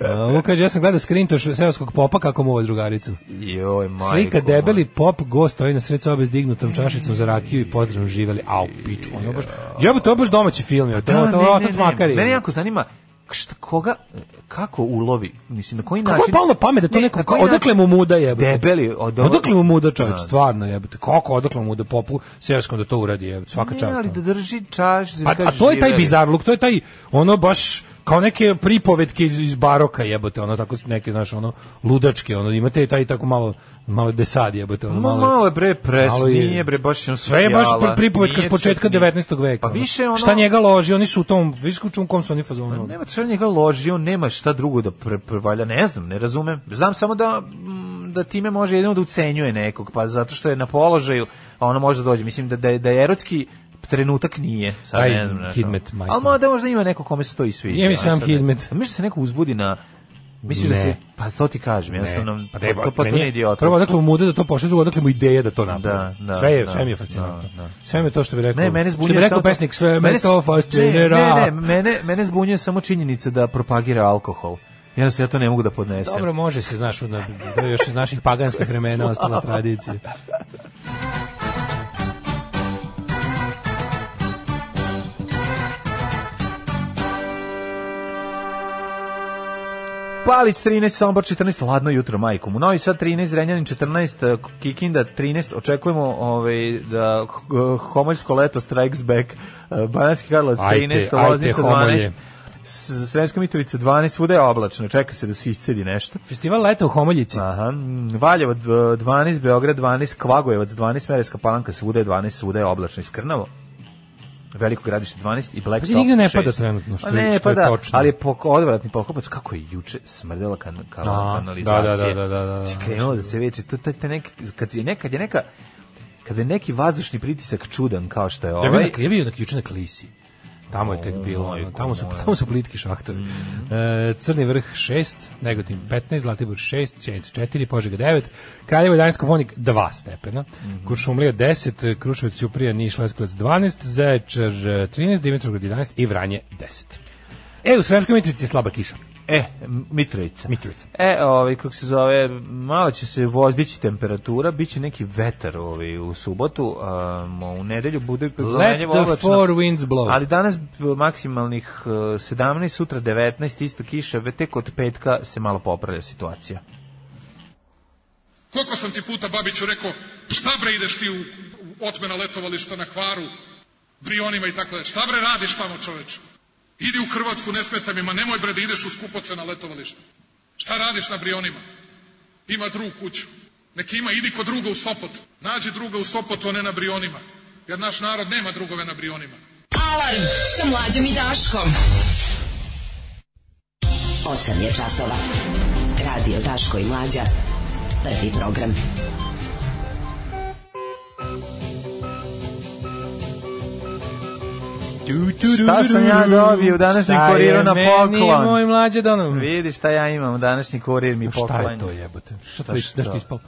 E: Uh, on kaže, ja sam gledao skrintoš seoskog popa kako mu ovo drugaricu.
F: Joj, majko.
E: Slika
F: moja.
E: debeli pop gost stoji na sred sobe s dignutom čašicom za rakiju i pozdravom živeli. Au, piču, on je baš, jebo, to je baš domaći film, je, to,
F: Da,
E: to,
F: ne,
E: to,
F: ne,
E: otac
F: ne.
E: makar je.
F: Mene jako zanima šta, koga, kako ulovi, mislim, na koji
E: Kako je
F: način...
E: palo na pamet da to
F: znači- Ne,
E: neko,
F: na koji
E: odakle mu
F: način-
E: muda jebote?
F: Debeli, od-
E: odakle mu muda čovječ,
F: Da.
E: stvarno jebote, kako odakle mu muda popu seoskom da to uradi jebote, svaka
F: Ne,
E: čast.
F: ali
E: ono.
F: da drži čaš, da
E: Pa,
F: kaže
E: a to je taj
F: živeli.
E: bizarluk, to je taj ono baš kao neke pripovetke iz, iz baroka jebote, ono tako neke znaš ono ludačke, ono imate taj tako malo malo desad jebote, ono
F: Ma,
E: malo.
F: malo je bre pres,
E: malo je-
F: nije bre baš on
E: sve je baš pri- pripovetka s početka 19. veka.
F: Pa
E: ono.
F: više ono...
E: Šta njega loži, oni su u tom, viš u kom su oni fazonu. ono.
F: Nema čar njega loži, on nema šta drugo da pre, prevalja, ne znam, ne razumem. Znam samo da, mm, da time može jedino da ucenjuje nekog, pa zato što je na položaju, a ono može da dođe. Mislim da, da, je, da je erotski trenutak nije. Sad
E: Aj,
F: ne znam. znaš,
E: Hidmet,
F: ono.
E: majko.
F: Ali možda, možda ima neko kome se to i sviđa.
E: Nije mi
F: ali
E: sam
F: sad ne-
E: Hidmet.
F: A Misliš da se neko uzbudi na... Misliš da
E: Ne.
F: se... Pa to ti kažem, jednostavno...
E: Ne,
F: Pa,
E: ne,
F: to, pa to
E: meni je-
F: nije idiot.
E: Prvo odakle mu mude da to pošalje, drugo odakle mu ideja da to napravi.
F: Da, da,
E: sve je,
F: da,
E: sve mi je fascinantno.
F: da, da.
E: Sve mi je to što bi rekao.
F: Ne, mene
E: Što
F: zbunjuje
E: bi rekao
F: samo-
E: pesnik, sve me
F: s-
E: to fascinira.
F: Ne, ne, ne, mene, mene zbunjuje samo činjenica da propagira alkohol. Jednostavno ja to ne mogu da podnesem.
E: Dobro, može se, znaš, na, to je još iz naših paganskih vremena ostala tradicija.
F: Palić 13, Sombor 14, hladno jutro majkom. U Novi Sad 13, Renjanin 14, e, Kikinda 13, očekujemo ovaj, da h- homoljsko leto strikes back, Banatski Karlovac
E: Ajte,
F: 13,
E: ajte,
F: Loznica
E: homolje.
F: 12, S- Sremska Mitrovica 12, svuda je oblačno, čeka se da se iscedi nešto.
E: Festival leta u Homoljici.
F: Aha, mm, Valjevo dv- 12, Beograd 12, Kvagojevac 12, Mereska Palanka svuda je 12, svuda je oblačno iskrnavo. Veliko gradište 12 i Black
E: Pazi, Pa
F: Top
E: nigde ne
F: 6.
E: pada trenutno, što
F: Pa
E: je-
F: ne,
E: što je
F: pada,
E: točno.
F: Ali je pok, odvratni pokopac, kako je juče smrdela kan, kan,
E: A,
F: kanalizacija.
E: da, da, da, da, da.
F: Znači, Krenulo da se veče, to, to, to neka, kad, je nekad je neka, kad je neki vazdušni pritisak čudan kao što je
E: Ja bio na,
F: ovaj,
E: ja bio na, juče na Klisi. Tamo je tek bilo, ono, tamo su, tamo su plitki šahtovi. E, Crni vrh 6, Negotin 15, Zlatibor 6, Sjenica 4, Požega 9, Kraljevo 11, Koponik 2 stepena, Kuršumlija 10, Kruševac, Ćuprija, Niš, Leskovac 12, Zečar e, 13, Dimitrovgrad 11 i Vranje 10. E, u Sremskoj Mitrovici je slaba kiša.
F: E, Mitrovica.
E: Mitrovica.
F: E, ovaj, kako se zove, malo će se vozdići temperatura, bit će neki vetar ovaj, u subotu, um, u nedelju bude
E: Let
F: promenljivo
E: the four winds blow.
F: Ali danas maksimalnih eh, 17, sutra 19, isto kiša, ve- tek od petka se malo popravlja situacija.
J: Koliko sam ti puta Babiću rekao, šta bre ideš ti u, u otmena letovališta na Hvaru, Brionima i tako dalje. Šta bre radiš tamo čoveče? Idi u Hrvatsku, ne smeta mi, ma nemoj bre da ideš u skupoce na letovališta. Šta radiš na Brionima? Ima drugu kuću. Neki ima, idi kod druga u Sopot. Nađi druga u Sopotu, a ne na Brionima. Jer naš narod nema drugove na Brionima.
G: Alarm sa mlađom i Daškom. 8 je časova. Radio Daško i Mlađa. Prvi program.
F: Šta sam ja dobio u današnjem kuriru na
E: Šta je meni moj
F: poklon?
E: mlađe dono?
F: Vidi šta ja imam, u današnji kurir mi poklanja.
E: Mm. Šta je to jebote? Šta to je?
F: Šta
E: Šta
F: šta?
E: ti ispalo?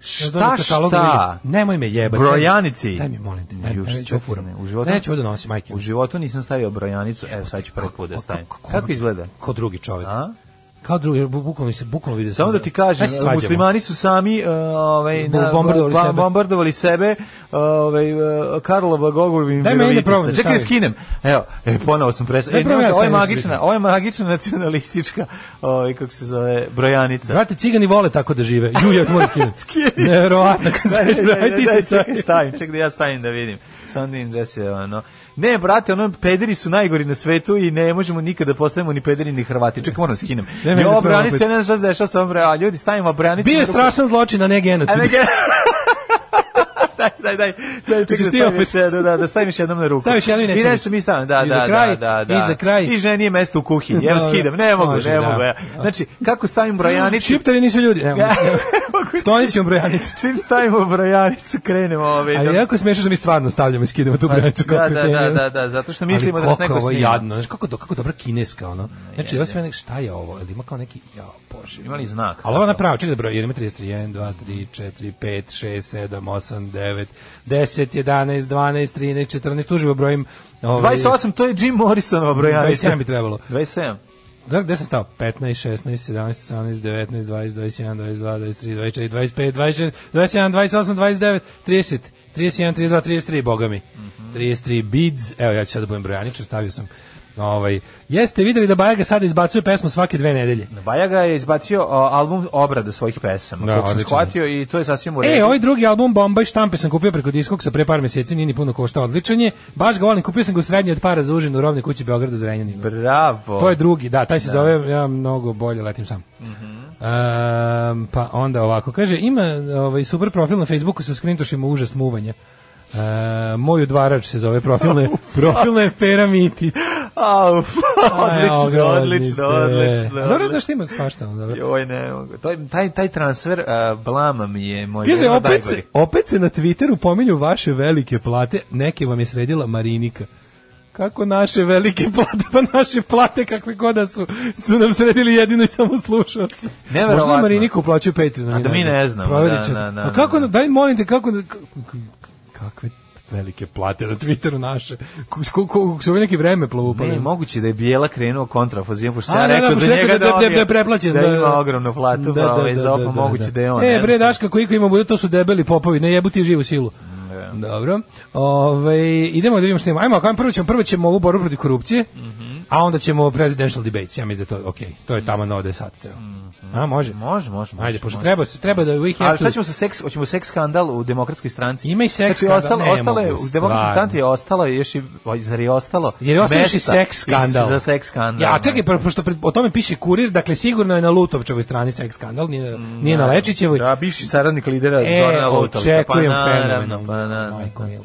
F: Šta, šta?
E: Nemoj me jebati.
F: Brojanici.
E: Daj mi molim te. Daj,
F: Juš,
E: daj,
F: čekaj,
E: ću furam.
F: ne, u životu-
E: Neću ovo da nosim, majke.
F: U životu nisam stavio brojanicu, evo sad ću prvi put da stavim. Kako izgleda?
E: Kao drugi čovjek.
F: A?
E: Kao drugi, bu- bukvalno se, bukvalno vidi.
F: Samo da ti kažem,
E: Aj, se svađamo.
F: muslimani su sami uh, ovaj,
E: Bu- bombardovali
F: ba-
E: sebe.
F: bombardovali sebe uh, ovaj, uh, Karlova Gogovim
E: Daj meni da probam da
F: Čekaj, da
E: stavim.
F: skinem. Evo, e, ponovo sam prestao.
E: Daj
F: E,
E: probam
F: ne,
E: ja
F: ovo je
E: stavim da se
F: magična,
E: vidim.
F: ovo je magična nacionalistička, ovaj, kako se zove, brojanica.
E: Brate, cigani vole tako da žive. Ju, ja moram skinuti.
F: Skini.
E: Neverovatno. kad
F: Daj,
E: se-
F: daj, daj,
E: Aj, ti
F: daj,
E: se
F: čekaj, stavim, čekaj da ja stavim da vidim. Sunday in Jesse, ono. Ne, brate, ono, pederi su najgori na svetu i ne možemo nikada postavimo ni pederi ni Hrvati. Čekaj, moram da skinem.
E: Ne,
F: Ne,
E: ne,
F: ovo
E: ne,
F: branicu,
E: ne,
F: ja ne znam šta se dešava sa ovom bre- a ljudi, stavimo branicu.
E: Bio je
F: na ruku.
E: strašan zločin, a ne
F: A
E: genocid.
F: ne, ga- daj, daj, daj, daj, čekaj, da
E: Hoćeš ti
F: stavim
E: opet?
F: još jednom, da, da stavim još jednom na ruku.
E: Staviš jednu i
F: I
E: nećeš.
F: nešto mi stavim, da,
E: I
F: da,
E: za kraj,
F: da, da, da.
E: i za kraj.
F: I ženi je mesto u kuhinji, evo
E: Dobro.
F: skidam, ne mogu,
E: Može,
F: ne
E: da.
F: mogu, evo. Znači, kako stavim brojanicu?
E: Šiptari nisu ljudi. Ne,
F: Ja,
E: ne.
F: mogu-
E: Sklonit ćemo brojanicu.
F: Čim stavimo brojanicu, krenemo ove.
E: Ali jako smešno da mi stvarno stavljamo i skidamo tu branicu
F: Pa, da,
E: kako
F: da,
E: je
F: da,
E: genijalno.
F: da, da, zato što mislimo da
E: Ali
F: nas
E: koliko
F: neko
E: je ovo
F: snima.
E: jadno, znaš kako, do- kako dobra kineska, ono. Znači, ovo sve nek, šta je ovo? Ali ima kao neki, ja, bože.
F: Ima li znak?
E: Ali ovo je napravo, čekaj da broj, jer ima 33, 1, 2, 3, 4, 5, 6, 7, 8, 9, 10, 11, 12, 13, 14, uživo brojim. Ovaj,
F: 28, to je Jim Morrisonova brojanica.
E: 27 bi trebalo.
F: 27.
E: Da, gde sam stao? 15, 16, 17, 18, 19, 20, 21, 22, 23, 24, 25, 26, 27, 28, 29, 30, 31, 32, 33, boga mi. 33 bids, evo ja ću sad da budem brojaničar, stavio sam. Ovaj, jeste videli da Bajaga sada izbacuje pesmu svake dve nedelje?
F: Bajaga je izbacio o, album obrada svojih pesama.
E: Da,
F: Da, sam
E: odlično.
F: shvatio i to je sasvim u redu.
E: E, ovaj drugi album Bombaj štampe sam kupio preko Diskoksa pre par meseci, nije ni puno koštao odličan je. Baš ga volim, kupio sam ga u srednje od para za užin u robnoj kući Beogradu Zrenjaninu.
F: Bravo.
E: To je drugi, da, taj se zove ja mnogo bolje letim sam.
F: Mhm.
E: Ehm, pa onda ovako kaže ima ovaj super profil na Facebooku sa skrintošima užas muvanja. Ehm, moj udvarač se zove profilne profilne peramiti.
F: Au, odlično, odlično, odlično.
E: Dobro da
F: odlično.
E: što ima svašta, ono, dobro.
F: Joj, ne mogu. To, je- taj, taj transfer uh, blama mi je moj
E: Kaže,
F: jedan od
E: opet se,
F: najgorih.
E: opet se na Twitteru pominju vaše velike plate, neke vam je sredila Marinika. Kako naše velike plate, pa naše plate kakve god da su, su nam sredili jedino i samo slušalci.
F: Neverovatno.
E: Možda i Mariniku uplaćuju Patreon.
F: A da mi ne znamo,
E: Proverit ću.
F: da, da, da,
E: A kako,
F: da.
E: daj molim te, kako, k- k- kakve velike plate na Twitteru naše. Ko, ko, ko, su ovo neki vreme plovu
F: Ne, moguće da je Bijela krenuo kontrafozijem, pošto sam
E: A,
F: ja
E: da, da,
F: rekao
E: pošto
F: za
E: rekao
F: njega
E: da- da-
F: on
E: da je preplaćen,
F: da,
E: da,
F: ima
E: da.
F: ogromnu platu, pa ovaj, za opa moguće da je on.
E: E,
F: ne
E: bre,
F: znam.
E: Daška, koliko ima bude, to su debeli popovi, ne jebuti živu silu. Dobro. Ove, idemo da vidimo što imamo. Ajmo, kao prvo ćemo, prvo ćemo ovu borbu protiv korupcije,
F: Mhm.
E: a onda ćemo presidential debates. Ja mislim da je to okej. To je tamo na ode sad. ceo. A, može?
F: Mhm. Može, može, može.
E: Ajde, pošto
F: može.
E: treba, se, treba da we have
F: A šta
E: to-
F: ćemo sa seks, hoćemo seks skandal u demokratskoj stranci?
E: Ima i seks
F: znači,
E: skandal,
F: ostalo,
E: ne
F: ostalo je,
E: mogu,
F: u demokratskoj
E: stvarno.
F: stranci je ostalo još i, oj, zar je ostalo?
E: Jer je ostao još i
F: mesta
E: seks skandal.
F: i Za seks skandal.
E: Ja, čekaj, pa- pošto pred- o tome piše kurir, dakle sigurno je na Lutovčevoj strani seks skandal, nije, na- nije na Lečićevoj.
F: Da, bivši saradnik lidera
E: E,
F: Zorana Lutovića.
E: očekujem
F: pa, naravno,
E: fenomenalno.
F: pa, naravno.
E: Majko mila.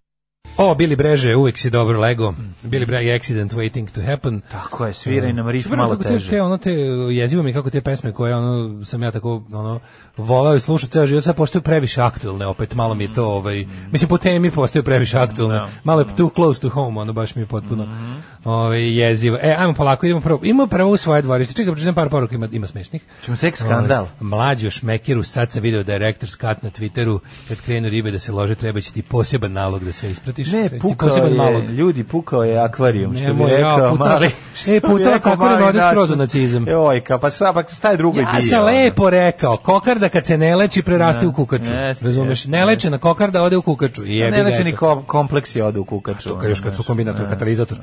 E: O, Billy Breže, uvek si dobro lego. Billy Bragg, Accident Waiting to Happen.
F: Tako je, svira i na riff
E: Super,
F: malo
E: kako te-
F: teže.
E: Te, ono te, jezivo mi kako te pesme koje ono, sam ja tako ono, volao i slušao ceo život, sad postaju previše aktuelne, opet malo mi je
F: Mm.
E: to, ovaj, mislim po temi postaju previše aktuelne, malo je too close to home, ono baš mi je potpuno
F: Mm-hmm.
E: ovaj, jezivo. E, ajmo polako, idemo prvo, ima prvo u svoje dvorište, čekaj, pa pročitam par poruka, ima, ima smešnih.
F: Čemo seks skandal.
E: Ovaj, Mlađo Šmekiru, sad sam video direktor skat na Twitteru, kad krenu ribe da se lože, treba će ti poseban nalog da sve ispratiš. Treba
F: Ne,
E: ti
F: pukao
E: poseban
F: je,
E: nalog.
F: ljudi, pukao je akvarijum, što bi
E: Nemoj, ja,
F: rekao
E: pucala-
F: mali.
E: e,
F: što bi
E: pucala
F: rekao
E: kakva
F: mali
E: voda
F: Daško.
E: skroz u nacizam.
F: Jojka, pa šta, pa šta je drugo i
E: Ja
F: bio,
E: sam
F: ono?
E: lepo rekao, kokarda kad se ne leči preraste u kukaču.
F: jeste,
E: razumeš?
F: jeste,
E: Nelečena kokarda ode u kukaču. I jebi ga,
F: Nelečeni
E: eto.
F: ko- kompleksi odu u kukaču. ono, znači.
E: Kad još kad su
F: znaš.
E: kombinat, to je katalizator.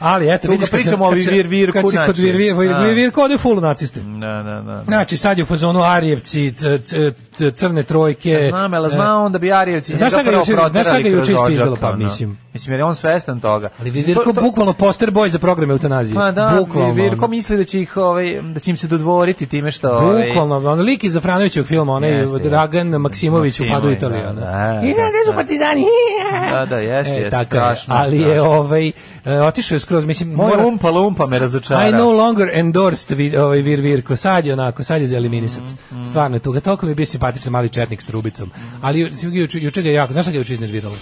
E: Ali eto,
F: Tu
E: vidiš
F: kad pričamo
E: se-
F: o
E: se-
F: Vir- Virku
E: Kad se kod
F: način.
E: vir, vir,
F: Da.
E: vir, Virku ode full u naciste.
F: Da, da, da. da.
E: Znači, sad je u fazonu Arjevci, c- c- c- crne trojke.
F: Znam, ali
E: e,
F: zna on da bi Arijevci
E: Znaš šta ga
F: njega prvo
E: juče- znaš šta
F: proterali
E: ga
F: kroz
E: juče ispizdalo,
F: odžak,
E: pa
F: ono.
E: mislim.
F: Mislim, jer je on svestan toga.
E: Ali
F: Mislim, to-
E: Virko
F: to-
E: bukvalno poster boy za programe eutanazije.
F: Pa da,
E: bukvalno.
F: Virko
E: ono.
F: misli da će ih ovaj da će im se dodvoriti time što ovaj
E: Bukvalno, ono lik iz Zafranovićevog filma, onaj
F: Jeste, jeste.
E: Dragan Maksimović u
F: Maksimović,
E: padu
F: da,
E: Italije.
F: da,
E: ono.
F: da,
E: I
F: da,
E: gde su
F: da.
E: partizani?
F: Da, da, jeste, jeste,
E: E, tako je.
F: strašno,
E: Ali je
F: strašno.
E: ovaj, e, otišao je skroz, mislim,
F: moj um-
E: mora-
F: umpa lumpa me razočara.
E: I no longer endorsed vid, ovaj Vir Virko, sad je onako, sad je za eliminisat.
F: Mm,
E: Stvarno je tuga, toliko mi je bio simpatičan mali četnik s trubicom. Ali ju- juče, juče ga je jako, znaš šta ga je juče iznerviralo?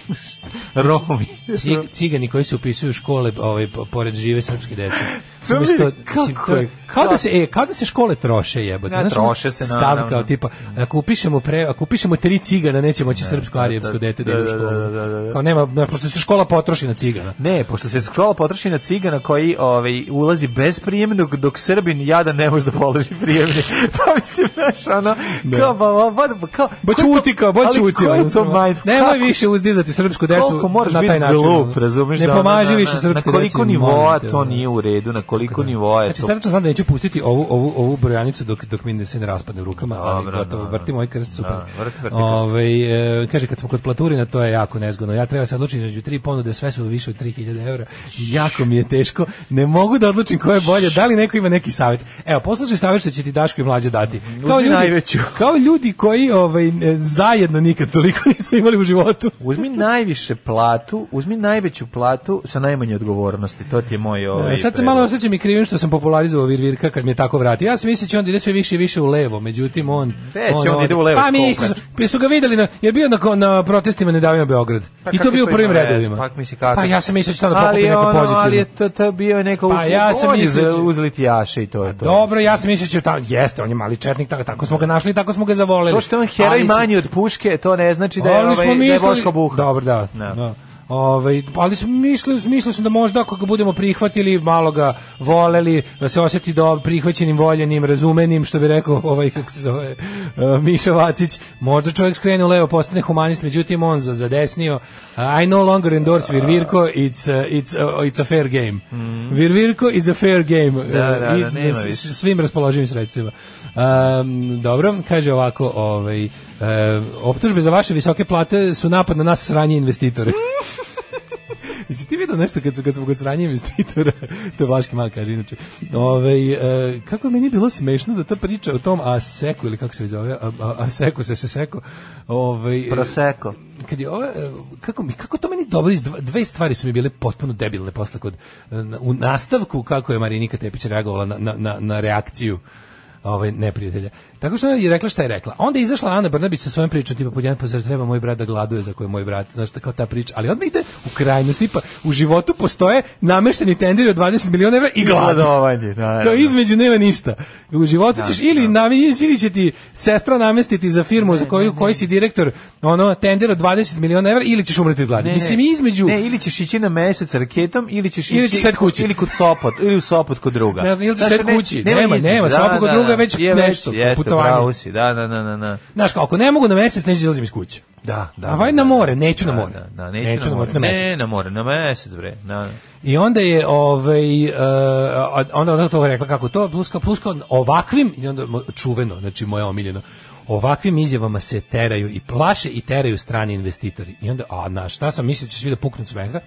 F: Romi.
E: Cig- cigani koji se upisuju u škole ovaj, po- pored žive srpske dece.
F: To mi-
E: Umesto-
F: kako
E: mislim, to-
F: je-
E: kao, da se, e, kao da se škole troše jebote.
F: Ne,
E: Znaš, ono,
F: troše se,
E: stav
F: naravno.
E: kao tipa, ako upišemo, pre, ako upišemo tri cigana, nećemo moći srpsko-arijevsko dete da ide u
F: da,
E: školu.
F: da, da, da, da.
E: Kao nema, ne, pošto se škola potroši na cigana.
F: Ne, pošto se škola potroši na cigana koji ovaj, ulazi bez prijemne, dok, dok Srbin jada ne može da položi prijemni. pa mislim, znaš, ono, kao, ba, ba, ba, kao,
E: Ba
F: ko je to-
E: ćuti kao, ba
F: ali
E: ćuti.
F: ko je
E: ono,
F: to
E: samo-
F: mindf-
E: Nemoj
F: kako-
E: više uzdizati srpsku decu
F: Koliko moraš
E: na taj
F: biti
E: način. ono.
F: glup, razumeš?
E: Ne
F: da, ono,
E: pomaži
F: na-
E: više
F: na-
E: srpskoj
F: Na
E: deci.
F: koliko
E: molim
F: nivoa
E: te,
F: to
E: ono.
F: nije u redu, na koliko nivoa je
E: Znači,
F: to.
E: stvarno znam da neću pustiti ovu, ovu, ovu brojanicu dok, dok mi ne- se ne raspadne u rukama, ali
F: Dobro,
E: gotovo,
F: da,
E: vrti
F: da.
E: moj krst, super.
F: Da, vrti, vrti krst.
E: Ovaj, e, kaže, kad smo kod Platurina, to je jako nezgodno. Ja treba se odlučiti između tri ponude, sve su više od 3000 eura. Jako mi je teško. Ne mogu da odlučim koje je bolje. Da li neko ima neki savjet? Evo, poslušaj savjet što će ti Daško i mlađe dati. Kao
F: Uzmi
E: ljudi,
F: najveću.
E: kao ljudi koji ovaj, e, zajedno nikad toliko nisu imali u životu.
F: Uzmi najviše platu, uzmi najveću platu sa najmanje odgovornosti. To ti je moj ovaj.
E: E, sad se
F: predlog.
E: malo osjećam i krivim što sam popularizovao Virvirka kad mi je tako vrati. Ja sam mislio će on ide sve više i više u levo, međutim on...
F: Već, on ide u levo
E: Pa mi isto,
F: skokar.
E: prije su ga videli, na, je bio na, ko- na protestima ne davimo Beograd.
F: Pa
E: I to
F: kakve
E: bio u
F: to
E: prvim
F: ima veze?
E: redovima.
F: Pa, misli, kako?
E: Pa ja sam mislio će tamo da
F: ali
E: pokupi
F: je
E: neko
F: ono,
E: pozitivno.
F: Ali je to, to bio neko...
E: Pa ja sam
F: on je
E: mislio- Pa
F: za- uzliti jaše i to je to.
E: Dobro, ja sam mislio će tamo, jeste, on je mali četnik, tako, tako smo ga našli, tako smo ga zavoleli.
F: To što je on heroj
E: Ali smo-
F: manji od puške, to ne znači da je,
E: Ali smo
F: ovaj, da je
E: mislili-
F: Boško Buha.
E: Dobro, da.
F: Da.
E: da. Ovaj, ali smo mislili, mislio sam da možda ako ga budemo prihvatili, malo ga voleli, da se osjeti do prihvaćenim, voljenim, razumenim, što bi rekao ovaj, kako se zove, uh, Miša Vacić, možda čovjek skrene u levo, postane humanist, međutim on za, zadesnio. Uh, I no longer endorse Virvirko, it's, uh, it's, uh, it's a fair game.
F: Mm.
E: Virvirko is a fair game.
F: Da,
E: Uh,
F: da,
E: i
F: da, nema
E: s-
F: više.
E: svim raspoloživim sredstvima. Um, dobro, kaže ovako, ovaj, e, optužbe za vaše visoke plate su napad na nas sranje investitore. Jesi ti vidio nešto kad, kad smo kod sranje investitora? to je Vlaški mal kaže inače. Ovaj, e, kako je meni bilo smešno da ta priča o tom Aseku, ili kako se zove, a, a, Aseku, se se seko, ovaj,
F: Proseko.
E: kad je ova, e, kako mi kako to meni dobro iz dva- dve stvari su mi bile potpuno debilne posle kod e, na- u nastavku kako je Marinika Tepić reagovala na na na, na reakciju ovaj neprijatelja. Tako što ona je rekla šta je rekla. Onda je izašla Ana Brnabić sa svojom pričom tipa pod jedan pa zar treba moj brat da gladuje za koje moj brat, znaš kao ta priča, ali odmah ide u krajnost tipa u životu postoje namešteni tenderi od 20 miliona evra i glad.
F: Gladovanje, da, da,
E: Kao
F: da.
E: između nema ništa. U životu ćeš ili navi ili će ti sestra namestiti za firmu za koju koji si direktor, ono tender od 20 miliona evra ili ćeš umreti od gladi.
F: Ne,
E: Mislim
F: ne.
E: između
F: Ne, ili ćeš ići na mesec raketom, ili ćeš
E: Ili
F: ići
E: ćeš sad kući.
F: Ili kod Sopot, ili u Sopot kod druga.
E: Ne, ili ćeš
F: Znaš,
E: sad
F: ne-
E: kući. Nema,
F: izbora.
E: nema, Sopot kod druga je već nešto,
F: Jeste,
E: putovanje.
F: pravo si, da, da, da, da, da.
E: znaš kako ako ne mogu na mesec neću da izlazim iz kuće.
F: Da, da.
E: A vaj
F: da,
E: na
F: da.
E: more, neću na
F: Da,
E: more.
F: Da, da, neću, na more.
E: na
F: Ne,
E: mesec.
F: na more, na mesec, bre. Da, da.
E: I onda je ovaj e, a- onda ona to rekla kako to pluska pluska ovakvim i onda mo- čuveno, znači moje omiljeno. Ovakvim izjavama se teraju i plaše i teraju strani investitori. I onda a na šta sam mislio da će svi da puknu od smeha?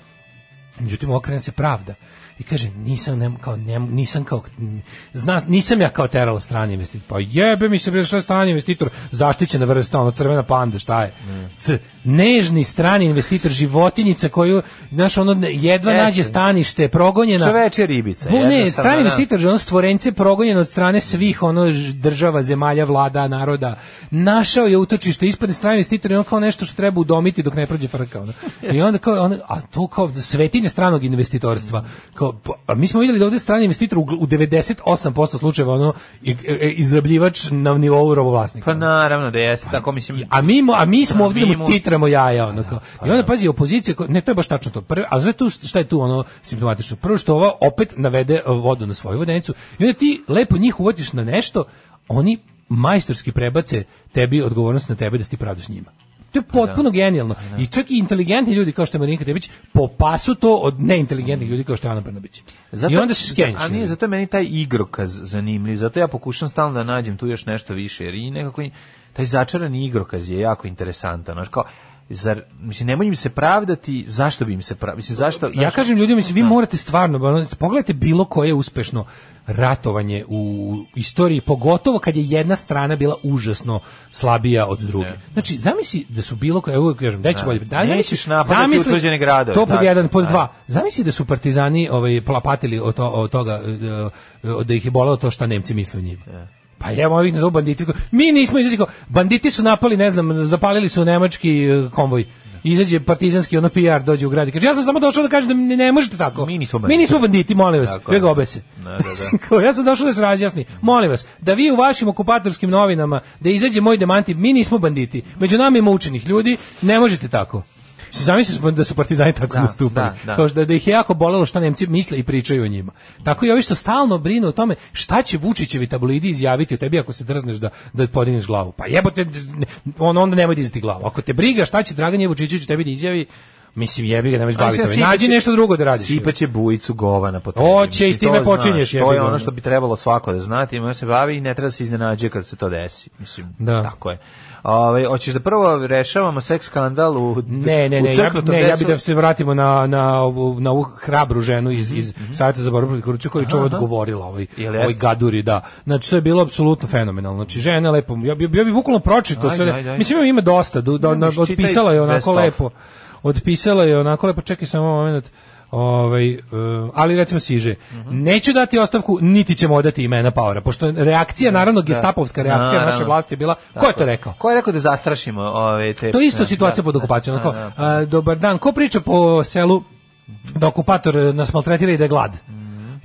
E: Međutim, okrene se pravda i kaže, nisam, nem, kao, nem, nisam kao, zna, nisam ja kao terala strani
F: Mm.
E: investitor. Pa jebe mi se, bre, šta je strani investitor, zaštićena vrsta, ono, crvena panda, šta je? C, nežni strani investitor životinjica koju znaš ono jedva
F: Jeste.
E: nađe stanište progonjena
F: Čoveče, ribica,
E: Bu, ne
F: jednostavno,
E: strani
F: da.
E: investitor ono stvorence progonjeno od strane svih ono ž- država zemalja vlada naroda našao je utočište ispred strani investitor i on kao nešto što treba udomiti dok ne prođe frka ono. i onda kao ono, a to kao svetinje stranog investitorstva kao pa, a mi smo vidjeli da ovde strani investitor u gl- u 98% slučajeva ono i- e, izrabljivač na nivou robovlasnika
F: Pa naravno da jeste, tako mislim.
E: a mi, mo- a mi smo
F: A
E: ovdje da
F: mi pa
E: mu
F: mu-
E: titramo jaja ono kao. I onda pazi opozicija, ko- ne to je baš tačno to. Prvo, a znaš tu šta je tu ono simptomatično? Prvo što ova opet navede e, vodu na svoju vodenicu i onda ti lepo njih uvodiš na nešto, oni majstorski prebace tebi odgovornost na tebe da si ti pravdaš njima. To je potpuno genijalno. I čak i inteligentni ljudi kao što je Marinka Tepić popasu to od neinteligentnih ljudi kao što je Ana Brnabić. I onda se skenjiš.
F: Mm. A nije, zato je meni taj igrokaz zanimljiv, zato ja pokušam stalno da nađem tu još nešto više, jer i nekako i- taj začarani igrokaz je jako interesantan, znaš, kao, zar, mislim, nemoj im se pravdati, zašto bi im se pravdati, mislim, zašto,
E: ja
F: znaš, ono-
E: kažem ljudima, mislim, vi morate stvarno, ono, pogledajte bilo koje uspešno ratovanje u istoriji, pogotovo kad je jedna strana bila užasno slabija od druge. Znači, zamisli da su bilo koje, evo uvijek kažem, da će bolje, da li
F: Nećeš
E: zamisliš-
F: napadati
E: zamisli-
F: utvrđene gradove,
E: To pod
F: tačno,
E: jedan, pod
F: da.
E: dva. Zamisli da su partizani ovaj, plapatili od, to, od toga, e, e, da ih je bolelo to šta Nemci misle o njima. Pa evo ovih nazovu banditi. Mi nismo izašli kao, banditi su napali, ne znam, zapalili su nemački e, konvoj. Izađe partizanski ono PR, dođe u grad i kaže, ja sam samo došao da kažem da ne, ne možete tako.
F: Mi nismo
E: Mi
F: banditi.
E: nismo banditi, molim vas,
F: Tako je.
E: vi ga obese.
F: Da, da, da.
E: Mislim, kao, ja sam došao da se razjasni. Molim vas, da vi u vašim okupatorskim novinama, da izađe moj demanti, mi nismo banditi. Među nama ima učenih ljudi, ne možete tako. Mislim, Zamisli da su partizani tako
F: Da,
E: nastupali.
F: da, da.
E: Kao da, da ih je jako bolelo šta Nemci misle i pričaju o njima. Tako i ovi što stalno brinu o tome šta će Vučićevi tabloidi izjaviti o tebi ako se drzneš da, da podigneš glavu. Pa jebote, ne- on onda nemoj dizati glavu. Ako te briga šta će Dragan Jevučićević tebi da izjavi, mislim jebi ga, nemoj se
F: Ali
E: baviti.
F: sad
E: ovim.
F: sipaće-
E: Nađi nešto drugo da radiš.
F: Sipaće bujicu govana po tebi.
E: Hoće,
F: mislim,
E: i s time
F: to znaš,
E: počinješ,
F: To
E: jebi
F: je
E: ga.
F: ono što bi trebalo svako da znati, ima se bavi i ne treba da se iznenađuje kad se to desi. Mislim,
E: Da.
F: tako je. Ove, hoćeš da prvo rešavamo seks skandal u
E: Ne, ne,
F: u
E: ne, ja,
F: crknutom
E: ne, ja
F: desu?
E: bih da se vratimo na, na, ovu, na ovu hrabru ženu iz, iz
F: Mhm,
E: Savjeta za borbu protiv korupcije koja je čovjek odgovorila ovoj,
F: Jel
E: ovoj
F: jeste?
E: gaduri, da. Znači, to je bilo apsolutno fenomenalno. Znači, žena lepo, ja bi, ja bi bukvalno pročitao
F: Ajde,
E: sve.
F: ajde, ajde.
E: Mislim, ima dosta, do, do,
F: Ne, ne, čitaj
E: otpisala je
F: best
E: onako
F: of.
E: lepo. Otpisala je onako lepo, čekaj samo moment. Ovaj, e, ali recimo siže.
F: Mhm.
E: Neću dati ostavku, niti ćemo odati imena Paura, pošto je reakcija, naravno, gestapovska reakcija
F: Naravno.
E: naše vlasti je bila, ko je to rekao?
F: Ko je rekao da zastrašimo ove te...
E: To je isto
F: da,
E: situacija
F: da,
E: pod okupacijom.
F: da,
E: Onako,
F: da, da.
E: a, dobar dan, ko priča po selu da okupator e, nas maltretira i da je glad?
F: Mhm.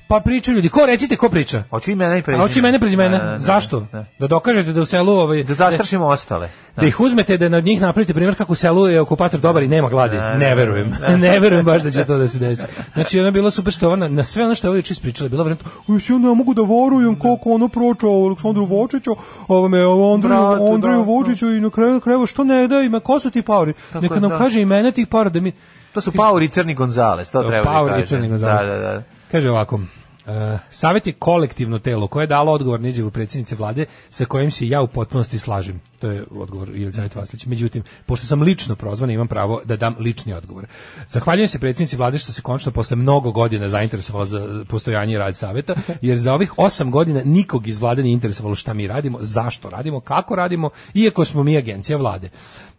E: Pa pričaju ljudi. Ko recite ko priča?
F: Hoću imena i
E: A
F: prezimena.
E: hoće imene prezimena.
F: Pa Da, da, da,
E: Zašto?
F: da.
E: Da dokažete da u selu ovaj
F: Da zastrašimo ostale. Da.
E: da ih uzmete da nad njih napravite primjer kako u selu je okupator dobar i nema gladi.
F: Da,
E: Ne
F: da,
E: verujem. ne verujem baš da će to da se desi. Znači ona je bilo super što ona na sve ono što je ovdje čist pričala, bila vremena, uj, ja ne mogu da verujem koliko ono proča o Aleksandru Vučiću, ovome o Andreju,
F: Bratu,
E: Andreju
F: bratu.
E: Vučiću i na kraju krajeva što ne da ima, ko su ti pauri?
F: Tako
E: Neka
F: je,
E: nam
F: da.
E: kaže imena tih para da mi...
F: To su Paur i Crni Gonzales, to treba da
E: Paur i
F: kažem.
E: Crni Gonzales.
F: Da, da, da.
E: Kaže ovako, e, Savjet je kolektivno telo koje je dalo odgovor na izjavu predsjednice vlade sa kojim se ja u potpunosti slažem. To je odgovor Jelisaveta Vasilić. Međutim, pošto sam lično prozvan, imam pravo da dam lični odgovor. Zahvaljujem se predsjednici vlade što se končno posle mnogo godina zainteresovala za postojanje i rad savjeta, jer za ovih osam godina nikog iz vlade nije interesovalo šta mi radimo, zašto radimo, kako radimo, iako smo mi agencija vlade.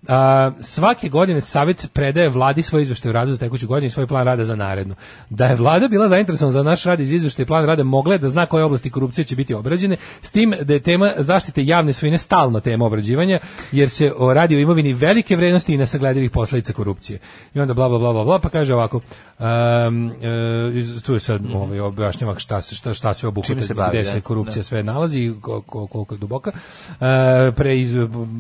E: A, svake godine savjet predaje vladi svoj izveštaj o radu za tekuću godinu i svoj plan rada za narednu. Da je vlada bila zainteresovana za naš rad iz izveštaja i plan rada, mogla je da zna koje oblasti korupcije će biti obrađene, s tim da je tema zaštite javne svojine stalno tema obrađivanja, jer se o- radi o imovini velike vrednosti i nesagledivih posledica korupcije. I onda bla bla bla bla, bla pa kaže ovako, um, e, iz- tu je sad ovaj, objašnjava šta, se- šta, šta sve obuhvata,
F: Mhm. Čime se bavi,
E: gde
F: da,
E: se korupcija
F: da.
E: sve nalazi i ko- ko- koliko je duboka. E, pre iz,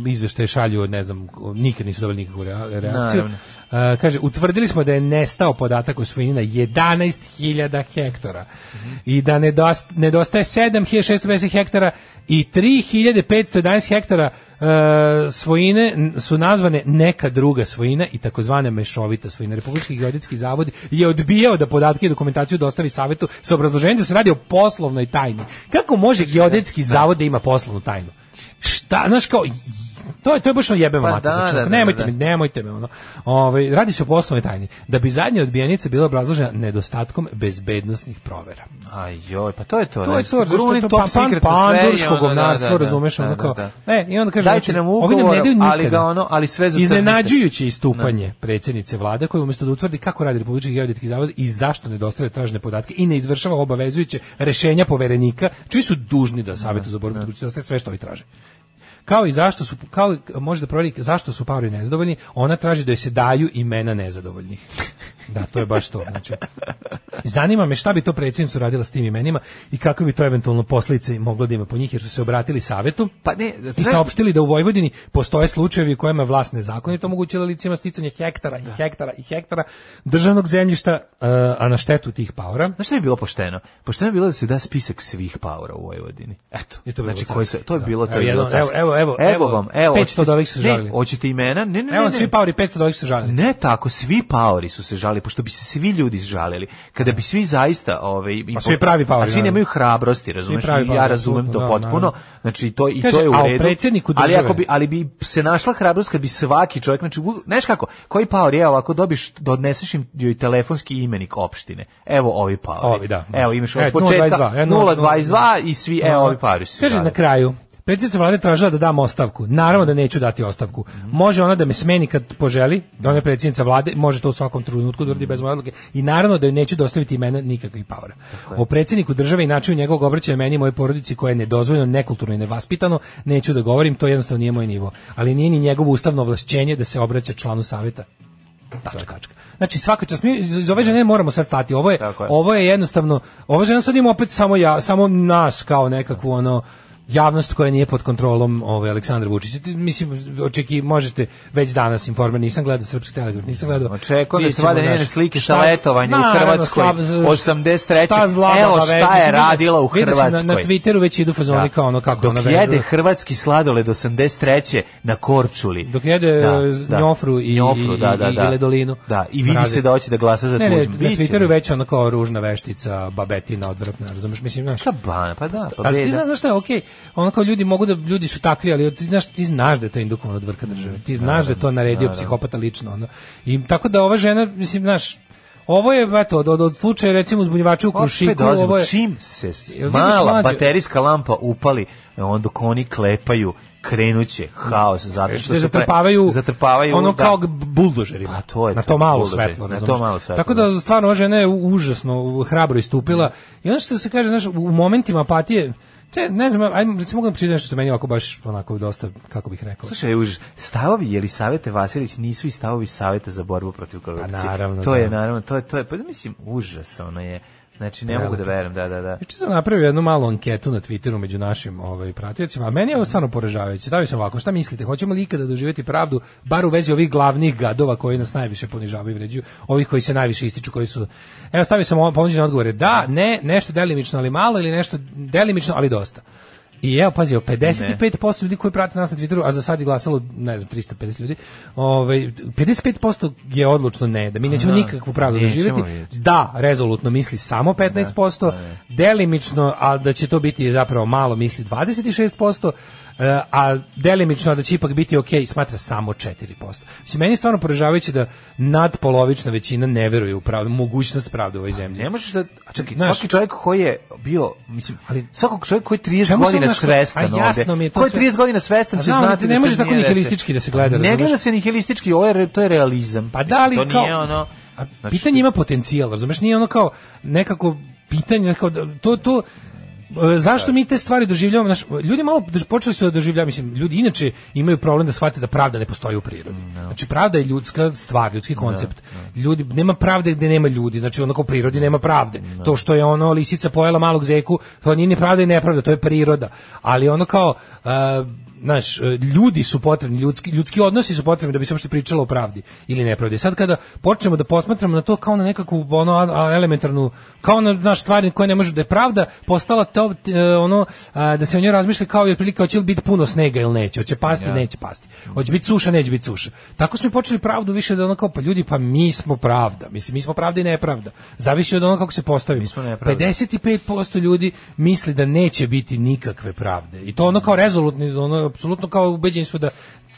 E: izveštaje šalju, ne znam, nikad nisu dobili nikakvu rea- reakciju.
F: Naravno.
E: E, kaže, utvrdili smo da je nestao podatak o svojini na 11.000 hektara i da nedost, nedostaje 7.650 hektara i 3.511 hektara e, svojine n- su nazvane neka druga svojina i takozvana mešovita svojina. Republički geodetski zavod je odbijao da podatke i dokumentaciju dostavi savetu sa obrazloženjem da se radi o poslovnoj
F: Znači,
E: tajni. Kako može geodetski zavod da ima poslovnu tajnu? Šta, znaš kao, To je to je baš ono jebemo
F: Pa
E: mater,
F: da,
E: znači,
F: da,
E: ono,
F: da,
E: nemojte
F: da, da.
E: me, nemojte me ono. Ovaj radi se o poslovnoj tajni da bi zadnja odbijenica bila obrazložena nedostatkom bezbednosnih provera.
F: Aj joj, pa to je to.
E: To je to,
F: Gruni,
E: zašto to
F: top
E: pa pan
F: secret, sve je
E: pandurskog
F: ono, da,
E: govnarstva,
F: da, da,
E: razumeš,
F: da,
E: ono
F: da,
E: kao,
F: da.
E: ne, i onda kaže,
F: Dajte
E: znači,
F: nam
E: ovi nam ne
F: ugovor,
E: daju
F: ali
E: nikada.
F: ga ono- ali sve zacrnite.
E: Iznenađujuće istupanje predsjednice vlade koja umjesto da utvrdi kako radi Republički geodetski zavod i zašto ne dostavlja tražene podatke i ne izvršava obavezujuće rešenja poverenika, čiji su dužni da savjetu za borbu protiv korupcije sve što ovi traže kao i zašto su kao i- može da proveri zašto su parovi nezadovoljni, ona traži da joj se daju imena nezadovoljnih. Da, to je baš to. Znači, zanima me šta bi to predsjednica radila s tim imenima i kakve bi to eventualno posljedice moglo da ima po njih, jer su se obratili savetu
F: Pa ne,
E: i
F: znaš-
E: saopštili da u Vojvodini postoje slučajevi u kojima je vlast nezakonito omogućila licima sticanje hektara i hektara i hektara državnog zemljišta, e, a na štetu tih paura.
F: Znaš šta bi bilo pošteno? Pošteno je bilo da se da spisak svih paura u Vojvodini. Eto.
E: I E, to bi bilo
F: znači,
E: carski.
F: koji se, to je
E: Da.
F: bilo, to
E: Evo
F: je bilo
E: jedno,
F: carski.
E: evo, evo, evo,
F: evo, vam, evo,
E: 500
F: hoćete-
E: od ovih su
F: Ne,
E: žalili.
F: hoćete imena? Ne, ne, ne.
E: Evo
F: ne,
E: svi pauri 500 do ovih se žalili.
F: Ne tako, svi paori su se žalili, pošto bi se svi ljudi žalili. Kada bi svi zaista... Ove,
E: Pa svi pravi paori,
F: A svi
E: naravno.
F: nemaju hrabrosti, razumeš?
E: pravi
F: I
E: paori,
F: ja razumem to
E: apsolutno, da,
F: potpuno.
E: naravno.
F: Znači, to, i
E: Kaže,
F: to je u
E: a o
F: redu.
E: predsjedniku
F: ali,
E: države?
F: ako bi, ali bi se našla hrabrost kad bi svaki čovjek... Znači, u- znaš kako, koji paor je ovako dobiš, odneseš im joj telefonski imenik opštine. Evo ovi paori.
E: Ovi, da.
F: Evo imaš
E: E,
F: od početka
E: 022, e,
F: 022 i svi, evo ovi paori su. se
E: Kaže
F: žalili.
E: na kraju, predsjednica vlade tražila da dam ostavku. Naravno da neću dati ostavku. Može ona da me smeni kad poželi, da ona je predsjednica vlade, može to u svakom trenutku da uradi bez moje odluke. I naravno da joj neću dostaviti imena nikakvih paura. O predsjedniku države i načinu njegovog obraćaja meni i moje porodici koje je nedozvoljeno, nekulturno i nevaspitano, neću da govorim, to jednostavno nije moj nivo. Ali nije ni njegovo ustavno ovlašćenje da se obraća članu savjeta. Tačka. tačka. Znači svaka čast mi iz iz ove žene moramo sad stati. Ovo je,
F: Tako je.
E: ovo je jednostavno ova žena sad ima opet samo ja, samo nas kao nekakvu ono javnost koja nije pod kontrolom ovaj Aleksandra Vučića. Ti, Mislim očeki možete već danas informer nisam gledao srpski telegraf, nisam gledao.
F: Očekujem da
E: Vidjet
F: se
E: ćemo,
F: vade njene
E: znaš,
F: slike sa
E: šta-
F: letovanja u
E: Naravno,
F: Hrvatskoj,
E: slab- z-
F: 83..
E: šta zlaba
F: Evo
E: da
F: šta
E: veze.
F: je
E: Mislim, vidio-
F: radila u
E: vidio sam Na, na
F: Hrvatskoj.
E: Twitteru već idu fazoni
F: Da.
E: kao ono kako
F: Dok
E: ona
F: jede
E: vezuje.
F: hrvatski sladoled 83. na Korčuli.
E: Dok jede z- njofru i- i- i- i ledolinu.
F: Da, i vidi
E: Mraze.
F: se da hoće da glasa za
E: Ne, ne,
F: Tuđman.
E: na
F: Biće,
E: Twitteru
F: ne.
E: već ono kao ružna veštica, babetina, odvratna, razumeš, mislim, znaš.
F: Šta bana, pa da, pa
E: Ali ti
F: beda.
E: znaš, znaš šta, okej, ono kao ljudi mogu da, ljudi su takvi, ali ti znaš, ti znaš da je to indukovano od vrka države, ti znaš da je to naredio psihopata lično, ono. I tako da ova žena, mislim, znaš, ovo je, eto, od, od, od slučaja, recimo, uzbunjivača u
F: Pa, Opet
E: Krušiku,
F: dolazimo,
E: ovo je...
F: čim se s-
E: Jel vidiš,
F: mala
E: mlađe?
F: baterijska lampa upali, onda dok oni klepaju, krenuće haos, zato što
E: da
F: se
E: E,
F: pre-
E: zatrpavaju,
F: zatrpavaju
E: ono
F: da.
E: kao g- buldožerima.
F: Pa to je
E: na
F: to,
E: to malo
F: buldožeri,
E: svetlo.
F: na
E: razumeš?
F: to malo svetlo,
E: Tako
F: da.
E: da stvarno ova žena je užasno hrabro istupila. I ono što se kaže, znaš, u momentima apatije, te, ne znam, ajmo, recimo mogu da priznam što meni ovako baš onako dosta, kako bih rekao.
F: Slušaj, už, stavovi Jelisavete Vasilić nisu i stavovi Saveta za borbu protiv korupcije.
E: Pa naravno,
F: To je,
E: da.
F: naravno, to je, to je, pa da mislim, užas, ono je, znači, ne mogu da
E: Prelepo.
F: verujem, da, da, da.
E: Juče sam napravio jednu malu anketu na Twitteru među našim ovaj pratiocima, a meni je ovo stvarno poražavajuće. Stavio sam ovako, šta mislite, hoćemo li ikada doživjeti pravdu bar u vezi ovih glavnih gadova koji nas najviše ponižavaju i vređuju, ovih koji se najviše ističu, koji su Evo stavio sam ovo- ponuđene odgovore. Da, ne, nešto delimično, ali malo ili nešto delimično, ali dosta. I evo, pazi, evo, 55% ljudi koji prate nas na Twitteru, a za sad je glasalo, ne znam, 350 ljudi, ovaj, 55% je odlučno ne, da mi nećemo nikakvu pravdu
F: nećemo
E: doživjeti,
F: vidjeti.
E: da, rezolutno misli samo 15%, delimično, a da će to biti zapravo malo misli 26%, e, a delimično da će ipak biti ok, smatra samo 4%. Mislim, meni je stvarno poražavajuće da nadpolovična većina ne veruje u pravdu, mogućnost pravde u ovoj zemlji.
F: Ne možeš da, a čekaj,
E: Znaš-
F: svaki čovjek koji je bio, mislim, ali
E: Ali-
F: svakog čovjek koji je 30
E: Čemu se
F: godina
E: znaš-
F: svestan
E: a jasno mi
F: ovde,
E: je to
F: koji je
E: sve.
F: 30 godina svestan
E: A
F: će
E: znam, ali
F: znati
E: ti ne
F: da
E: možeš
F: Srbija
E: tako
F: nije
E: nihilistički da se gleda,
F: Ne
E: razumeš?
F: gleda se nihilistički, ovo je, re- to je realizam.
E: Pa da li
F: Mislim, to
E: kao...
F: nije ono,
E: a
F: znači,
E: pitanje ima potencijal, razumeš? Nije ono kao nekako pitanje, kao da- to, to, e, zašto mi te stvari doživljavamo? Znaš, ljudi malo dož- počeli su da doživljavaju, mislim, ljudi inače imaju problem da shvate da pravda ne postoji u prirodi. Znači, pravda je ljudska stvar, ljudski koncept. Ljudi, nema pravde gde nema ljudi, znači onako u prirodi nema pravde. To što je ono lisica pojela malog zeku, to nije ni pravda i nepravda, to je priroda. Ali ono kao, e, znaš, e, ljudi su potrebni, ljudski, ljudski odnosi su potrebni da bi se uopšte pričalo o pravdi ili nepravdi. Sad kada počnemo da posmatramo na to kao na nekakvu ono a- a- elementarnu, kao na naš stvari koje ne može da je pravda, postala to e, ono a, da se o njoj razmišlja kao je otprilike hoće li biti puno snega ili neće, hoće pasti, neće pasti. Hoće biti suša, neće biti suša. Tako smo i počeli pravdu više da ono kao pa ljudi pa mi smo pravda, mislim mi smo pravda i nepravda. Zavisi od onoga kako se postavimo.
F: Mi smo nepravda.
E: 55% ljudi misli da neće biti nikakve pravde. I to ono kao rezolutni, ono apsolutno kao ubeđeni su da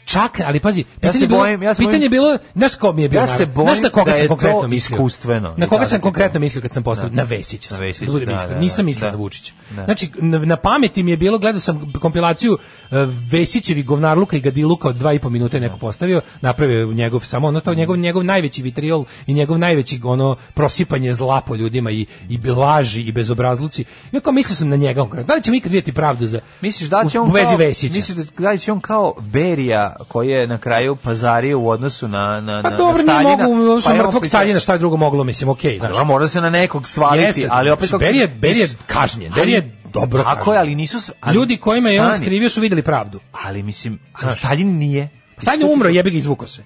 E: čak, ali pazi, pitanje,
F: se
E: je bilo,
F: bojim- ja se
E: pitanje
F: bojim-
E: je bilo, znaš ko mi je bio
F: Ja
E: nar-
F: se bojim
E: znaš na koga
F: da
E: sam
F: je to
E: konkretno mislio?
F: iskustveno.
E: Na
F: I
E: koga
F: tako
E: sam
F: ti
E: konkretno
F: kažem.
E: mislio kad sam postavio?
F: Da.
E: Na Vesića. sam,
F: Na Vesića,
E: da budem
F: da,
E: iskren.
F: da, da.
E: Nisam mislio
F: Da.
E: na Vučića.
F: Da.
E: Znači, na, na pameti mi je bilo, gledao sam kompilaciju e, Vesićevi govnarluka i gadiluka od dva i po minuta je neko postavio, napravio je njegov samo ono to, njegov, njegov najveći vitriol i njegov najveći ono prosipanje zla po ljudima i, i laži i bezobrazluci. Ja kao mislio sam na njega. konkretno. Da li ćemo ikad vidjeti pravdu za
F: Misliš da će
E: u-
F: on
E: u vezi
F: kao,
E: Vesića?
F: misliš da, da će on kao Berija koji je na kraju pazario u odnosu na na
E: Pa
F: na,
E: dobro,
F: na
E: nije
F: Staljina. Pa
E: mogu, u odnosu
F: je
E: na
F: on
E: mrtvog
F: pričao-
E: Staljina, šta je drugo moglo, mislim, okej,
F: Ali
E: znaš.
F: on mora se na nekog svaliti,
E: Jeste,
F: ali opet
E: mislim, Beri je- Beri je kažnjen, Beri je dobro
F: Ako je,
E: kažnjen.
F: ali nisu s- ali,
E: Ljudi kojima je on
F: stani.
E: skrivio su videli pravdu.
F: ali mislim, ali Staljin nije.
E: Stalin je umro, jebi ga izvuko se.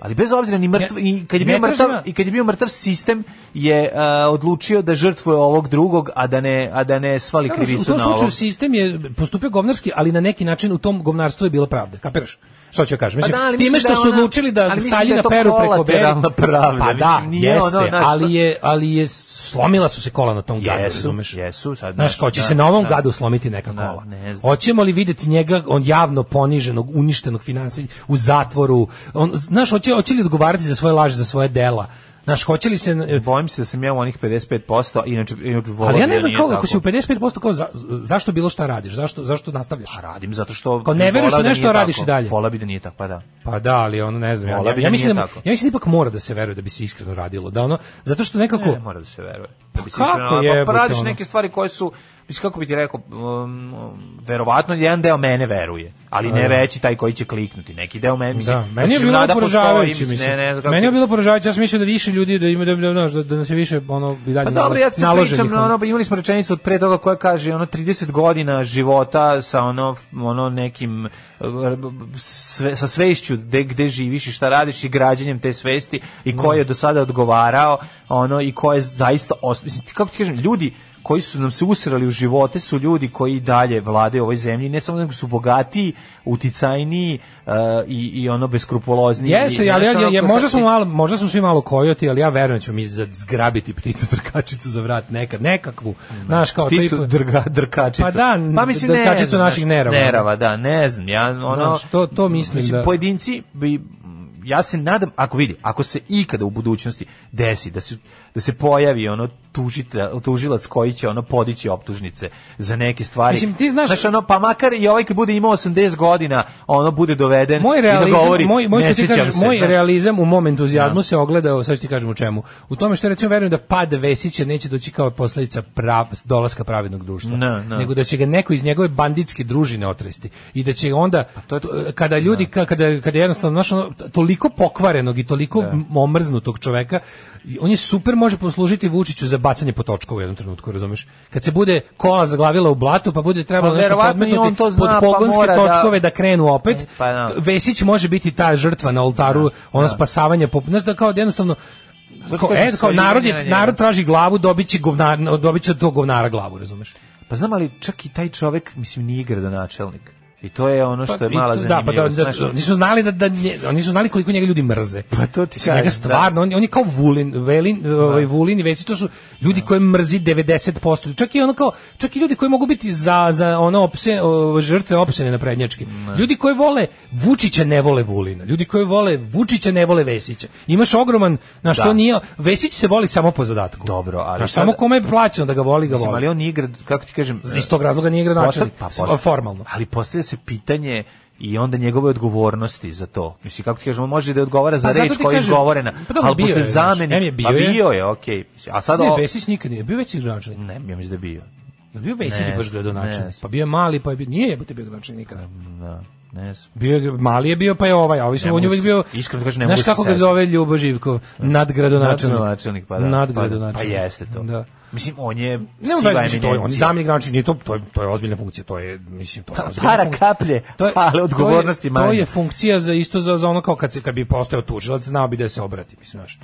F: Ali bez obzira ni mrtav
E: Ne-
F: i kad je
E: ne
F: bio mrtav
E: tražim ja.
F: i kad je bio mrtav sistem je a, odlučio da žrtvuje ovog drugog, a da ne a da ne svali
E: Naravno, u
F: krivicu
E: tom
F: na
E: slučaju
F: ovog.
E: sistem je postupio govnarski, ali na neki način u tom govnarstvu je bilo pravde. Kapiraš? Što ću ja kažem? Mislim,
F: Pa da, ali
E: time
F: mislim
E: što
F: da
E: su
F: ona-
E: odlučili
F: ali
E: da
F: mislim da je
E: Staljina
F: to
E: peru preko Beri.
F: kolateralna pravda,
E: Pa da,
F: mislim, nije ono,
E: jeste,
F: znaš,
E: ali je, ali je, slomila su se kola na tom gadu,
F: Jesu,
E: razumeš?
F: jesu, sad,
E: Znaš,
F: znaš,
E: kao će
F: da,
E: se na ovom
F: da.
E: gadu slomiti neka
F: Da,
E: kola.
F: ne znam.
E: Hoćemo li vidjeti njega, on javno poniženog, uništenog finansij, u zatvoru, on, znaš, hoće, hoće li odgovarati za svoje laži, za svoje dela? Znaš, hoće li se,
F: Bojim se da sam ja u onih 55%, inače inače volao
E: ali ja
F: bi
E: ne
F: da
E: znam
F: nije
E: kako,
F: tako.
E: ako si u 55% kao za, zašto bilo šta radiš, zašto, zašto nastavljaš?
F: A Pa radim zato
E: Kao
F: što
E: Pa ne veruješ u
F: volao da
E: nešto,
F: nije
E: radiš
F: tako.
E: i dalje.
F: Vola bi da nije tako, pa da.
E: Pa da, ali ono ne znam, ja,
F: Volao
E: ja,
F: bi
E: ja
F: da
E: mislim da,
F: nije
E: mo-
F: tako.
E: ja mislim da ipak mora da se veruje da bi se iskreno radilo, da ono, zato što nekako,
F: Ne, mora da se veruje. Da
E: Pa
F: bi se
E: kako
F: iskreno-
E: jebote,
F: pa radiš
E: ono?
F: neke stvari koje su Mislim, kako bi ti rekao, um, verovatno jedan deo mene veruje, ali ne veći taj koji će kliknuti. Neki deo mene, mislim,
E: da, meni je
F: znači,
E: bilo
F: nada postoji,
E: poražavajuće,
F: mislim,
E: mislim,
F: ne, ne znam kako-
E: meni je bilo poražavajuće, ja sam mislio da više ljudi, da ima, da, da, da, da nas je više, ono, i dalje
F: Pa dobro, ja se
E: naloženih,
F: pričam, na
E: ono.
F: ono, imali smo rečenicu od pre toga koja kaže ono 30 godina života sa ono ono nekim eh, sve, sa svešću gde, gde živiš i šta radiš i građenjem te svesti i ko je do sada odgovarao ono i ko je zaista os- mislim ti- kako ti kažem ljudi koji su nam se usrali u živote su ljudi koji i dalje vladaju ovoj zemlji ne samo nego su bogatiji, uticajniji eh, i, i ono beskrupulozniji. I,
E: Jeste, ali ja,
F: znaš,
E: ja,
F: ono,
E: ja,
F: ko
E: možda
F: sad
E: smo
F: ti-
E: malo, možda smo svi malo kojoti, ali ja verujem da ćemo mi za- zgrabiti pticu trkačicu za vrat nekad, nekakvu. Znaš, kao to
F: Mm. pticu
E: ipak-
F: drga, drkačicu.
E: Pa da,
F: ne
E: drkačicu
F: znam,
E: naših nerava.
F: Nerava, da, ne znam. Ja, ono,
E: Znaš, to- to mislim da-
F: Pojedinci bi, ja se nadam, ako vidi, ako se ikada u budućnosti desi da se da se pojavi ono tužita, tužilac koji će ono podići optužnice za neke stvari.
E: Mislim, ti znaš-
F: ono, pa makar i ovaj kad bude imao 80 godina, ono bude doveden
E: moj
F: i da
E: realizam,
F: govori,
E: moj, moj,
F: ne
E: što ti
F: sjećam
E: kažeš,
F: se,
E: moj
F: znaš.
E: realizam u mom entuzijazmu se ogleda, sad ću ti kažem u čemu, u tome što recimo verujem da pad Vesića neće doći kao posljedica prav, dolaska pravednog društva,
F: Ne, ne.
E: nego da će ga neko iz njegove banditske družine otresti i da će onda,
F: Pa to je-
E: t- kada ljudi, ka- kada, kada je jednostavno znaš, ono, t- toliko pokvarenog i toliko m- omrznutog čoveka, i on je super može poslužiti Vučiću za bacanje po točku u jednom trenutku, razumeš? Kad se bude kola zaglavila u blatu, pa bude trebalo
F: Pa
E: nešto
F: verovatno i on
E: podmetnuti
F: to zna,
E: pod
F: pa
E: pogonske
F: mora da-
E: točkove da krenu opet,
F: E, pa da.
E: Vesić može biti ta žrtva na oltaru, ono spasavanje, pop... znaš da kao jednostavno Kao,
F: kažem,
E: e, kao
F: sve
E: narod,
F: ide na
E: je,
F: njega.
E: narod traži glavu, dobit će, govnar, dobit će od tog govnara glavu, razumeš?
F: Pa znam, ali čak i taj čovek, mislim, nije gradonačelnik. I to je ono što je
E: i-
F: mala
E: da, pa da,
F: zanimljivost.
E: da,
F: znaš, ono-
E: nisu znali da, da nje- oni nisu znali koliko njega ljudi mrze.
F: Pa to ti
E: Mislim, njega
F: kažem, da.
E: stvarno, on, on je kao Vulin, Velin, ovaj Vulin i Vesić, to su ljudi koje mrzi 90%. Čak i ono kao, čak i ljudi koji mogu biti za za ono opse, o, žrtve opsene na prednjački. Ljudi koji vole Vučića ne vole Vulina. Ljudi koji vole Vučića ne vole Vesića. Imaš ogroman, na što
F: Da.
E: nije Vesić se voli samo po zadatku.
F: Dobro, ali
E: Znaš,
F: sada-
E: samo kome je plaćeno da ga voli, ga
F: Mislim, ali
E: voli.
F: on igra, kako ti kažem...
E: Iz tog razloga nije gradonačelnik,
F: Posta- posta-
E: formalno.
F: Ali postavlja se pitanje i onda njegove odgovornosti za to. Mislim, kako ti kažem, on može da odgovara za
E: Pa zato
F: reč
E: ti
F: koja je
E: kažem,
F: izgovorena,
E: pa dobro,
F: ali
E: bio
F: posle
E: je, znaš,
F: zameni...
E: em je bio
F: pa
E: je.
F: bio je, okej. mislim, A sad...
E: Ne,
F: o-
E: Vesić nikad nije bio već gradonačelnik.
F: Ne, ja mislim da je bio.
E: Jel bio Vesić
F: Ne
E: baš
F: znam, ne
E: gradonačelnik?
F: znam.
E: Pa bio je mali, pa je bio, nije jebote bio gradonačelnik nikada.
F: Da, ne znam.
E: Bio je, mali je bio, pa je ovaj, a ovi
F: Ne
E: su, on
F: mogu
E: je uvijek
F: se-
E: bio,
F: iskreno kažem, ne mogu
E: znaš
F: se
E: kako ga
F: setiti.
E: zove Ljubo Živkov, nadgradonačelnik.
F: Nadgradonačelnik, pa da. Pa,
E: Nadgradonačelnik.
F: da, pa jeste to.
E: Da.
F: Mislim, on je
E: Ne
F: siva
E: veze, mislim, to je, on je
F: eminencija.
E: zamjenik gradonačelnika, nije to, to je, to je ozbiljna funkcija, to je, mislim, to je ozbiljna
F: Pa para
E: funkcija.
F: kaplje, ali odgovornosti
E: to je, to
F: manje.
E: je funkcija za isto za, za ono kao kad, se, kad bi postao tužilac, znao bi da se obrati, mislim, znaš.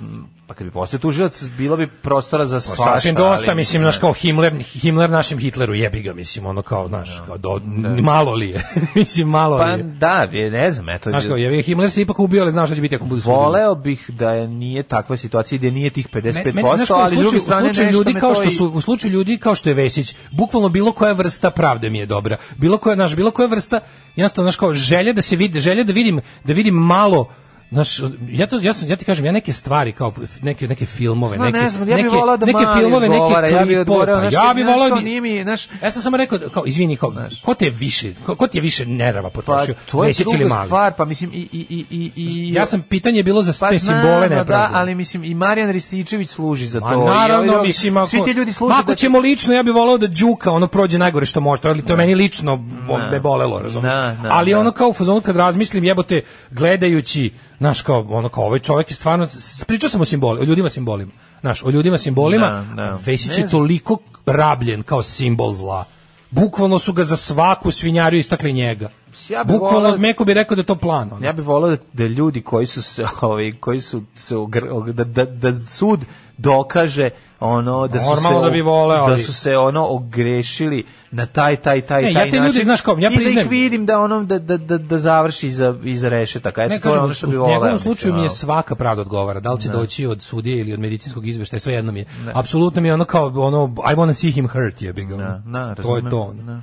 F: Pa kad bi postao tužilac, bilo bi prostora za
E: Pa,
F: svašta.
E: Sasvim dosta,
F: ali-
E: mislim,
F: ne.
E: znaš, kao Himmler, Himmler našem Hitleru, jebi ga, mislim, ono kao, znaš, kao do, n- malo li je, mislim, malo
F: Pa
E: li je.
F: da, je, ne znam, eto.
E: Znaš kao, jebi ga, Himmler se ipak ubio, ali znaš šta će biti ako budu sudili.
F: Voleo bih da nije takva situacija i da nije tih 55%,
E: znaš kao, u
F: ali s druge
E: slučaju- u
F: strane
E: slučaju
F: nešto
E: ljudi
F: me
E: kao
F: to
E: što su u slučaju ljudi kao što je Vesić, bukvalno bilo koja vrsta pravde mi je dobra. Bilo koja naš, bilo koja vrsta, jednostavno naš kao želja da se vidi, želja da vidim, da vidim malo Znaš, ja, to, ja, sam- ja ti kažem, ja neke stvari, kao neke, neke filmove,
F: Ma,
E: neke,
F: ne znam, ja bih
E: neke,
F: volao da
E: neke
F: Mali
E: filmove, neke
F: odgovara, ja bih
E: klipove,
F: odgovarao,
E: pa
F: znaš,
E: ja
F: kao-
E: bih
F: znaš,
E: volao
F: kao
E: bi-
F: nije mi, znaš-
E: ja sam samo rekao, kao, izvini, kao, ko te je više, ko, ko ti je više nerva potrošio,
F: pa to je
E: Vesić ili
F: druga
E: Mali?
F: stvar, pa mislim i i i i i
E: Ja sam pitanje je bilo za
F: pa
E: te
F: znam,
E: simbole
F: no da,
E: nepravde.
F: ali mislim i Marijan Rističević služi za to.
E: Ma
F: i ovi
E: naravno,
F: drugi.
E: mislim, ako,
F: svi ti ljudi služe
E: Ma, ako
F: da
E: ćemo lično, ja bih volao da Đuka ono prođe najgore što može, to, ali to je meni lično bo-
F: Ne.
E: me bolelo, razumiješ?
F: Ne, ne,
E: ali
F: ne.
E: ono kao u fazonu kad razmislim, jebote, gledajući, znaš, kao, ono kao, ovaj čovjek je stvarno, s- pričao sam o simboli, o ljudima simbolima, znaš, o ljudima simbolima,
F: Ne, ne.
E: a Vesić
F: Ne
E: je
F: znam.
E: toliko rabljen kao simbol zla. Bukvalno su ga za svaku svinjariju istakli njega.
F: Ja bih
E: Bukvalno,
F: volao-
E: Meko bi rekao da je to plan. ono.
F: Ja bih volao da, da ljudi koji su se, ovaj, koji su se ogr- og- da, da, da sud dokaže ono da su
E: Normalno
F: se
E: da bi voleo,
F: da
E: ali-
F: su se ono ogrešili na taj taj taj
E: Ne, ja
F: taj
E: te
F: način.
E: ljude, znaš kao, ja
F: I da
E: priznajem-
F: ih vidim da onom da da da, da završi iza iza rešetaka. Eto
E: Ne
F: to je
E: kažem,
F: ono što bi
E: u
F: voleo.
E: njegovom
F: mislim,
E: slučaju mi je
F: ono.
E: svaka pravda odgovara, da li će doći od sudije ili od medicinskog izveštaja, sve jedno mi je. Apsolutno mi je ono kao ono I wanna see him hurt, je big.
F: Da, da,
E: to je
F: razumem, Znači,
E: to. ono.
F: da.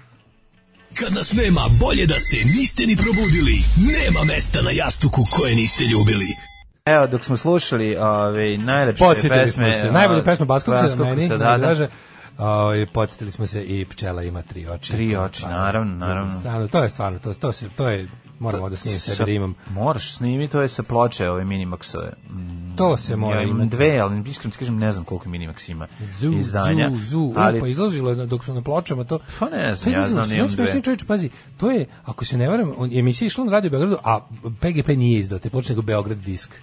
K: Kad nas nema, bolje da se niste ni probudili. Nema mesta na jastuku koje niste ljubili.
F: Evo dok smo slušali ove najlepše
E: Podsjetili smo
F: pesme,
E: se. Najbolje
F: a,
E: pesma Baskovca,
F: Baskovca,
E: meni,
F: da,
E: da,
F: da.
E: kaže. Ovaj, podsjetili smo se i pčela ima tri oči.
F: Tri oči,
E: Pa,
F: naravno,
E: s druge
F: naravno.
E: strane, to je stvarno, to, to, se, to je, moramo da snijem
F: Sa-
E: sebe da imam.
F: Moraš snimi, to je sa ploče ove Minimaxove. Mm,
E: To se mora
F: ja imam
E: imati.
F: dve, ali iskreno ti kažem ne znam koliko Minimax ima
E: Zu,
F: izdanja.
E: zu, zu. U,
F: ali
E: pa izlazilo je na- dok su na pločama to.
F: Pa ne znam,
E: To je
F: ja
E: izlazilo,
F: znam,
E: su
F: imam
E: najsmešniji
F: dve.
E: čovječe, pazi, to je, ako se ne varam, on, emisija je išla na Radio Beogradu, a PGP nije izdao te ploče, nego Beograd disk.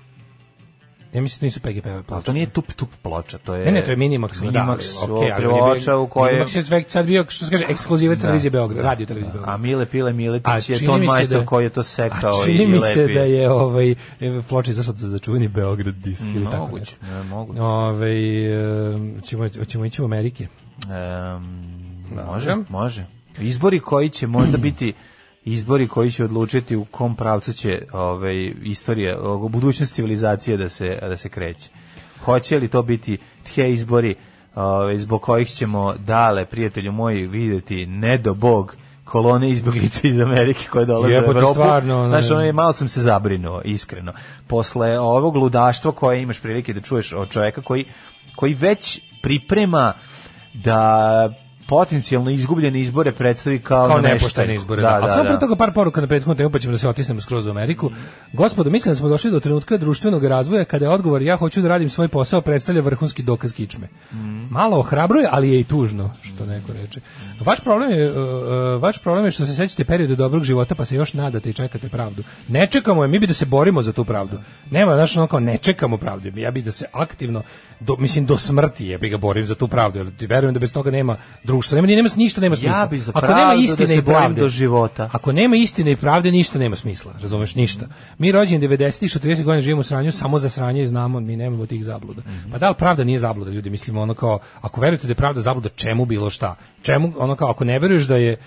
E: Ja mislim da nisu PGP
F: ali
E: ploče.
F: Pa to nije tup tup ploča, to je
E: Ne, ne, to je Minimax. da, ali,
F: Minimax,
E: okej,
F: okay,
E: ali on je
F: ploča
E: bio-
F: u kojoj
E: Minimax je sve- sad bio, što se kaže, ekskluzivac
F: Da.
E: televizije Beograd, radio televizije
F: A
E: Beograd.
F: Mile Pile Miletić
E: A
F: je
E: čini
F: ton
E: mi se
F: majstor
E: da-
F: koji je to
E: A
F: sekao i
E: čini
F: i
E: mi se
F: lepio.
E: da je ovaj, evo, ploča izašla za začuveni Beograd disk ili tako
F: Moguće,
E: nešto.
F: ne, moguće.
E: Ove, ćemo, ćemo ići u Amerike.
F: Em,
E: Dobro.
F: može, može. Izbori koji će možda biti izbori koji će odlučiti u kom pravcu će ovaj istorija, o- budućnost civilizacije da se da se kreće. Hoće li to biti tje izbori ovaj, zbog kojih ćemo dale prijatelju moji videti ne do bog kolone izbjeglica iz Amerike koje dolaze u
E: Jebote,
F: Evropu.
E: stvarno, ono-
F: Znaš, ono je, malo sam se zabrinuo, iskreno. Posle ovog ludaštva koje imaš prilike da čuješ od čoveka koji, koji već priprema da potencijalno izgubljene izbore predstavi kao,
E: kao
F: neštaju.
E: nepoštene izbore. Da, da, A samo pre toga par poruka na prethodnu temu, pa ćemo da se otisnemo skroz u Ameriku. Gospodo, mislim da smo došli do trenutka društvenog razvoja kada je odgovor ja hoću da radim svoj posao predstavlja vrhunski dokaz kičme. Malo ohrabruje, ali je i tužno, što neko reče. Vaš problem je, uh, uh, vaš problem je što se sećate perioda dobrog života pa se još nadate i čekate pravdu. Ne čekamo je, mi bi da se borimo za tu pravdu. Nema, znaš, ono kao ne čekamo pravdu. Ja bi da se aktivno, do, mislim, do smrti je bi ga borim za tu pravdu, jer verujem da bez toga nema društva, nema, nema, ništa nema smisla.
F: Ja bi za
E: Ako
F: pravdu
E: nema
F: da
E: istine
F: se
E: i
F: borim
E: pravde,
F: do života.
E: Ako nema istine i pravde, ništa nema smisla, razumeš, ništa. Mi rođeni 90-ih, što 30 godina živimo u sranju, samo za sranje i znamo, mi nemamo tih zabluda. Pa da li pravda nije zabluda, ljudi, mislimo ono kao, ako verujete da je pravda zabluda, čemu bilo šta? Čemu, ono kao, ako ne veruješ da je,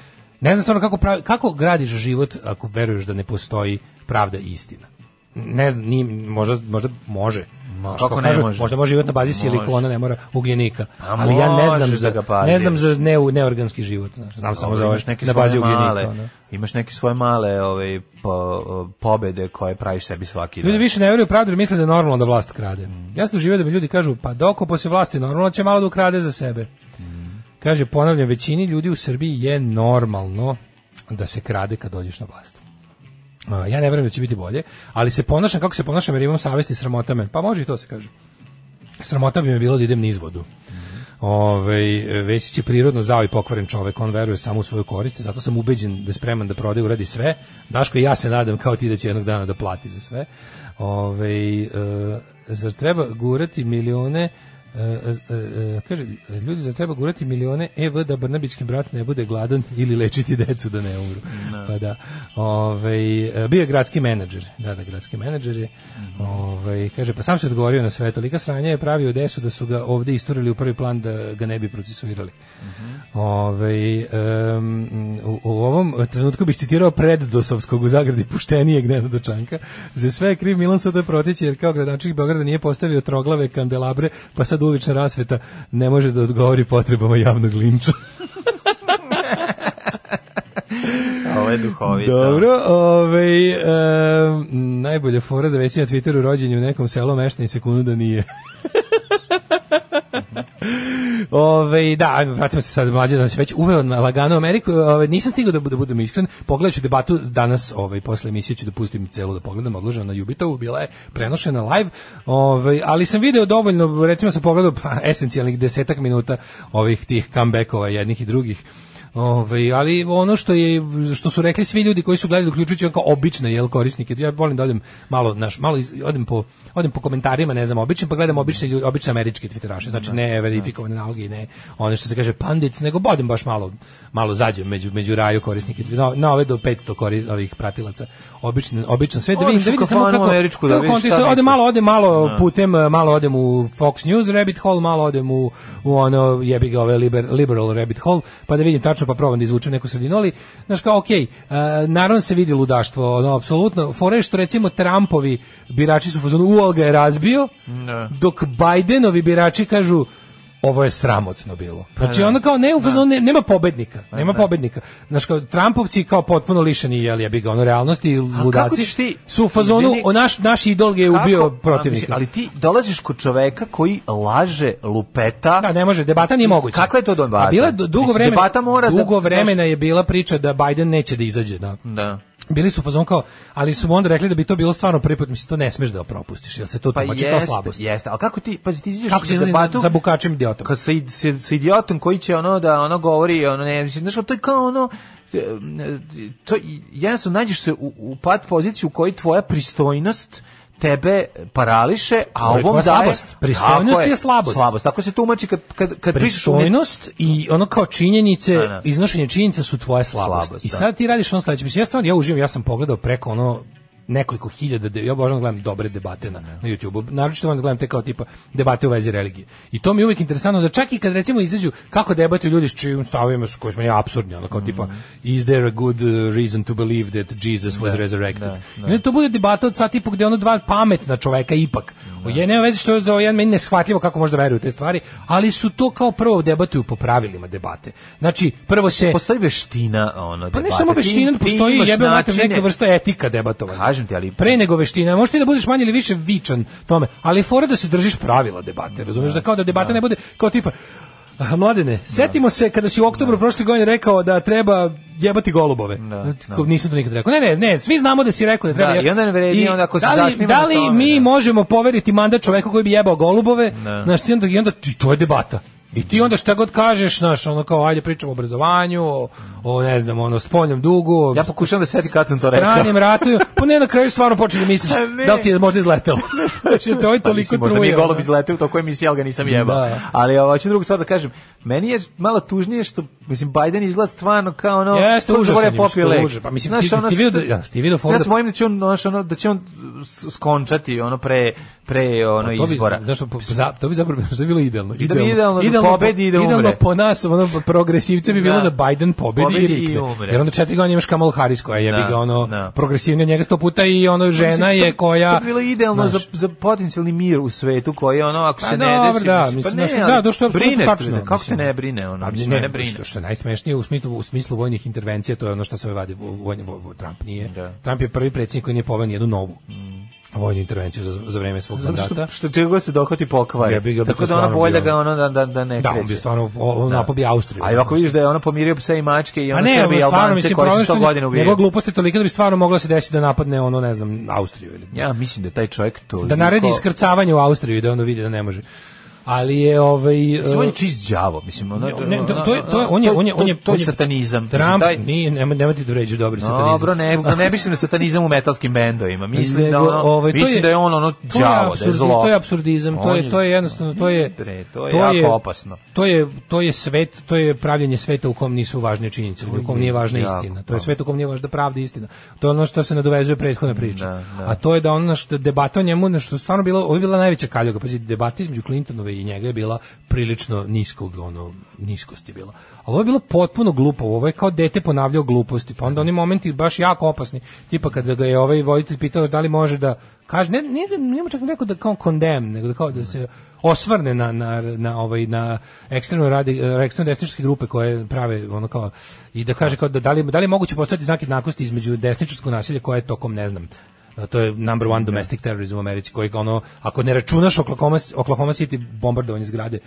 E: ne znam stvarno kako, pravi- kako gradiš život ako veruješ da ne postoji pravda i istina? Ne znam, ni, možda, možda može. Znaš,
F: kako
E: kao
F: ne može?
E: Možda može život na bazi
F: Može.
E: silikona, ne mora ugljenika.
F: A
E: ali ja ne znam
F: može
E: za,
F: da ga
E: ne znam
F: baziraš.
E: za neu- neorganski život. znaš. Znam samo za
F: Dobro,
E: ovaj,
F: imaš neke
E: na
F: svoje
E: bazi ugljenika.
F: male,
E: ono.
F: Imaš neke svoje male ove, po, pobede koje praviš sebi svaki dan.
E: Ljudi više ne veruju pravdu jer misle da je normalno da vlast krade.
F: Mm.
E: Ja sam doživio da mi ljudi kažu, pa doko se vlasti normalno će malo da ukrade za sebe.
F: Mm.
E: Kaže, ponavljam, većini ljudi u Srbiji je normalno da se krade kad dođeš na vlast. A, Ja ne verujem da će biti bolje, ali se ponašam kako se ponašam jer imam savjest i sramota me. Pa može i to se kaže. Sramota bi me bilo da idem niz vodu. Ovaj Vesić je prirodno zao i pokvaren čovek, on veruje samo u svoju korist, zato sam ubeđen da je spreman da prodaje uradi sve. Daško i ja se nadam kao ti da će jednog dana da plati za sve. Ovaj e, zar treba gurati milione e, e, e, kaže, ljudi, zar treba gurati milione EV da Brnabićki brat ne bude gladan ili lečiti decu da ne umru. Pa da. Ovaj, e, bio je gradski menadžer. Da, da, gradski menadžer je. Ovaj, kaže, pa sam se odgovorio na sve. Tolika sranja je pravio u desu da su ga ovde isturili u prvi plan da ga ne bi procesuirali. Ovaj, em, u, u ovom trenutku bih citirao preddosovskog u zagradi puštenijeg Nenada Čanka. Za sve je kriv Milan Sotoje Protić jer kao gradančnik Beograda nije postavio troglave kandelabre pa sad da ulična rasveta ne može da odgovori potrebama javnog linča.
F: Ovo je duhovito.
E: Dobro, ovaj e, najbolja fora za vesti na Twitteru rođenje u nekom selu meštani sekundu da nije. Ove, Ovaj, da, ajmo, vratimo se sad mlađe da se već uveo na lagano Ameriku. Ove, nisam stigao da, bu- da budem iskren. Pogledat ću debatu danas, ovaj posle emisije ću da pustim celu da pogledam, odložena na Jubitovu, bila je prenošena live. Ovaj ali sam video dovoljno, recimo sam pogledao pa, esencijalnih desetak minuta ovih tih comebackova jednih i drugih. Ove, ali ono što je što su rekli svi ljudi koji su gledali uključujući on kao obične jel korisnike ja volim da odem malo naš malo iz, odem po odem po komentarima ne znam obično pa gledam obične ljudi obične američke twitteraše znači ne verifikovane naloge i ne ono što se kaže pandic nego bodem baš malo malo zađem među među raju korisnike Twittera. na, na ove do 500 koris, ovih pratilaca obično obično sve da
F: Odeš
E: vidim da
F: u
E: vidim samo
F: kafanu
E: kako
F: američku da
E: kako
F: vidiš
E: konti-
F: šta
E: ode
F: misle.
E: malo ode malo
F: Da.
E: putem e, malo odem u Fox News rabbit hole, malo odem u, u ono jebi ga ove liber, liberal rabbit hole, pa da vidim tačno pa probam da izvučem neku sredinu, ali znaš kao okej, e, naravno se vidi ludaštvo, ono apsolutno, fore što recimo Trumpovi birači su u fazonu u ga je razbio,
F: Da.
E: dok Bidenovi birači kažu ovo je sramotno bilo. Znači
F: da.
E: ono kao ne, u fazonu ne- nema pobednika, nema pobednika. Znaš kao Trumpovci kao potpuno lišeni jel jebi ga ono realnosti i
F: kako ćeš
E: ludaci
F: ti-
E: su u fazonu
F: Izvini.
E: o, naš naš idol je
F: Kako?
E: ubio
F: A, mislim,
E: protivnika.
F: Ali ti dolaziš kod čoveka koji laže, lupeta.
E: Da, ne može, debata nije moguća.
F: Kakva je to debata?
E: A bila je du- dugo
F: Mislim,
E: vremena,
F: debata mora da-
E: dugo vremena je bila priča da Biden neće da izađe na
F: Da.
E: Bili su u fazonu kao, ali su mu onda rekli da bi to bilo stvarno prvi put, mislim, to ne smeš da propustiš, jer se to
F: Pa
E: tumači kao
F: jeste,
E: slabost.
F: jeste. Ali kako ti, pazi, ti izađeš
E: Kako se
F: na
E: izlazi
F: debatu
E: za bukačem idiotom?
F: kad sa, id- sa, sa idiotom koji će ono da ono govori, ono ne, mislim, znaš, to je kao ono, e, to, jednostavno nađeš se u, u pat poziciju u kojoj tvoja pristojnost tebe parališe, a
E: To je
F: ovom
E: tvoja
F: daje...
E: slabost. Pristojnost
F: Tako
E: je slabost.
F: Slabost, tako se tumači kad, kad, kad pričaš o
E: pristojnost i ono kao činjenice,
F: Da, da.
E: iznošenje činjenica su tvoja slabost.
F: Slabost,
E: I
F: da.
E: sad ti radiš ono sledeće. Mislim, ja stvarno, ja uživam, ja sam pogledao preko ono nekoliko hiljada, de- ja obožavam da gledam dobre debate na, na YouTube-u, naročito volim da gledam te kao tipa debate u vezi religije. I to mi je uvijek interesantno da čak i kad recimo izađu kako debatuju ljudi s čijim stavovima su koji su meni apsurdni, ono kao tipa is there a good uh, reason to believe that Jesus was resurrected? I onda to bude debata od sat i po gde ono dva pametna čoveka ipak. O, je, nema veze što je za ovaj jedan meni neshvatljivo kako možda veruju u te stvari, ali su to kao prvo debatuju po pravilima debate. Znači, prvo se...
F: Postoji veština ono
E: Pa ne
F: debate.
E: samo
F: Ti-
E: veština,
F: ti
E: postoji
F: imaš
E: jebe mater
F: načine-
E: neka vrsta etika debatovanja.
F: Kažem ti, ali-
E: pre nego veština, možeš ti da budeš manje ili više vičan tome, ali je fora da se držiš pravila debate, razumeš da kao da debata ne bude kao tipa "Ah, Mladene, setimo se kada si u oktobru prošle godine rekao da treba jebati golubove. Kao, Nisam to nikad rekao. Ne, ne, ne, svi znamo da si rekao da treba.
F: Da,
E: jebati.
F: i onda ne vredi, onda ako se
E: da li,
F: zasnima
E: da
F: na
E: li
F: tome,
E: mi
F: da.
E: možemo poveriti mandat čoveku koji bi jebao golubove?
F: Da.
E: Znaš, ti onda, i onda ti, to je debata. I ti onda šta god kažeš, znaš, ono kao, ajde pričamo o obrazovanju, o, o ne znam, ono, spoljnom dugu, o
F: Ja pokušavam da setim kad sam to rekao.
E: stranim ratu, pa ne, na kraju stvarno počinje misliš,
F: A ne.
E: da li ti je možda izletelo? Znači, to je
F: Pa
E: toliko
F: mislim, možda nije
E: truje,
F: golub
E: ono.
F: izleteo u tokoj emisiji, ali ga nisam jebao.
E: Da.
F: Ali ovo, hoću drugu stvar da kažem. Meni je malo tužnije što, mislim, Biden izgleda stvarno kao ono...
E: Jeste,
F: kao
E: užasan je,
F: Dvore popio
E: mislim,
F: lek.
E: užas. Pa mislim,
F: Znaš,
E: ti- ti
F: ono,
E: vidio da- ja, ti vidio
F: Ja
E: folder-
F: se bojim da će on, znaš, ono, da će on s- skončati ono pre, pre ono,
E: Pa To bi,
F: izbora.
E: znaš, po- za, to bi zapravo što je bilo idealno.
F: bi idealno da pobedi i da
E: Idealno
F: umre.
E: po nas, ono, progresivce bi bilo da,
F: Da.
E: Biden pobedi,
F: Pobedi
E: i
F: i
E: rikne.
F: umre.
E: Jer onda četiri godine imaš Kamal Harris koja je,
F: Da,
E: bi ga ono,
F: da.
E: progresivnija od njega sto puta i ono, žena
F: Mislim,
E: je
F: to-
E: koja...
F: To bi bilo idealno
E: znaš.
F: za, za potencijalni mir u svetu koji ono, ako
E: Pa
F: se ne
E: dobro,
F: desi...
E: da,
F: mislim,
E: mislim,
F: pa ne,
E: znaš,
F: ali
E: da, to što je apsolutno
F: brine te,
E: tačno,
F: Kako te
E: mislim.
F: ne brine ono?
E: A
F: Mislim,
E: ne,
F: mene brine.
E: Što, što je najsmešnije u smislu, u smislu vojnih intervencija, to je ono što se ovaj vadi vo- vojni, vo- vo- Trump nije.
F: Da. Mm.
E: Trump je prvi predsjednik koji nije poveo nijednu novu vojnu intervenciju za, za vreme svog
F: Zato što,
E: mandata.
F: što čega god se dohvati pokvari.
E: Jebi ga, bi
F: Tako
E: to
F: da ona
E: stvarno
F: bolja
E: bio-
F: ga ono da, da, da ne
E: Da,
F: kreće.
E: on bi stvarno o- o- napao bi Ono Austriju.
F: A i ako vidiš da je ono pomirio psa i mačke i
E: Pa
F: ono
E: ne,
F: Srbi i
E: ono, stvarno,
F: Albance
E: mislim,
F: koji su
E: problem
F: 100
E: što
F: godina ubijaju.
E: njegova glupost je tolika da bi stvarno moglo se desiti da napadne ono, ne znam, Austriju ili
F: Ja mislim da je taj čovjek to...
E: da naredi iskrcavanje u Austriju i da ono vidi da ne može. Ali je ovaj
F: Mislim, on je
E: e,
F: čist đavo, mislim, ono...
E: Ne, ne, to, to je to je on je on je on je
F: to
E: on
F: je satanizam. Mislim,
E: Trump
F: taj-
E: nije nema nema ti da vređaš dobri satanizam. Pa
F: Dobro, ne, ne mislim na satanizam u metalskim bendovima. Mislim da
E: Nego,
F: ono,
E: ovaj, to
F: mislim da je on ono
E: to je
F: đavo, da je
E: apsurdi-
F: zlo.
E: To je apsurdizam, to
F: On
E: je to je jednostavno to je
F: Bre, to je jako opasno.
E: To je to je svet, to je pravljenje sveta u kom nisu važne činjenice, u kom nije važna
F: jako,
E: istina. To je svet u kom nije važna pravda i istina. To je ono što se nadovezuje prethodna priča. A to je da ono što debata o njemu, ono što je stvarno bilo, ovo je bila najveća kaljuga, pazi, debata između Clintonove i njega je bila prilično niskog, ono, niskosti bila. A ovo je bilo potpuno glupo, ovo je kao dete ponavljao gluposti, pa onda oni momenti baš jako opasni, tipa kada ga je ovaj voditelj pitao da li može da kaže, ne, nije, ga- nije mu čak rekao da kao kondem, nego da kao da se osvrne na, na, na, ovaj, na ekstremno, radi, ekstremno desničarske grupe koje prave ono kao i da kaže kao da, da, li, da li je moguće postaviti znak jednakosti između desničarskog nasilja koje je tokom ne znam a to je number one domestic terrorism u Americi koji ga ono, ako ne računaš Oklahoma, Oklahoma City bombardovanje zgrade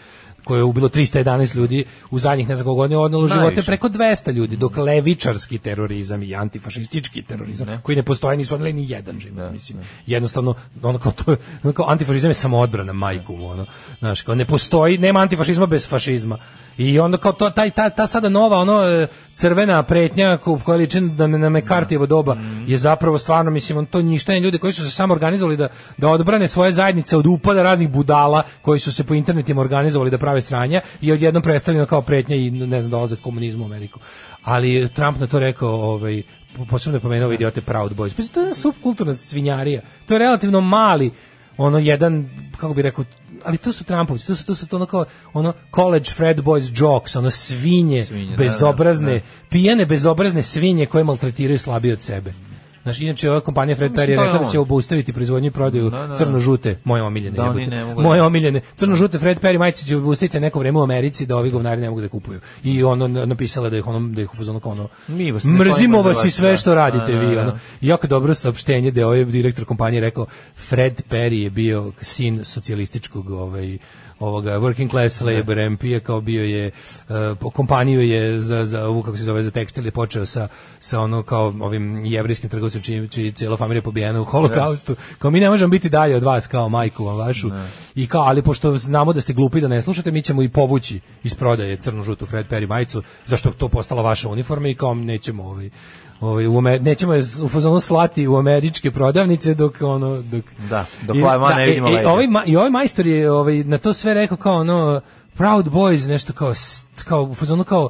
E: koje je ubilo 311 ljudi u zadnjih ne znam koliko godina odnelo živote
F: Najviše.
E: preko 200 ljudi dok levičarski terorizam i antifašistički terorizam koji ne postoje nisu odneli ni jedan život mislim jednostavno ono kao to je- ono kao antifašizam je samoodbrana majku mu ono znaš kao ne postoji nema antifašizma bez fašizma i onda kao to, taj, ta, ta sada nova ono e, crvena pretnja ko- koja liči da ne na Mekartijevo doba je zapravo stvarno mislim on to ništa ne ljudi koji su se samo organizovali da da odbrane svoje zajednice od upada raznih budala koji su se po internetima organizovali da prave sranja i odjednom predstavljeno kao pretnja i ne znam dolazak komunizmu u Ameriku ali je Trump na to rekao ovaj po- posebno je pomenuo ove idiote Proud Boys. Pa to je jedna subkulturna svinjarija. To je relativno mali ono jedan kako bi rekao ali to su Trumpovci, to su to su to ono kao ono college Fred Boys jokes, ono svinje,
F: Svinje, da,
E: bezobrazne, pijene bezobrazne svinje koje maltretiraju slabije od sebe. Znaš, inače ova kompanija Fred Perry je
F: to je ono.
E: rekla da
F: on.
E: će obustaviti proizvodnju i prodaju
F: Da, da, da.
E: crno-žute, moje omiljene.
F: Da, oni
E: jebote.
F: ne mogu da-
E: moje omiljene. Crno-žute Fred Perry majice će obustaviti neko vreme u Americi da ovi govnari ne mogu da kupuju. I ono na- napisala da ih ono da ih u fazonu kao ono
F: Mi vas ne
E: mrzimo
F: slavimo
E: vas i
F: vas,
E: sve
F: da.
E: što radite
F: Da, da,
E: vi.
F: da.
E: Ono. Jako dobro saopštenje da je ovaj direktor kompanije rekao Fred Perry je bio sin socijalističkog ovaj ovoga working class labor MP-a kao bio je eh, po kompaniju je za za ovu kako se zove za tekstil je počeo sa sa ono kao ovim jevrijskim trgovcem čiji čiji cela familija je pobijena u holokaustu kao mi ne možemo biti dalje od vas kao majku vam vašu i kao ali pošto znamo da ste glupi da ne slušate mi ćemo i povući iz prodaje crnu žutu Fred Perry majicu zašto je to postala vaša uniforma i kao nećemo ovaj ovaj, u Amer- nećemo je u fazonu slati u američke prodavnice dok ono dok
F: Da, dok ovaj ma ne vidimo
E: i, i,
F: leđa.
E: ovaj ma- i ovaj majstor je ovaj na to sve rekao kao ono Proud Boys nešto kao st- kao u fazonu kao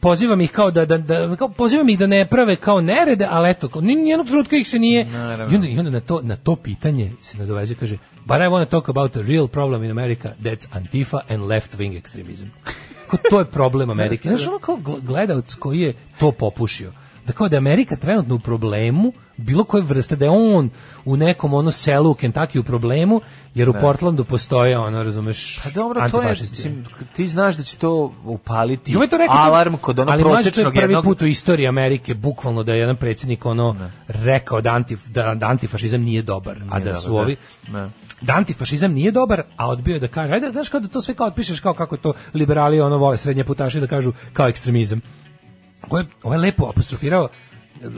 E: pozivam ih kao da, da, da kao pozivam ih da ne prave kao nerede, ali eto, kao, ni jednog trenutka ih se nije. I onda, i onda na, to, na to pitanje se nadovezuje, kaže, but I want to talk about a real problem in America, that's Antifa and left-wing extremism. Kao, to je problem Amerike. Znaš, ono kao gl- gledalac koji je to popušio. Da kao da je Amerika trenutno u problemu, bilo koje vrste, da je on u nekom ono selu u Kentucky u problemu, jer u Portlandu postoje, ono, razumeš,
F: Pa dobro, to je,
E: antifašisti.
F: mislim, ti znaš da će to upaliti
E: I ovaj to rekao,
F: alarm kod onog
E: ali mlađe, to je
F: prosječnog
E: prvi
F: jednog...
E: put u istoriji Amerike bukvalno da je jedan predsjednik ono rekao da, anti, da, da antifašizam nije dobar, a da
F: dobar,
E: su
F: da.
E: ovi
F: Da.
E: da antifašizam nije dobar, a odbio je da kaže, ajde, znaš kao da to sve kao otpišeš kao kako to liberali ono vole srednje putaši da kažu kao ekstremizam. Ovo je, ovo je lepo apostrofirao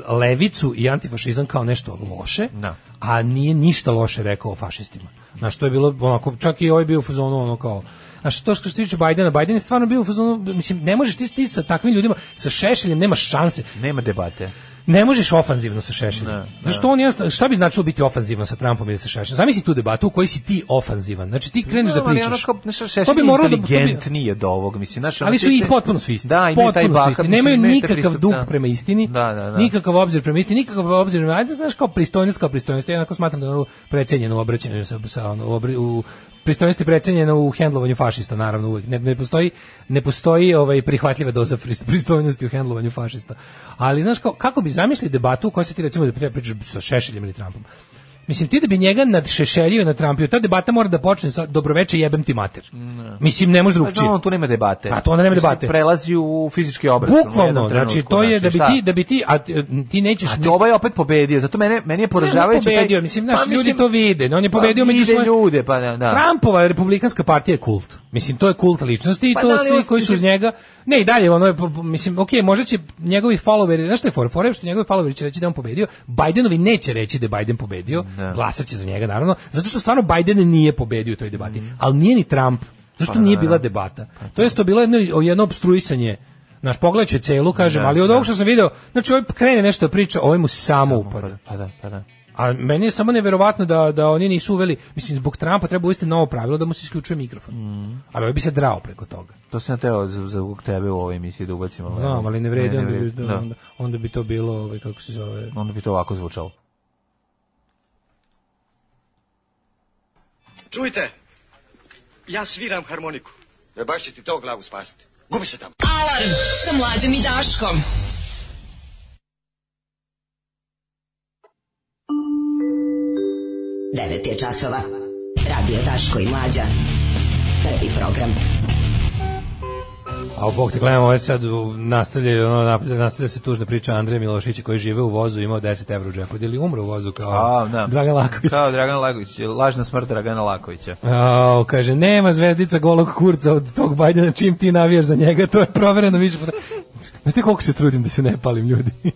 E: levicu i antifašizam kao nešto loše,
F: Da.
E: a nije ništa loše rekao o fašistima. Znaš, to je bilo onako, čak i ovaj bio u fazonu ono kao, a što što se tiče Bajdena, Bajden je stvarno bio u fazonu, mislim, ne možeš ti, ti sa takvim ljudima, sa Šešeljem nema šanse,
F: Nema debate.
E: ne možeš ofanzivno sa Šešeljem. Znaš, što on jednostavno, šta bi značilo biti ofanzivan sa Trumpom ili sa Šešeljem? Zamisli tu debatu u kojoj si ti ofanzivan, znači ti kreneš da
F: Znam, ali
E: pričaš.
F: ono kao, znaš, šešelj
E: To bi
F: je
E: moralo da- to bi-
F: inteligentniji od ovog, mislim, znaš, ono
E: ali su
F: ti-
E: isti, potpuno su isti.
F: Da, imaju taj
E: potpuno su
F: bakat,
E: isti.
F: mislim,
E: Nemaju
F: imaju taj
E: nikakav
F: pristup,
E: dug
F: da.
E: prema istini,
F: Da, da, da.
E: nikakav obzir prema istini, nikakav obzir prema, ajde, znaš, kao pristojnost kao pristojnost. Ja onako smatram da je ovo precenjeno u obraćanju sa, sa ono, u, obri- u pristojnost je precenjena u hendlovanju fašista, naravno uvijek. Ne, ne postoji, ne postoji ovaj, prihvatljiva doza fris- pristojnosti u hendlovanju fašista. Ali, znaš, kao, kako bi zamislili debatu u kojoj se ti recimo da pri- pričaš sa Šešeljem ili Trumpom? Mislim, ti da bi njega nadšešeljio i natrampio, ta debata mora da počne sa dobroveče jebem ti mater. Mislim, ne može
F: Pa
E: drugčije.
F: znam, ono tu nema debate.
E: A to onda nema
F: Mislim,
E: debate.
F: Prelazi u fizički obračun. u
E: Bukvalno,
F: jednom
E: znači
F: trenutku,
E: to je da bi
F: šta?
E: ti da bi ti a ti- ti nećeš
F: A to ovaj je opet pobedio, zato mene, meni je poražavajući...
E: Ne, on je
F: taj-
E: pobedio, mislim, znaš,
F: Pa, mislim,
E: ljudi to vide. On je pobedio
F: pa,
E: među
F: vide
E: svoje-
F: ljude, pa da, da.
E: Trumpova republikanska partija je kult. Mislim, to je kult ličnosti i
F: Pa
E: to
F: da, ali
E: svi
F: on-
E: koji su uz njega... Ne, i dalje, ono je, po- po- mislim, ok, možda će njegovi followeri, znaš što je for, for je što njegovi followeri će reći da je on pobedio, Bajdenovi neće reći da je Biden pobedio, glasat će za njega, naravno, zato što stvarno Biden nije pobedio u toj debati,
F: Mhm.
E: ali nije ni Trump, zato
F: Pa
E: što nije bila debata. To je to je bilo jedno, jedno obstruisanje Naš pogled će celu, kažem, ali od ovog što sam video, znači ovaj krene nešto da priča, ovaj mu samo upada.
F: Pa da, pa da.
E: A meni je samo neverovatno da, da oni nisu uveli, mislim, zbog Trumpa treba uvesti novo pravilo da mu se isključuje mikrofon.
F: Mm.
E: Ali ovaj bi se drao preko toga.
F: To sam ja teo za, za tebe u ovoj emisiji da ubacimo. ali-
E: Znam, ali ne vredi, onda, bi,
F: Pa, vredi, da.
E: onda, onda bi to bilo, ovaj, kako se zove...
F: onda bi to ovako zvučalo.
A: Čujte,
L: Ja sviram harmoniku. E baš će ti to glavu spasiti. Gubi se tamo.
G: Alarm sa mlađom i Daškom. Devet je časova. Radio Daško i Mlađa. Prvi program.
E: A u bok te gledamo, ovaj sad u- nastavlja, ono, napravlja- nastavlja se tužna priča Andreja Milošića koji žive u vozu, imao 10 evra u džepu, ili umro u vozu kao
F: A, da.
E: Dragan Laković.
F: Kao Dragan Laković, lažna smrt Dragana Lakovića.
E: Au, kaže, nema zvezdica golog kurca od tog Bajdena, čim ti navijaš za njega, to je provereno više puta. Znate koliko se trudim da se ne palim ljudi.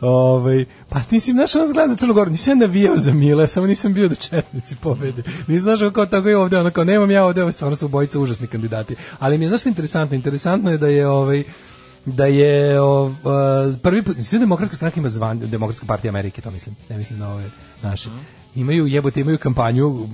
E: Ove, pa nisam našao nas gledam za Crnogoru, nisam navijao za Mile, samo nisam bio da četnici pobede. Nisam znaš kao tako je ovde, ono kao nemam ja ovde, ovo stvarno su bojica užasni kandidati. Ali mi je znaš šta je interesantno, interesantno je da je ovaj, da je o, a, prvi put, sve demokratska stranka ima zvan, demokratska partija Amerike, to mislim, ne mislim na ove naše.
F: Mhm.
E: Imaju, jebote, imaju kampanju,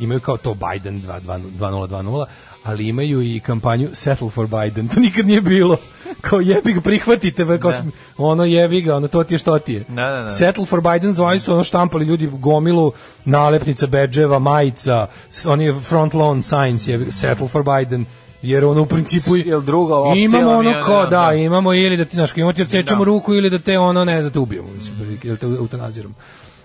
E: imaju kao to Biden 2 2 2020, ali imaju i kampanju Settle for Biden, to nikad nije bilo. Kao jebi ga, prihvatite, ve, kao
F: Da.
E: sm- ono jebi ga, ono to ti je što ti je.
F: Da, da, da.
E: Settle for Biden zvali su ono štampali ljudi gomilu nalepnica, bedževa, majica, s- oni front lawn signs, jebi ga, Settle for Biden, jer ono u principu... Jel druga
F: opcija
E: Imamo
F: vam
E: ono
F: je,
E: kao,
F: da,
E: da,
F: da.
E: imamo ili da ti naš imamo ti odsečemo
F: Da.
E: ruku ili da te ono ne znam te ubijemo mislim prilike, ili te eutanaziramo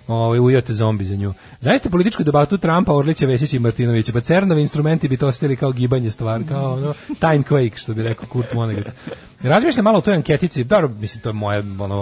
E: Ovaj ujate zombi za nju. Zaista političku debatu Trumpa, Orlića, Vesića i Martinovića, pa Cernovi instrumenti bi to osjetili kao gibanje stvar, kao ono time quake što bi rekao Kurt Vonnegut. Razmišljam malo o toj anketici, dobro, mislim to je moja ono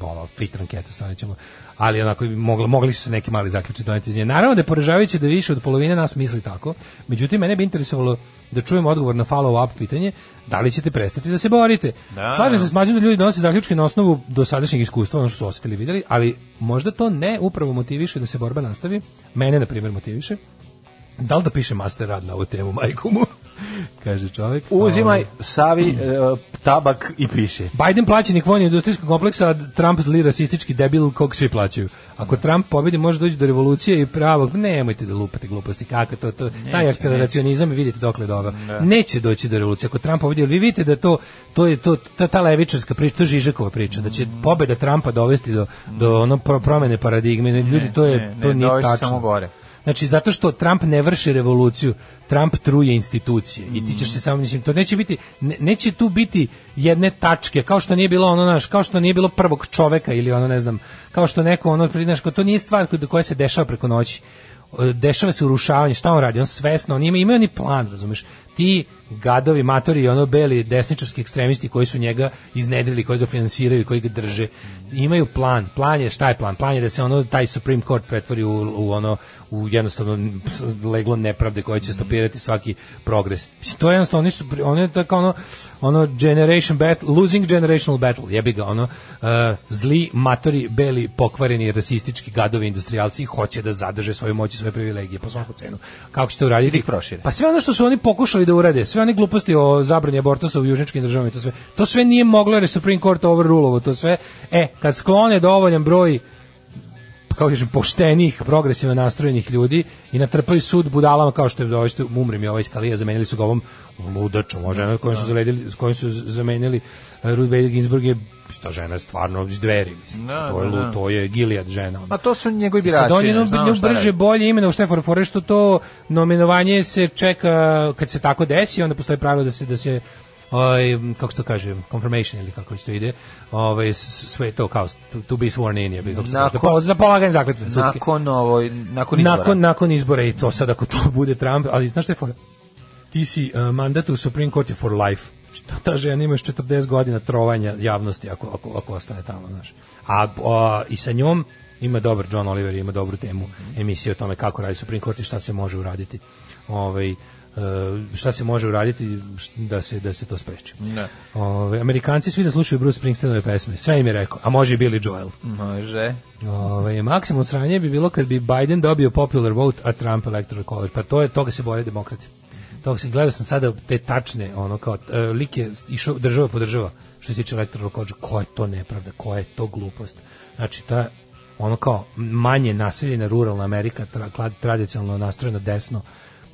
E: ono Twitter anketa, stavit ćemo. Ali onako mogli, mogli su se neki mali zaključci doneti iz nje. Naravno da je poražavajuće da više od polovine nas misli tako. Međutim, mene bi interesovalo da čujem odgovor na follow-up pitanje, da li ćete prestati da se borite?
F: Da.
E: Slažem se s mlađim da ljudi donose zaključke na osnovu dosadašnjeg iskustva, ono što su osetili i videli, ali možda to ne upravo motiviše da se borba nastavi. Mene, na primjer, motiviše. Da li da piše master rad na ovu temu, majkomu? Kaže čovjek.
F: Uzimaj
E: Ovaj.
F: savi e, tabak i piše.
E: Biden plaćenik vojnog industrijskog kompleksa, a Trump zli rasistički debil kog svi plaćaju. Ako Trump pobedi, može doći do revolucije i pravog, nemojte da lupate gluposti, kako to, to taj akceleracionizam vidite dokle dobro. Neće doći do revolucije. Ako Trump pobedi, jer vi vidite da to, to je to, ta, ta levičarska priča, to je Žižekova priča, da će pobeda Trumpa dovesti do, do ono pro, promene paradigme. Ljudi, to je,
F: ne,
E: to
F: ne,
E: nije
F: dovesti
E: tačno.
F: samo gore.
E: Znači, zato što Trump ne vrši revoluciju, Trump truje institucije i ti ćeš se samo, mislim, to neće biti, ne- neće tu biti jedne tačke, kao što nije bilo ono, naš, kao što nije bilo prvog čoveka ili ono, ne znam, kao što neko ono, znaš, kao to nije stvar koja- koja se dešava preko noći. E, Dešava se urušavanje, šta on radi? On svesno, on ima, ima oni plan, razumeš? Ti gadovi, matori i ono beli desničarski ekstremisti koji su njega iznedrili, koji ga finansiraju i koji ga drže, imaju plan. Plan je, šta je plan? Plan je da se ono taj Supreme Court pretvori u, u ono u jednostavno leglo nepravde koje će stopirati svaki progres. Mislim, to je jednostavno, oni su, pri- oni to je kao ono, ono generation battle, losing generational battle, jebi ga, ono, e, zli, matori, beli, pokvareni, rasistički gadovi, industrijalci hoće da zadrže svoju moć i svoje privilegije po svaku cenu. Kako će to uraditi? Pa sve ono što su oni pokušali da urade, sve one gluposti o zabrani abortusa u južničkim državama, i to sve, to sve nije moglo jer je Supreme Court overrulovo, to sve, e, kad sklone dovoljan broj kako kažem, poštenih, progresivno nastrojenih ljudi i natrpaju sud budalama kao što je da ovaj umrem je ovaj skalija, zamenili su ga ovom ludačom, ova žena kojom su, zaledili, s kojom su zamenili eh, Ruth Bader Ginsburg je, ta žena je stvarno iz dveri, mislim,
F: Da,
E: to, je,
F: da,
E: lu-
F: da.
E: to je Gilead žena. ono.
F: A to su njegovi
E: I sad
F: birači.
E: on je
F: ne,
E: nju-
F: znamo
E: nju
F: šta
E: brže
F: radi.
E: bolje imena u Štefor fore što to nominovanje se čeka kad se tako desi, onda postoji pravilo da se da se ovaj, kako se to kaže, confirmation ili kako već to ide, ovaj, s- sve to kao to, to be sworn in je, bi, kako se to kaže,
F: Nakon-
E: pol- za polaganje zakletve sudske.
F: Nakon, ovoj, nakon izbora.
E: Nakon, nakon izbora i to sad ako to bude Trump, ali znaš šta je fora? Ti si uh, mandat u Supreme Court je for life. Šta ta žena ima još 40 godina trovanja javnosti ako, ako, ako ostane tamo, znaš. A, a, i sa njom ima dobar John Oliver, ima dobru temu emisije o tome kako radi Supreme Court i šta se može uraditi. Ovaj, e, šta se može uraditi š- da se da se to spreči.
F: Ne.
E: Ove, Amerikanci svi da slušaju Bruce Springsteenove pesme. Sve im je rekao, a može i Billy Joel.
F: Može.
E: Ove, Ovaj, maksimum sranje bi bilo kad bi Biden dobio popular vote, a Trump electoral college. Pa to je, toga se bore demokrati. Toga se, gledao sam sada te tačne, ono kao, e, lik je išao država po država, što se tiče electoral college, koja je to nepravda, koja je to glupost. Znači, ta, ono kao, manje naseljena ruralna Amerika, tra, kla- tradicionalno nastrojena desno,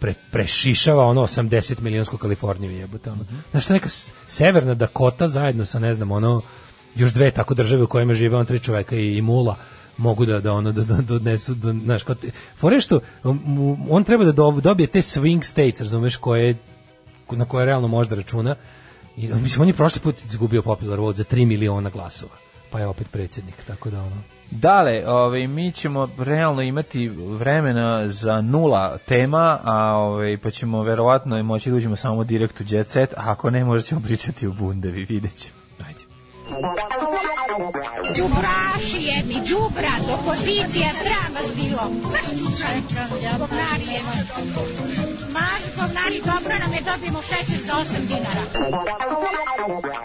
E: pre, prešišava ono 80 milionsku Kaliforniju jebote. Ono. Znaš šta neka s- severna Dakota zajedno sa ne znam ono još dve tako države u kojima žive on tri čoveka i, i mula mogu da da ono da da donesu da znaš kao te- fora je što um, on treba da dob- dobije te swing states razumeš koje na koje realno može da računa i mislim on je prošli put izgubio popular vote za 3 miliona glasova pa je opet predsjednik tako da ono
F: Dale, ovaj, mi ćemo realno imati vremena za nula tema, a ovaj, pa ćemo verovatno moći da uđemo samo direkt u Jet Set, a ako ne, možda ćemo pričati o bundevi, vidjet ćemo.
D: Đubraši jedni, đubrat, opozicija, sram vas bilo. Maš čučan, govnari jedni. Maš govnari, dobro nam je, dobijemo šećer za 8 dinara.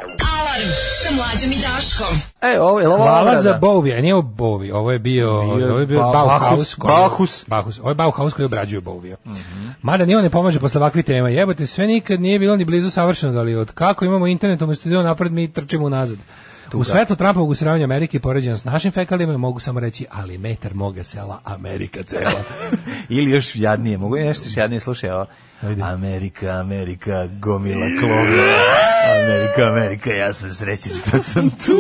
G: Alarm sa mlađom i Daškom.
F: E, ovo je
E: Hvala
F: obrada?
E: za Bovi, a nije ovo Bovi, ovo je bio,
F: Bio je
E: ovo je bio
F: Ba-
E: Bauhaus.
F: Bauhaus,
E: koji-
F: Bauhaus. Mhm.
E: Bauhaus. Ovo je Bauhaus koji obrađuje Bovija. Mada ni on ne pomaže posle ovakve tema. Jebote, sve nikad nije bilo ni blizu savršeno, ali od kako imamo internet, umjesto da idemo napred, mi trčimo unazad. U svetu Trumpovog usravanja Amerike poređena s našim fekalima mogu samo reći, ali metar moga sela, Amerika cela.
F: Ili još jadnije, mogu nešto još jadnije slušaj, ovo. Amerika, Amerika, gomila klovna. Amerika, Amerika, ja sam srećen što sam tu.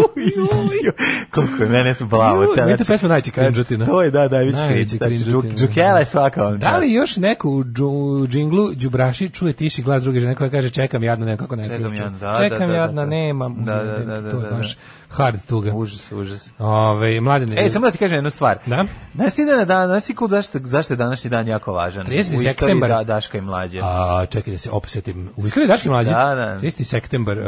F: Ju, Koliko je mene su plavo.
E: Ju, meni ta pesma najveća cringe-otina.
F: To je, da, da, najveća
E: Najveća
F: cringe-otina.
E: cringe-otina,
F: Džukela je svaka vam
E: da li
F: čast.
E: još neko u džu- džinglu, džubraši, čuje tiši glas druge žene koja kaže čekam jadno nekako ne
F: Čekam
E: čujem.
F: jadno, da,
E: čekam
F: da, da,
E: jadno,
F: da.
E: nemam.
F: Da, da, da, da,
E: to je
F: da,
E: baš
F: da.
E: hard tuga.
F: Užas, užas.
E: Ove, mladine,
F: Ej, E, samo da ti kažem jednu stvar.
E: Da?
F: Znaš ti da je dan, znaš ti kud zašto, zašto je današnji dan jako važan?
E: 30.
F: U istoriji
E: septembar.
F: Da, Daška i mlađe.
E: A, čekaj da se opsetim. U iskreni daški mlađi?
F: Da, da. Mhm.
E: 30. septembar, uh,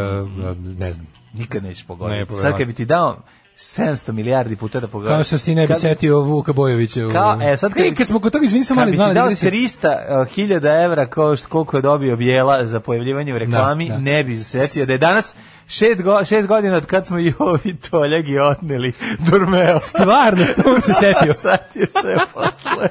E: ne znam.
F: Nikad nećeš
E: Ne,
F: pogoditi.
E: poverovatno.
F: Sad kad bi ti dao 700 milijardi puta da pogodiš.
E: Kao što si ti ne bi
F: Kad-
E: setio Vuka Bojovića. u-
F: Kao, e, sad kad
E: Ej,
F: bi-
E: kad smo kod toga, izvini sam,
F: Kad
E: ali
F: bi
E: dva
F: ti dao
E: da se-
F: 300.000 e, evra ko, š- koliko je dobio Bijela za pojavljivanje u reklami,
E: Da, da.
F: ne bi se setio da je danas šest, go, šest godina od kad smo Jovi Toljagi otneli Durmeo.
E: Stvarno, on se setio.
F: Sad je se posle.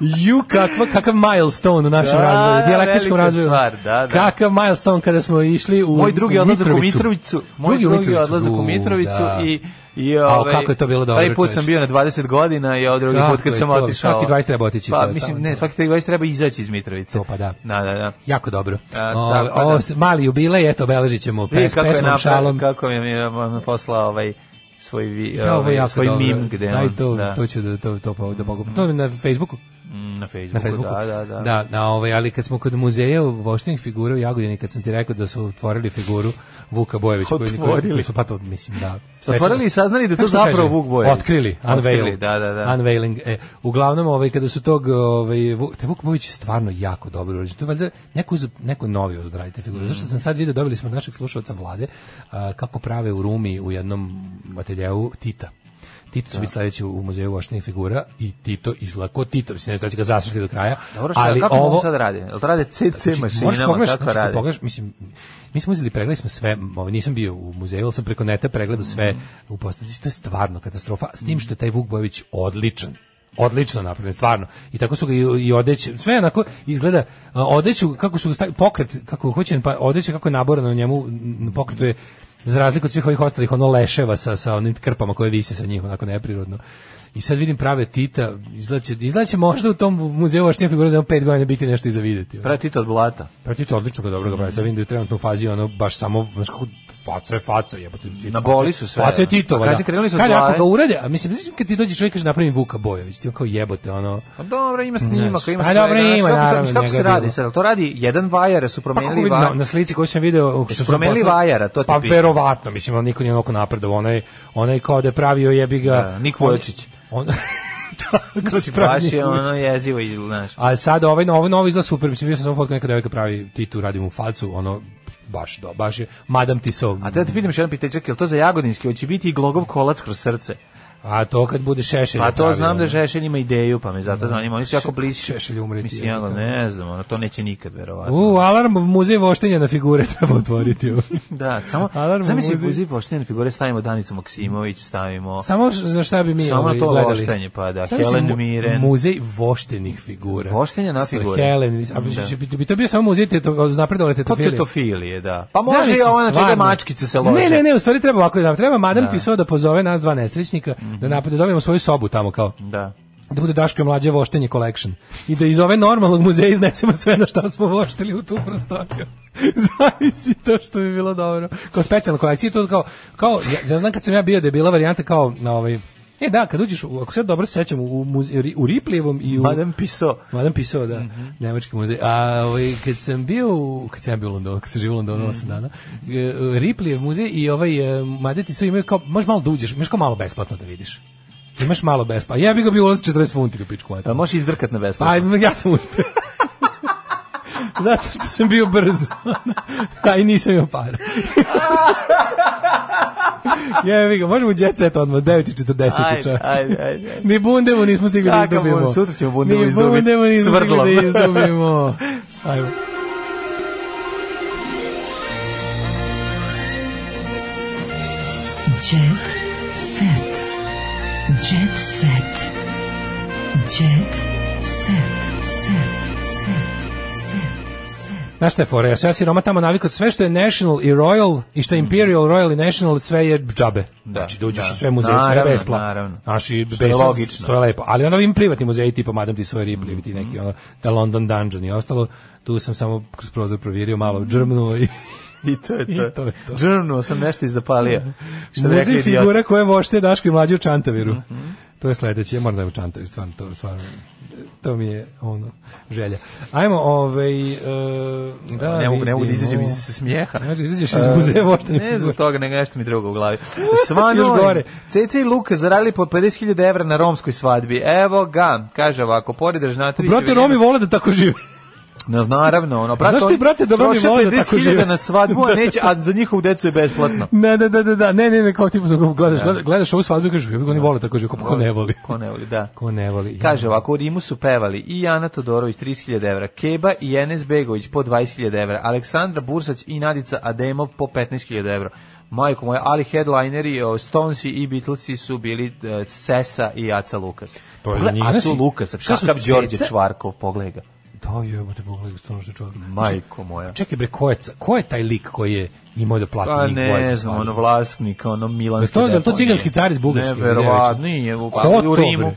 E: Ju, kakva, kakav milestone u našem
F: Da,
E: razvoju,
F: da,
E: dijalektičkom
F: velika
E: razvoju.
F: stvar, da, da.
E: Kakav milestone kada smo išli u
F: Moj drugi
E: u
F: odlazak u
E: Mitrovicu.
F: Mitrovicu. Moj
E: u
F: drugi,
E: Mitrovicu,
F: odlazak u
E: u,
F: Mitrovicu
E: da.
F: i i
E: A,
F: ovaj
E: kako je to bilo dobro,
F: Prvi put sam
E: čoveče.
F: bio na 20 godina i ovaj drugi
E: Kako
F: put kad
E: je
F: sam
E: to?
F: otišao.
E: Svaki 20 treba otići, to
F: Pa
E: je
F: mislim
E: tamo,
F: ne,
E: da.
F: svaki 20 treba izaći iz Mitrovice.
E: To pa da.
F: Da, da, da.
E: Jako dobro.
F: A,
E: O,
F: tako,
E: ovo
F: da.
E: s- mali jubilej, eto, beležit ćemo
F: Vidi
E: pes,
F: kako je
E: pesmom,
F: napravio,
E: šalom.
F: kako mi je on poslao ovaj svoj vi,
E: Ja, ovo je
F: ovaj,
E: jako
F: svoj
E: dobro.
F: meme gde
E: Daj
F: on
E: to,
F: da,
E: to ću da, to, to, pa- da mogu. To je na Facebooku.
F: mm, na Facebooku,
E: na Facebooku.
F: da, da, da.
E: Da, na ovaj, ali kad smo kod muzeja u voštenih figura u Jagodini, kad sam ti rekao da su otvorili figuru Vuka Bojevića. koji niko-
F: Otvorili.
E: koji su, pa to, mislim, da.
F: Otvorili i saznali da je to
E: Kako se kaže?
F: zapravo Vuk Bojević.
E: Otkrili, unveil.
F: Otkrili, da, da, da.
E: Unveiling. E, uglavnom, ovaj, kada su tog, ovaj, Vu- te Vuk Bojević je stvarno jako dobro urađen. To je valjda neko, uz, neko novi uzdravi te figure. Zašto sam sad vidio, dobili smo od našeg slušalca vlade, a, kako prave u Rumi u jednom ateljevu Tita. Tito će biti sledeći u muzeju voštenih figura i Tito izgleda ko Tito, mislim ne znam da će ga zasrati do kraja,
F: Dobro, šta,
E: ali
F: kako
E: ovo
F: ovo sad radi? Jel to rade CC
E: Znači, možeš
F: mašinama,
E: pogledaš,
F: kako
E: znači, kad
F: radi?
E: pogledaš, mislim, mi smo uzeli, pregledali smo sve, ovaj, nisam bio u muzeju, ali sam preko neta pregledao sve u postavci. To je stvarno katastrofa, s tim što je taj Vuk Bojević odličan odlično napravljen, stvarno. I tako su ga i, i odeće, sve onako izgleda a, odeću, kako su ga stavili, pokret, kako je hoćen, pa odeće kako je naborano u njemu, n- pokretu je, za razliku od svih ovih ostalih, ono leševa sa, sa onim krpama koje vise sa njih, onako neprirodno. I sad vidim prave Tita, izgleda će, izgleda će možda u tom muzeju vaštinja figura za jedno pet godina biti nešto i za videti. ono.
F: Pravi Tito od blata.
E: Pa ti to odlično ga dobro
F: Mhm.
E: ga pravi. Sad vidim da je trenutno u fazi ono baš samo znaš kako faca je faca, jebote. ti-
F: Na
E: faca-
F: boli su sve. ono.
E: Faca je Titova.
F: A kad
E: da.
F: se krenuli su e? od
E: Kad
F: glave?
E: ako ga urade, a mislim mislim kad ti dođe čovjek i kaže napravim Vuka Bojović, ti on kao jebote ono.
F: Pa dobro, ima snimak,
E: Znači,
F: ima
E: pa
F: sve.
E: dobro,
F: znači,
E: ima,
F: kako se-
E: naravno,
F: Kako se
E: njega je
F: radi
E: bilo.
F: sad? Jel To radi jedan vajar, su
E: Pa kako
F: promenili
E: vidim, na,
F: vajar.
E: na slici koju sam video što su
F: promenili
E: poslali-
F: vajara, to ti
E: Pa
F: pitam.
E: verovatno, mislim on niko nije onako napredovao, onaj onaj kao da je pravio jebi ga.
F: Da, Nik Vujočić.
E: On, on Tako
F: Mislim,
E: si pravi
F: Baš je
E: Nik
F: ono
E: Vujočić.
F: jezivo, i, znaš.
E: A sad ovaj novo novo izgleda super, mislim bio sam samo fotku neka devojka pravi Titu radimo u facu, ono baš do, baš je Madam Tisov.
F: A te ti pitam još jedan pitečak, je li to za Jagodinski? Hoće biti i glogov kolac kroz srce?
E: A to kad bude šešelj.
F: Pa to
E: napravio,
F: znam da
E: ono.
F: Žešelj ima ideju, pa me zato zanima. Oni su jako
E: Še-
F: bliži.
E: Šešelj umreti,
F: Mislim, ja ga
E: jebote.
F: ne znam, ono, to neće nikad, verovatno.
E: U, alarm u muzej voštenja na figure treba otvoriti.
F: Da, samo,
E: Alarm
F: zamisli
E: u muzej.
F: Buzi Voštine figure, stavimo Danicu Maksimović, stavimo...
E: Samo š- za šta bi mi
F: Samo
E: ovaj,
F: to
E: gledali.
F: voštenje, pa da,
E: Zamisli
F: Helen
E: mu-
F: Mirren.
E: Muzej voštenih figura.
F: Voštenje na
E: Sa
F: figure.
E: Helen, a bi,
F: Da.
E: će biti- bi to bio samo muzej teto, napredovale
F: Pa
E: tetofilije.
F: tetofilije, da. Pa može i ovo, znači da mačkice se lože.
E: lože. Ne, ne, ne, u stvari treba ovako da treba madam
F: Da. Mhm.
E: Tiso da pozove nas dva nesrećnika da napred da dobijemo svoju sobu tamo kao
F: Da.
E: da bude Daško i mlađe voštenje collection i da iz ove normalnog muzeja iznesemo sve na šta smo voštili u tu prostoriju. Zavisi to što bi bilo dobro. Kao specijalna kolekcija, to kao, kao ja, ja znam kad sam ja bio da je bila varijanta kao na ovaj E da, kad uđeš, u- ako se ja dobro sećam, u, muze- u Riplijevom i u...
F: Madame Piso.
E: Madame Piso, da, nemački muzej. A ovaj, kad sam bio, u- kad sam ja bio u Londonu, kad sam živio u Londonu 8 dana, e, Riplijev muzej i ovaj e, Madame Piso imaju kao, možeš malo da uđeš, imaš kao malo besplatno da vidiš. Imaš malo besplatno. Ja bih ga bio ulaz 40 funti u pičku
F: A
E: materinu.
F: možeš izdrkat na besplatno.
E: Pa, ja sam uspio. Zato što sam bio brz. A i nisam imao para. Jevi ga, možemo u jet set odmah, 9.40
F: Ajde,
E: čovječe.
F: ajde, ajde, ajde.
E: Ni bundemu nismo stigli da
F: Kakav
E: izdobimo.
F: bund, sutra ćemo bundemu
E: Ni
F: izdobiti.
E: bundemu nismo stigli
F: Svrdlom.
E: da izdobimo. Ajmo.
G: Jet set. Jet set. Jet set. Set. Set. Set.
E: Znaš šta je fora, ja sam ja siroma tamo navikao, sve što je National i Royal, i što je Imperial, Royal i National, sve je džabe.
F: Mhm. Da,
E: znači, da uđeš
F: da.
E: u sve muzeje, sve je
F: Naravno,
E: besplatno.
F: naravno.
E: Znaš, i
F: Što je
E: besplatno,
F: logično. Mhm,
E: To je lepo. Ali ono im privatni muzeji, tipa Madame ti svoje Ripley, ti neki, ono, The London Dungeon i ostalo, tu sam samo kroz prozor provjerio
F: Mhm.
E: malo džrmnuo i
F: I to je to.
E: I to je to.
F: Džrnuo sam nešto i zapalio. Što bi rekli Mhm,
E: muzej
F: idioti.
E: figura koje vošte Daško i mlađe u Čantaviru. To je sledeće, ja moram da je u Čantaviru, stvarno, to, stvarno, to mi je ono želja. Ajmo, ovaj, e, da
F: ne mogu, ne mogu
E: vidimo.
F: da izađem iz smijeha.
E: Znači, izađeš iz
F: E,
E: muzeja voštanih
F: Ne zbog
E: figura.
F: toga, nego nešto mi drugo u glavi. Svan
E: Još
F: Još
E: gore.
F: gore. Ceca i Luka zaradili po 50.000 evra na romskoj svadbi. Evo ga, kaže ovako, pored Režnatovića...
E: Brate, Romi vole da tako žive.
F: No, naravno, ono, brate,
E: Znaš ti,
F: oni
E: brate, da Romi
F: troše
E: vole da tako
F: 50.000
E: žive.
F: na svadbu, a, neće, a za njihovu decu je besplatno.
E: Ne, ne, ne, ne, da, ne, ne, ne, kao tipu, gledaš, gledaš, gledaš ovu svadbu i kažeš, jebi ga, oni vole tako žive, ko, ko ne voli.
F: Ko ne voli, da.
E: Ko ne voli.
F: Kaže ovako, u Rimu su pevali i Ana Todorović 30.000 evra, Keba i Enes Begović po 20.000 evra, Aleksandra Bursać i Nadica Ademov po 15.000 evra. Majko moja, ali headlineri, o, Stonesi i Beatlesi su bili e, Sesa i Aca Lukas.
E: To je
F: Pogledaj
E: za njih.
F: Acu Lukasa,
E: Pa, Šta su
F: kakav Đorđe
E: Ceca?
F: Čvarkov, pogledaj ga.
E: Da, jebote, pogledaj, stvarno što čovjek.
F: Majko moja.
E: Znači, Čekaj bre, ko je, ca- ko je taj lik koji je imao da plati
F: Pa
E: njih dvoje
F: ne
E: za
F: znam,
E: svadbu?
F: ono vlasnik, ono milanski
E: Jel to- jel to ciganski car iz Bugarske, ili
F: Neverovatno,
E: gde
F: nije, u,
E: Ko to,
F: u
E: bre?
F: Rimu.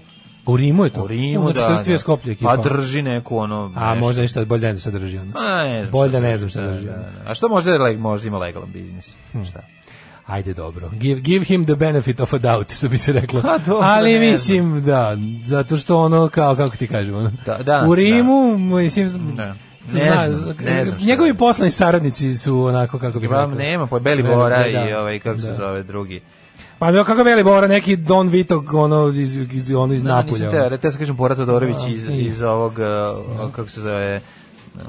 E: U Rimu je to?
F: U Rimu,
E: Znači,
F: da.
E: 42
F: da.
E: Skoplje ekipa.
F: Pa drži neku ono...
E: A
F: nešto.
E: možda ništa, bolje da ne znam šta drži ono.
F: Ma, Pa, ne znam
E: Bolje
F: šta
E: da Hm. ne znam
F: drži,
E: šta
F: da,
E: drži
F: da,
E: ono.
F: da. A što možda je leg- možda ima legalan biznis? Šta?
E: Ajde dobro. Give, give him the benefit of a doubt, što bi se reklo.
F: Pa, dobro,
E: Ali
F: ne
E: mislim da, zato što ono kao kako ti kažemo. ono,
F: Da, da,
E: u Rimu mislim
F: Da.
E: to
F: Ne
E: zna-
F: znam, ne znam šta
E: njegovi
F: je.
E: poslani saradnici su onako kako bi
F: Vam
E: rekao.
F: nema, pa Beli
E: Ne,
F: Bora
E: ne, da.
F: i ovaj, kako
E: Da.
F: se zove drugi.
E: Pa bio kako Beli Bora neki Don Vito ono iz iz ono iz
F: Da, nisam
E: Napulja. ono.
F: te, te sam kažem Bora Todorović
E: A,
F: iz,
E: nije.
F: iz ovog, eh, kako se zove, um,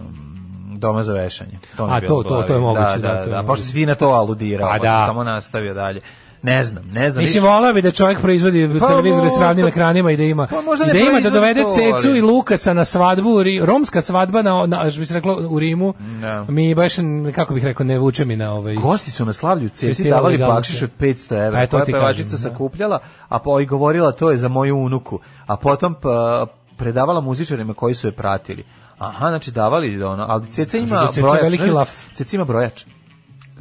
F: doma za vešanje. To mi je
E: A,
F: bilo
E: to-
F: u
E: to-
F: glavi.
E: to je moguće, da,
F: Da,
E: to je
F: da, da.
E: moguće.
F: Pošto si ti na to aludirao,
E: Pa
F: pa
E: da.
F: sam samo nastavio dalje. Ne znam, ne znam.
E: Mislim,
F: više.
E: volao bi da čovjek proizvodi
F: Pa,
E: televizore s
F: možda-
E: ravnim ekranima i da ima,
F: Pa, možda
E: i
F: ne
E: da, ima da
F: proizvodi
E: dovede
F: to,
E: Cecu
F: ali-
E: i Lukasa na svadbu, u Ri- romska svadba na, na što bi se reklo, u Rimu,
F: Da.
E: mi baš, n- kako bih rekao, ne vuče mi na ovaj...
F: Gosti su na slavlju Ceci
E: Svesti
F: davali
E: ilegalno
F: bakšiš
E: sve.
F: od 500 evra.
E: Pa, e, to
F: Pa je
E: ti
F: pevačica
E: kažem, da.
F: sakupljala, a pa i govorila to je za moju unuku. A potom pa, predavala muzičarima koji su je pratili. Aha, znači davali ono, ali Ceca ima
E: da Ceca
F: brojač.
E: veliki
F: znaš,
E: laf.
F: Ceca ima brojač.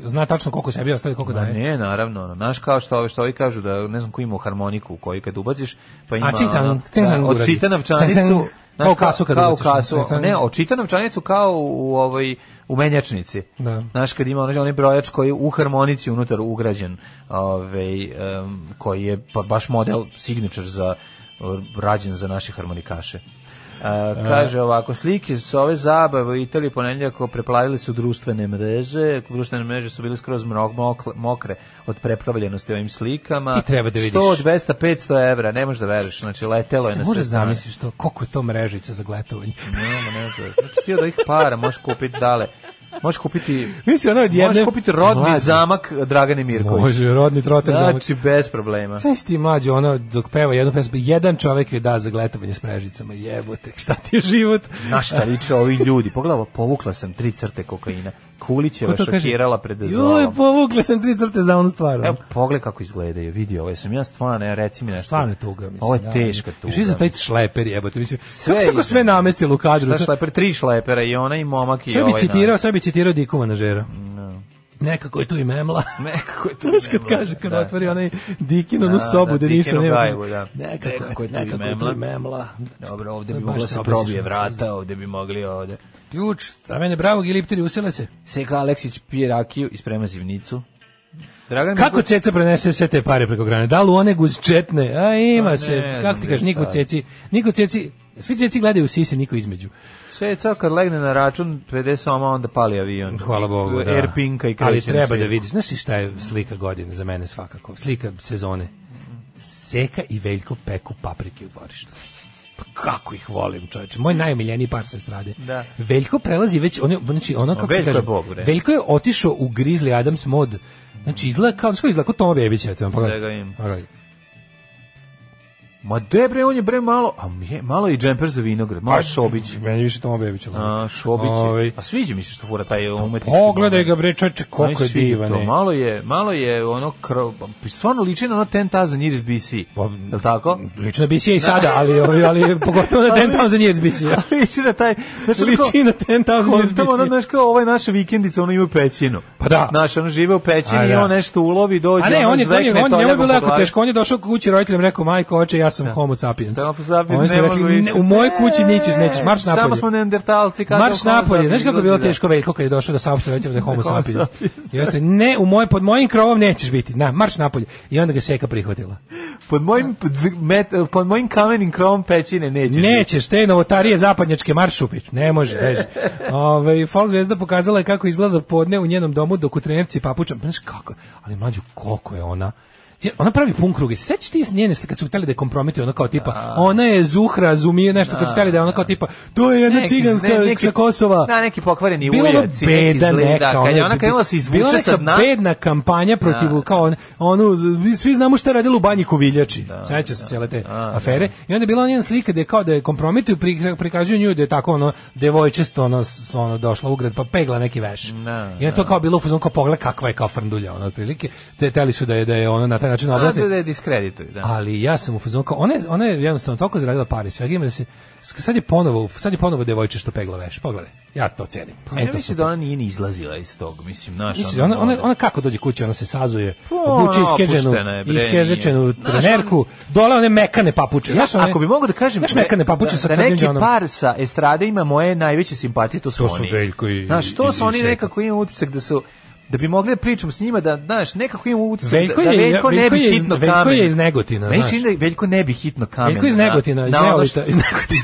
E: Zna tačno koliko sebi ostavi, koliko
F: Ma
E: daje.
F: ne, naravno, ono, znaš kao što ovi, što ovi kažu da ne znam ko ima harmoniku koju kad ubaciš, pa ima...
E: cincang,
F: ono,
E: cincang
F: da,
E: uradi.
F: Odčita
E: Cincang,
F: novčanicu... znaš,
E: kao u kasu kad
F: kao u
E: ubaciš,
F: kasu,
E: cincang.
F: ne, očita novčanicu kao u, u ovoj u menjačnici.
E: Da.
F: Znaš, kad ima onaj, onaj brojač koji je u harmonici unutar ugrađen, ovaj, em, koji je pa, baš model signature za rađen za naše harmonikaše. E, kaže ovako, slike s ove zabave u Italiji ponedeljako preplavili su društvene mreže, društvene mreže su bile skroz mrok, mokle- mokre od prepravljenosti ovim slikama.
E: Ti treba da vidiš.
F: 100, 200, 500 evra, ne možeš da veruješ, znači letelo je
E: Ti
F: na sve
E: može
F: strane.
E: zamisliš to, koliko je to mrežica za gletovanje.
F: Ne, ma ne znam. Znači ti od ovih para možeš kupiti dale. Možeš kupiti
E: Mislim, ono od jedne...
F: Možeš kupiti rodni
E: Mlađe.
F: zamak Dragane Mirković.
E: Može, rodni troter zamak.
F: Znači, bez problema.
E: Sve si ti mlađi, ono, dok peva jednu pesmu, jedan čovjek je da za gletovanje s mrežicama, jebote, šta ti je život?
F: Na šta liče ovi ljudi? Pogledaj, ovo, povukla sam tri crte kokaina. Kulićeva
E: Ko to kaže?
F: šokirala pred
E: Joj,
F: zolom.
E: povukla sam tri crte za onu stvar. ono.
F: Evo, pogledaj kako izgledaju, vidi ovo, jesam ja stvarno, evo, reci mi nešto.
E: Stvarno je tuga, mislim.
F: Ovo je
E: da.
F: teška tuga.
E: Još i za taj šleper jebote, mislim.
F: Sve
E: Sve kako
F: ide.
E: sve namestilo u kadru.
F: Šta
E: sve-
F: šleper, tri šlepera i ona i momak i
E: Sve bi
F: ovaj.
E: citirao, sve bi citirao Diku manažera. Nekako je tu i memla.
F: Nekako je to.
E: Znaš kad
F: nemoj,
E: kaže, kad
F: da.
E: otvori onaj Dikin, onu
F: Da,
E: sobu,
F: da,
E: da ništa
F: Dikinu
E: nema. kaže,
F: gajbu, da.
E: Nekako je tu i
F: memla."
E: memla.
F: Dobro, ovde
E: To
F: bi
E: je
F: moglo
E: baš ono,
F: se
E: sad
F: probije
E: osjećam.
F: vrata, ovde bi mogli ovde.
E: Ključ, za mene bravog ili usele se.
F: Seka Aleksić pije rakiju i sprema zivnicu. Dragan
E: Kako
F: Miljković-
E: ceca prenese sve te pare preko grane? Da li u one guzčetne? A ima
F: Pa ne
E: se,
F: znam
E: kako ti kažeš,
F: bre,
E: niko
F: šta.
E: ceci, niko ceci, svi ceci gledaju u sise, niko između.
F: Sve je kad legne na račun, prede soma, onda pali avion.
E: Hvala Bogu, da.
F: Airpinka E, i kreće
E: Ali
F: na
E: treba
F: svijetu.
E: da vidiš, znaš li šta je slika godine za mene svakako? Slika sezone. Seka i Veljko peku paprike u dvorištu. Pa kako ih volim, čoveče. Moj najomiljeniji par sa strade.
F: Da.
E: Veljko prelazi već, on je, znači, ono kako ti
F: Veljko je
E: kažem,
F: Bog, bre.
E: Veljko je otišao u Grizzly Adams mod. Znači, izgleda kao, znaš ko izgleda, kao Toma Bebić, eto, pogledaj.
F: Da ga imam.
E: Pogledaj.
F: Ma de bre, on je bre malo, a je, malo i džemper za vinograd,
E: Pa-
F: malo Šobić.
E: Meni više Toma Bebić.
F: A, Šobić je.
E: Ovaj.
F: A sviđa mi se što fura taj umetnički.
E: Pa Pogledaj ga,
F: moment.
E: bre, čoveče,
F: Meni
E: koliko
F: se
E: je
F: sviđa
E: divan. e.
F: to.
E: ej.
F: Malo je, malo je ono krov, stvarno liči na ono 10,000 years BC.
E: Pa-
F: Je li tako?
E: Lično bi se i sada, ali, ali, ali pogotovo na 10,000 years BC.
F: liči na taj... znaš, ono kao-
E: Liči na 10,000 years
F: Tamo ono,
E: BC.
F: znaš, kao ovaj naša vikendica, ono ima pećinu.
E: Pa da.
F: Znaš, ono žive u pećini
E: A,
F: i
E: da.
F: on nešto ulovi, dođe,
E: A ne, on
F: ono
E: je, on je,
F: zvekne
E: on je, njemu je
F: toljagom
E: bilo
F: po
E: jako
F: glavi.
E: teško, on je došao kući roditeljima i rekao, majko, oče, ja sam homo sapiens.
F: Homo sapiens,
E: Oni su
F: ne
E: rekli,
F: mogu više. E,
E: "Ne, u mojoj kući nećeš, nećeš, marš napolje.
F: Samo smo neandertalci. kažem,
E: Marš
F: homo
E: napolje, znaš
F: sapiens,
E: kako je bilo
F: ljudi, da.
E: teško Veljko kad je došao da saopšte roditeljima da je homo
F: Da je homo
E: sapiens. I on se, ne, u moje, pod mojim krovom nećeš biti, na, marš napolje. I onda ga Seka prihvatila.
F: Pod mojim, pod met, pod mojim kamenim krovom pećine nećeš. biti.
E: Nećeš, te novotarije zapadnjačke maršupić, ne može, beži. Ove, Fall Zvezda pokazala je kako izgleda podne u njenom domu dok u trenerci papuča, znaš kako, ali mlađu, koliko je ona, jer Ona pravi pun krug. I se Sećaš ti iz njene slike kad su hteli da je kompromituju, ona kao tipa, ona je Zuhra, Zumije, nešto kad su hteli da je ona kao tipa, to je jedna
F: Neki-
E: ciganska
F: ne- neki-
E: sa Kosova.
F: Da, neki pokvareni
E: Bila ono
F: ujac i neki
E: beda
F: zli, da,
E: neka,
F: kad je ona krenula se izvuče
E: bila neka
F: sa dna.
E: bedna kampanja protiv
F: Da.
E: kao on, onu mi svi znamo šta je radila u banji Kuviljači. Da, Seća se cele te afere. I onda je bila ona njena slika da je kao da je kompromituju pri- prikazuju nju da je tako ono devojčesto ono s- ono došla u grad pa pegla neki veš.
F: Da,
E: I onda to kao bilo u fazonu kao pogled kakva je kao frndulja ona otprilike. Te teli su da je da je ona na taj način
F: A,
E: oblate.
F: Da, da je diskredituju, da.
E: Ali ja sam u fazonu kao ona je, ona je jednostavno toliko zaradila pare i svega ima da se sad je ponovo sad je ponovo devojče što pegla veš. Pogledaj. Ja to cenim.
F: Pa
E: Meni
F: ja
E: to
F: mislim
E: super.
F: da ona nije ni izlazila iz tog, mislim, ono, naš.
E: Misli, ona, ona, ona kako dođe kući, ona se sazuje,
F: Pa,
E: obuče
F: ona
E: iskeženu,
F: opuštena je, bre,
E: iskežečenu
F: nije. Znaš,
E: trenerku, dole one mekane papuče. Znaš, one,
F: Ako bi mogu da kažem,
E: znaš mekane papuče
F: da,
E: sa
F: da
E: crnim
F: neki
E: đonom?
F: par sa estrade ima moje najveće simpatije, to su
E: To
F: oni.
E: su Veljko i-
F: Znaš, to
E: i-
F: su
E: i
F: oni
E: Seka.
F: nekako imam utisak da su da bi mogli da pričam s njima da znaš nekako imam utisak
E: Veljko
F: da, da
E: je-
F: Veljko ne
E: Veljko
F: bi
E: je iz-
F: hitno
E: Veljko
F: kamen.
E: je iz Negotina,
F: Meni se
E: znaš.
F: čini da Veljko ne bi hitno kamen.
E: Veljko iz Negotina, iz
F: na, na ono
E: Neolita, iz Negotina.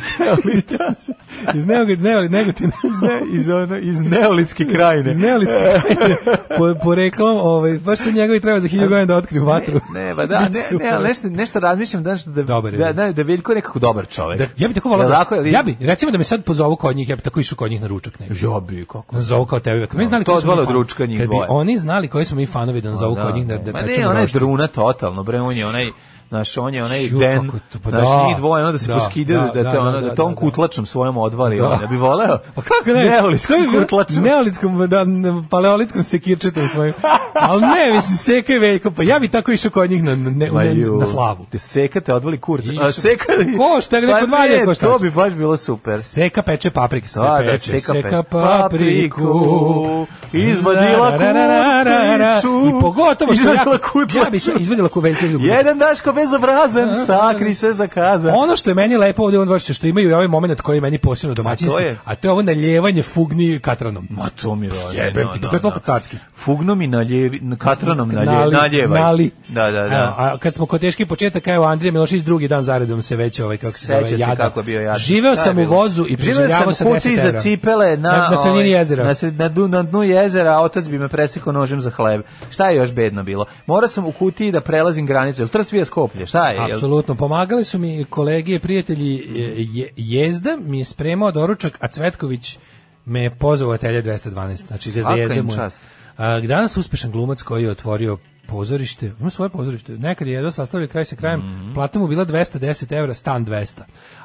E: iz Negotina, Neoli- Negotina.
F: iz, ne, iz, ono, iz neolitske krajine.
E: Iz Neolitske krajine. po, poreklom, ovaj, baš se njega i treba za hilju godina da otkrim vatru.
F: Ne, ba da,
E: Biće
F: ne,
E: super.
F: ne, ali nešto, nešto razmišljam da, da,
E: Dobar je
F: da,
E: Veljko.
F: da, da Veljko je nekako dobar čovek.
E: Da, ja bih tako
F: Jel
E: volao
F: tako,
E: da,
F: jel-
E: ja bih, recimo da me sad pozovu kod njih, ja bih tako išao kod njih na ručak negdje.
F: Ja bi, kako?
E: Da zovu kao tebe. Kad mi znali
F: To
E: koji smo mi
F: zvalo od
E: fanovi-
F: ručka njih
E: Kad bi
F: dvoje.
E: oni znali koji smo mi fanovi da nas zovu
F: Da,
E: kod njih da, da
F: da. Ma
E: pečemo
F: ne, ona je
E: roštilj.
F: druna totalno, bre, on je onaj Naš, on je onaj
E: Ju,
F: den,
E: kako je to, pa
F: znaš,
E: da.
F: njih dvoje, ono da se
E: Da,
F: poskidaju,
E: da,
F: da, te,
E: da,
F: ono,
E: da,
F: da, tom
E: da.
F: kutlačom svojom odvali,
E: Da.
F: da. bi voleo.
E: Pa kako ne?
F: Neoliskom
E: Kako bi bilo-
F: kutlačom.
E: Neolitskom, da, n- paleolitskom sekirčetom svojim. Ali ne, mislim, Seka i Veljko, pa ja bi tako išao kod njih na, na, ne-
F: Ma
E: ne-
F: ju,
E: na slavu.
F: Te sekate, odvali kurca. A,
E: Isu,
F: sekate.
E: ko šta, neko dva
F: ne,
E: je, ko šta
F: To
E: hoće.
F: bi baš bilo super.
E: Seka peče paprike, se
F: Da, da,
E: peče,
F: seka
E: seka,
F: pe- papriku,
E: papriku,
F: izvadila kutlicu.
E: I pogotovo što
F: Izvadila
E: ja,
F: kutlicu.
E: ja bi se izvadila kuveljke
F: Jedan Daško bezobrazan, sakri se za kazan.
E: Ono što je meni lepo ovdje u ovom dvorištu, što imaju i ovaj moment koji je meni posebno domaćinski,
F: je-
E: a to je ovo naljevanje fugni katranom.
F: Ma to mi radi.
E: Jebem
F: no,
E: ti, pa
F: no,
E: to je toliko
F: no.
E: carski.
F: Fugno mi naljevi, na- katranom nalje,
E: Nali,
F: naljevaj.
E: nali.
F: Da, da,
E: Evo,
F: da.
E: a kad smo kod teških početaka, evo Andrija Milošić drugi dan zaredom se već ovaj kako se
F: Seća
E: zove
F: se
E: jada.
F: kako je bio jadan.
E: Živeo
F: Šta je
E: sam u
F: bilo?
E: vozu i
F: Živeo sam
E: preživljavao
F: u
E: sa 10
F: kutiji za
E: evra.
F: cipele na,
E: na, na sredini
F: ovaj,
E: jezera.
F: Na, sred- na, dnu, na dnu jezera, a otac bi me presekao nožem za hleb. Šta je još bedno bilo? Morao sam u kutiji da prelazim granicu. Jel Trst bio Skoplje? Šta je? Jel- Mhm.
E: Apsolutno, pomagali su mi kolege, prijatelji, je- je, jezda mi je spremao doručak, a Cvetković me je pozvao u atelje 212, znači
F: Svaka
E: zvezda jezda
F: im
E: mu je.
F: čast.
E: A, danas uspešan glumac koji je otvorio pozorište, ima svoje pozorište, nekad je jedva sastavio kraj sa krajem,
F: Mhm.
E: plata mu bila 210 evra, stan 200,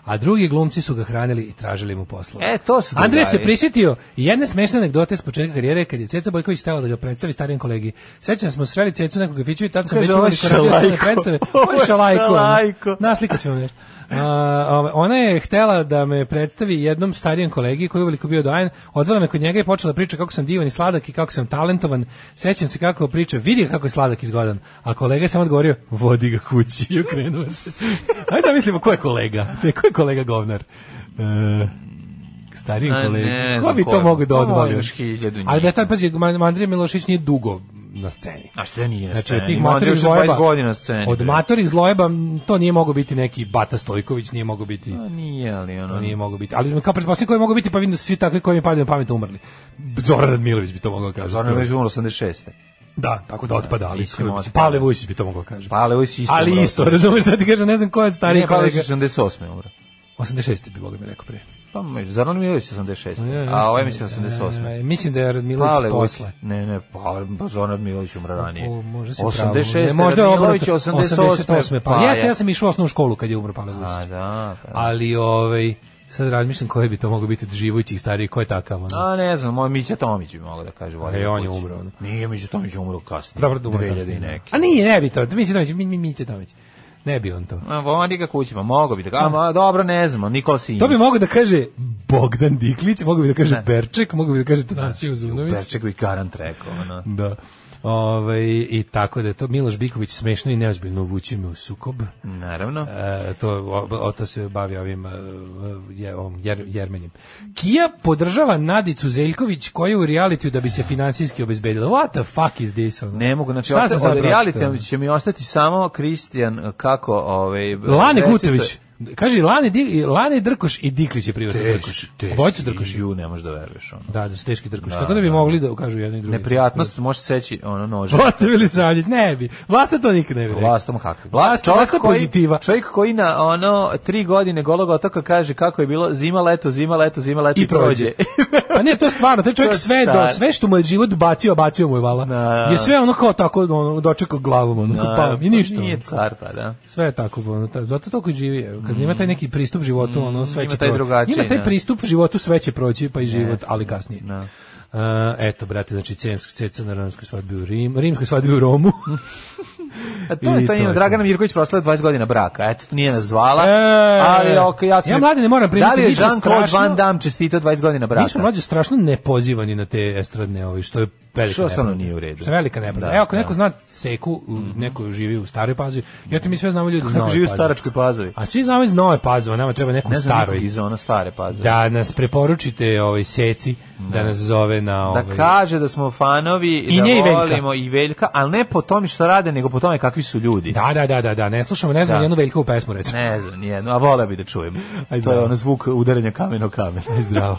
E: a drugi glumci su ga hranili i tražili mu poslove.
F: E, to su
E: Andrej se
F: drugari.
E: prisjetio jedne smešne anegdote s početka karijere kad je Ceca Bojković htela da ga predstavi starijem kolegi. Sećam se, smo sreli Cecu u nekom kafiću i tad sam
F: Kaže,
E: već
F: ovo je
E: uvijek radio sve
F: šalajko.
E: predstave.
F: Ovo
E: Ovo
F: je
E: je šalajko. ono.
F: šalajko.
E: Naslikat ćemo nešto. A, ovaj, ona je htela da me predstavi jednom starijem kolegi koji je uveliko bio dojen. Odvela me kod njega i počela priča kako sam divan i sladak i kako sam talentovan. Sećam se kako priča, vidi ga kako je sladak i zgodan. A kolega je samo odgovorio, vodi ga kući i okrenuo se. Ajde da mislimo, ko je kolega? Čekaj, ko je kolega govnar? E, starijem
F: Ne, ne
E: kolegi. Ko
F: znam
E: bi
F: ko je.
E: to mogu da
F: Pa,
E: odvali?
F: još hiljadu njih.
E: Ali da je taj, pazi, Ma- Andrija Milošić nije dugo na sceni.
F: A što nije na
E: Znači,
F: sceni?
E: od tih
F: Ima
E: matorih
F: Andrijuša
E: zlojeba,
F: 20 godina na sceni,
E: od
F: bre.
E: matorih zlojeba m, to nije mogao biti neki Bata Stojković, nije mogao biti...
F: A nije, ali ono...
E: To nije mogao biti. Ali kao pretpostavljam koji mogu biti, pa vidim da su svi takvi koji mi padaju na pamet umrli. Zoran Radmilović bi to mogao kaži.
F: Zoran Radmilović umro 86.
E: Da, tako da otpada, ali
F: Iskreno
E: mislim,
F: otpada.
E: Pale Vujsić bi to mogao kaže.
F: Pale Vujsić isto
E: Ali
F: umro
E: isto,
F: 88.
E: razumeš šta ti kažem, ne znam ko je od starijih
F: Nije, pa, Pavlović
E: kolega.
F: 88. umro.
E: 86. bi Boga mi rekao prije.
F: Pa, Zoran Milović
E: Pa,
F: 86. A ovaj mislim 88.
E: E, mislim da je Radmilović
F: Pavle Vujs-
E: posle.
F: Ne, ne, pa, pa Zoran Milović umre ranije.
E: O, možda si
F: 86.
E: pravo. Ne, možda je
F: Radmilović
E: obrnuto.
F: 88.
E: 88. Pa, jeste, ja sam išao u osnovnu školu kad je umro Pale
F: A,
E: Vujsić.
F: da. Pa.
E: Ali, ovaj, sad razmišljam koji bi to mogao biti od živućih starijih, ko je takav, ono.
F: A ne znam, moj Mića Tomić bi mogao da kaže. Vladan
E: E, on je
F: Vučić.
E: umro, ono.
F: Nije Mića Tomić umro kasnije.
E: Dobro, dobro.
F: 2000 i neki.
E: A nije, ne bi to. Miće Tomić, mi, mi, Miće Tomić. Ne bi on to.
F: A, vodi ga kućima, mogao bi da kaže. A, ma, dobro, ne znam, Nikola Simić.
E: To bi mogao da kaže Bogdan Diklić, mogao bi da kaže
F: Ne.
E: Berček, mogao bi da kaže Tanasije Uzunović.
F: Perček bi garant rekao, ono.
E: Da. Ove, I tako da je to Miloš Biković smešno i neozbiljno uvući me u sukob.
F: Naravno.
E: E, to, o, o, to se bavi ovim e, je, ovom jer, jermenim. Kija podržava Nadicu Zeljković koja je u realitiju da bi se financijski obezbedila. What the fuck is this? ono?
F: Ne mogu, znači
E: Šta sam
F: osta,
E: sad
F: od
E: pročitao?
F: reality će mi ostati samo Kristijan kako ovaj
E: Lane
F: recite-
E: Gutović. Kaže Lane, Di- Lane Drkoš i Diklić je privatni Drkoš.
F: Teški, teški.
E: Obojica Drkoš.
F: Ju, ne možeš da veruješ ono.
E: Da, da su teški Drkoš.
F: Da,
E: Tako da bi
F: da,
E: mogli da kažu jedni i drugi.
F: Neprijatnost može seći ono nože.
E: Vlasta bili Savljić, ne bi. Vlasta to nikad ne bi rekao.
F: Vlastom kakvi.
E: Vlast- Vlasta
F: koji,
E: pozitiva.
F: Čovjek koji na ono tri godine golog otoka kaže kako je bilo zima, leto, zima, leto, zima, leto
E: I prođe. Pa ne, to je stvarno, taj čovjek
F: To je
E: sve, do,
F: stvarno.
E: sve što mu je život bacio, bacio mu je vala. Je sve ono kao tako ono, dočekao glavom, ono, kao pao, i ništa.
F: pa Nije
E: ono, kao.
F: car, pa da.
E: Sve je tako, ono, ta- zato toliko i živi. evo, Kad ima taj neki pristup životu, ono, sve
F: Mm, ima
E: će
F: taj
E: proći.
F: drugačiji,
E: Ima taj
F: da.
E: pristup životu, sve će proći, pa i život, ali kasnije.
F: Da.
E: Uh, eto, brate, znači, Censk, Ceca na romskoj svadbi u Rim, rimskoj svadbi u Romu.
F: A to je
E: I
F: to
E: to je
F: ima.
E: to.
F: Dragana Mirković proslavila 20 godina braka. Eto, to nije nazvala.
E: E,
F: ali ok, ja sam...
E: ja, mlade, ne moram primiti
F: Da li je
E: ništa
F: Jean-Claude
E: strašno.
F: Van Damme čestitao 20 godina braka?
E: Mi smo mlađe strašno nepozivani na te estradne ovi, što je velika
F: Što stvarno
E: nepravda.
F: nije u redu.
E: Što je velika nepravda.
F: Da,
E: Evo, ako
F: da.
E: neko zna Seku, neko živi u Staroj Pazovi, ja ti mi sve znamo ljudi iz
F: Kako
E: Nove
F: živi u
E: Pazove.
F: staračkoj pazovi?
E: A svi znamo iz Nove Pazove, nama treba neko u
F: Ne znam nikog
E: Staroj.
F: iz ona stare pazove. Da,
E: Da nas preporučite ovaj Seci, da nas zove na ovaj...
F: kaže da smo fanovi,
E: I
F: da
E: nje i Veljka.
F: volimo i Veljka, ali ne po tome što rade, nego po tome kakvi su ljudi.
E: Da, da, da, da, da, ne slušamo, ne znam,
F: Da.
E: jednu veljkovu pesmu, recimo.
F: Ne znam, nijedno, a vole bi da čujem. to je
E: zdravo.
F: ono zvuk udaranja kamena o kamen.
E: Zdravo.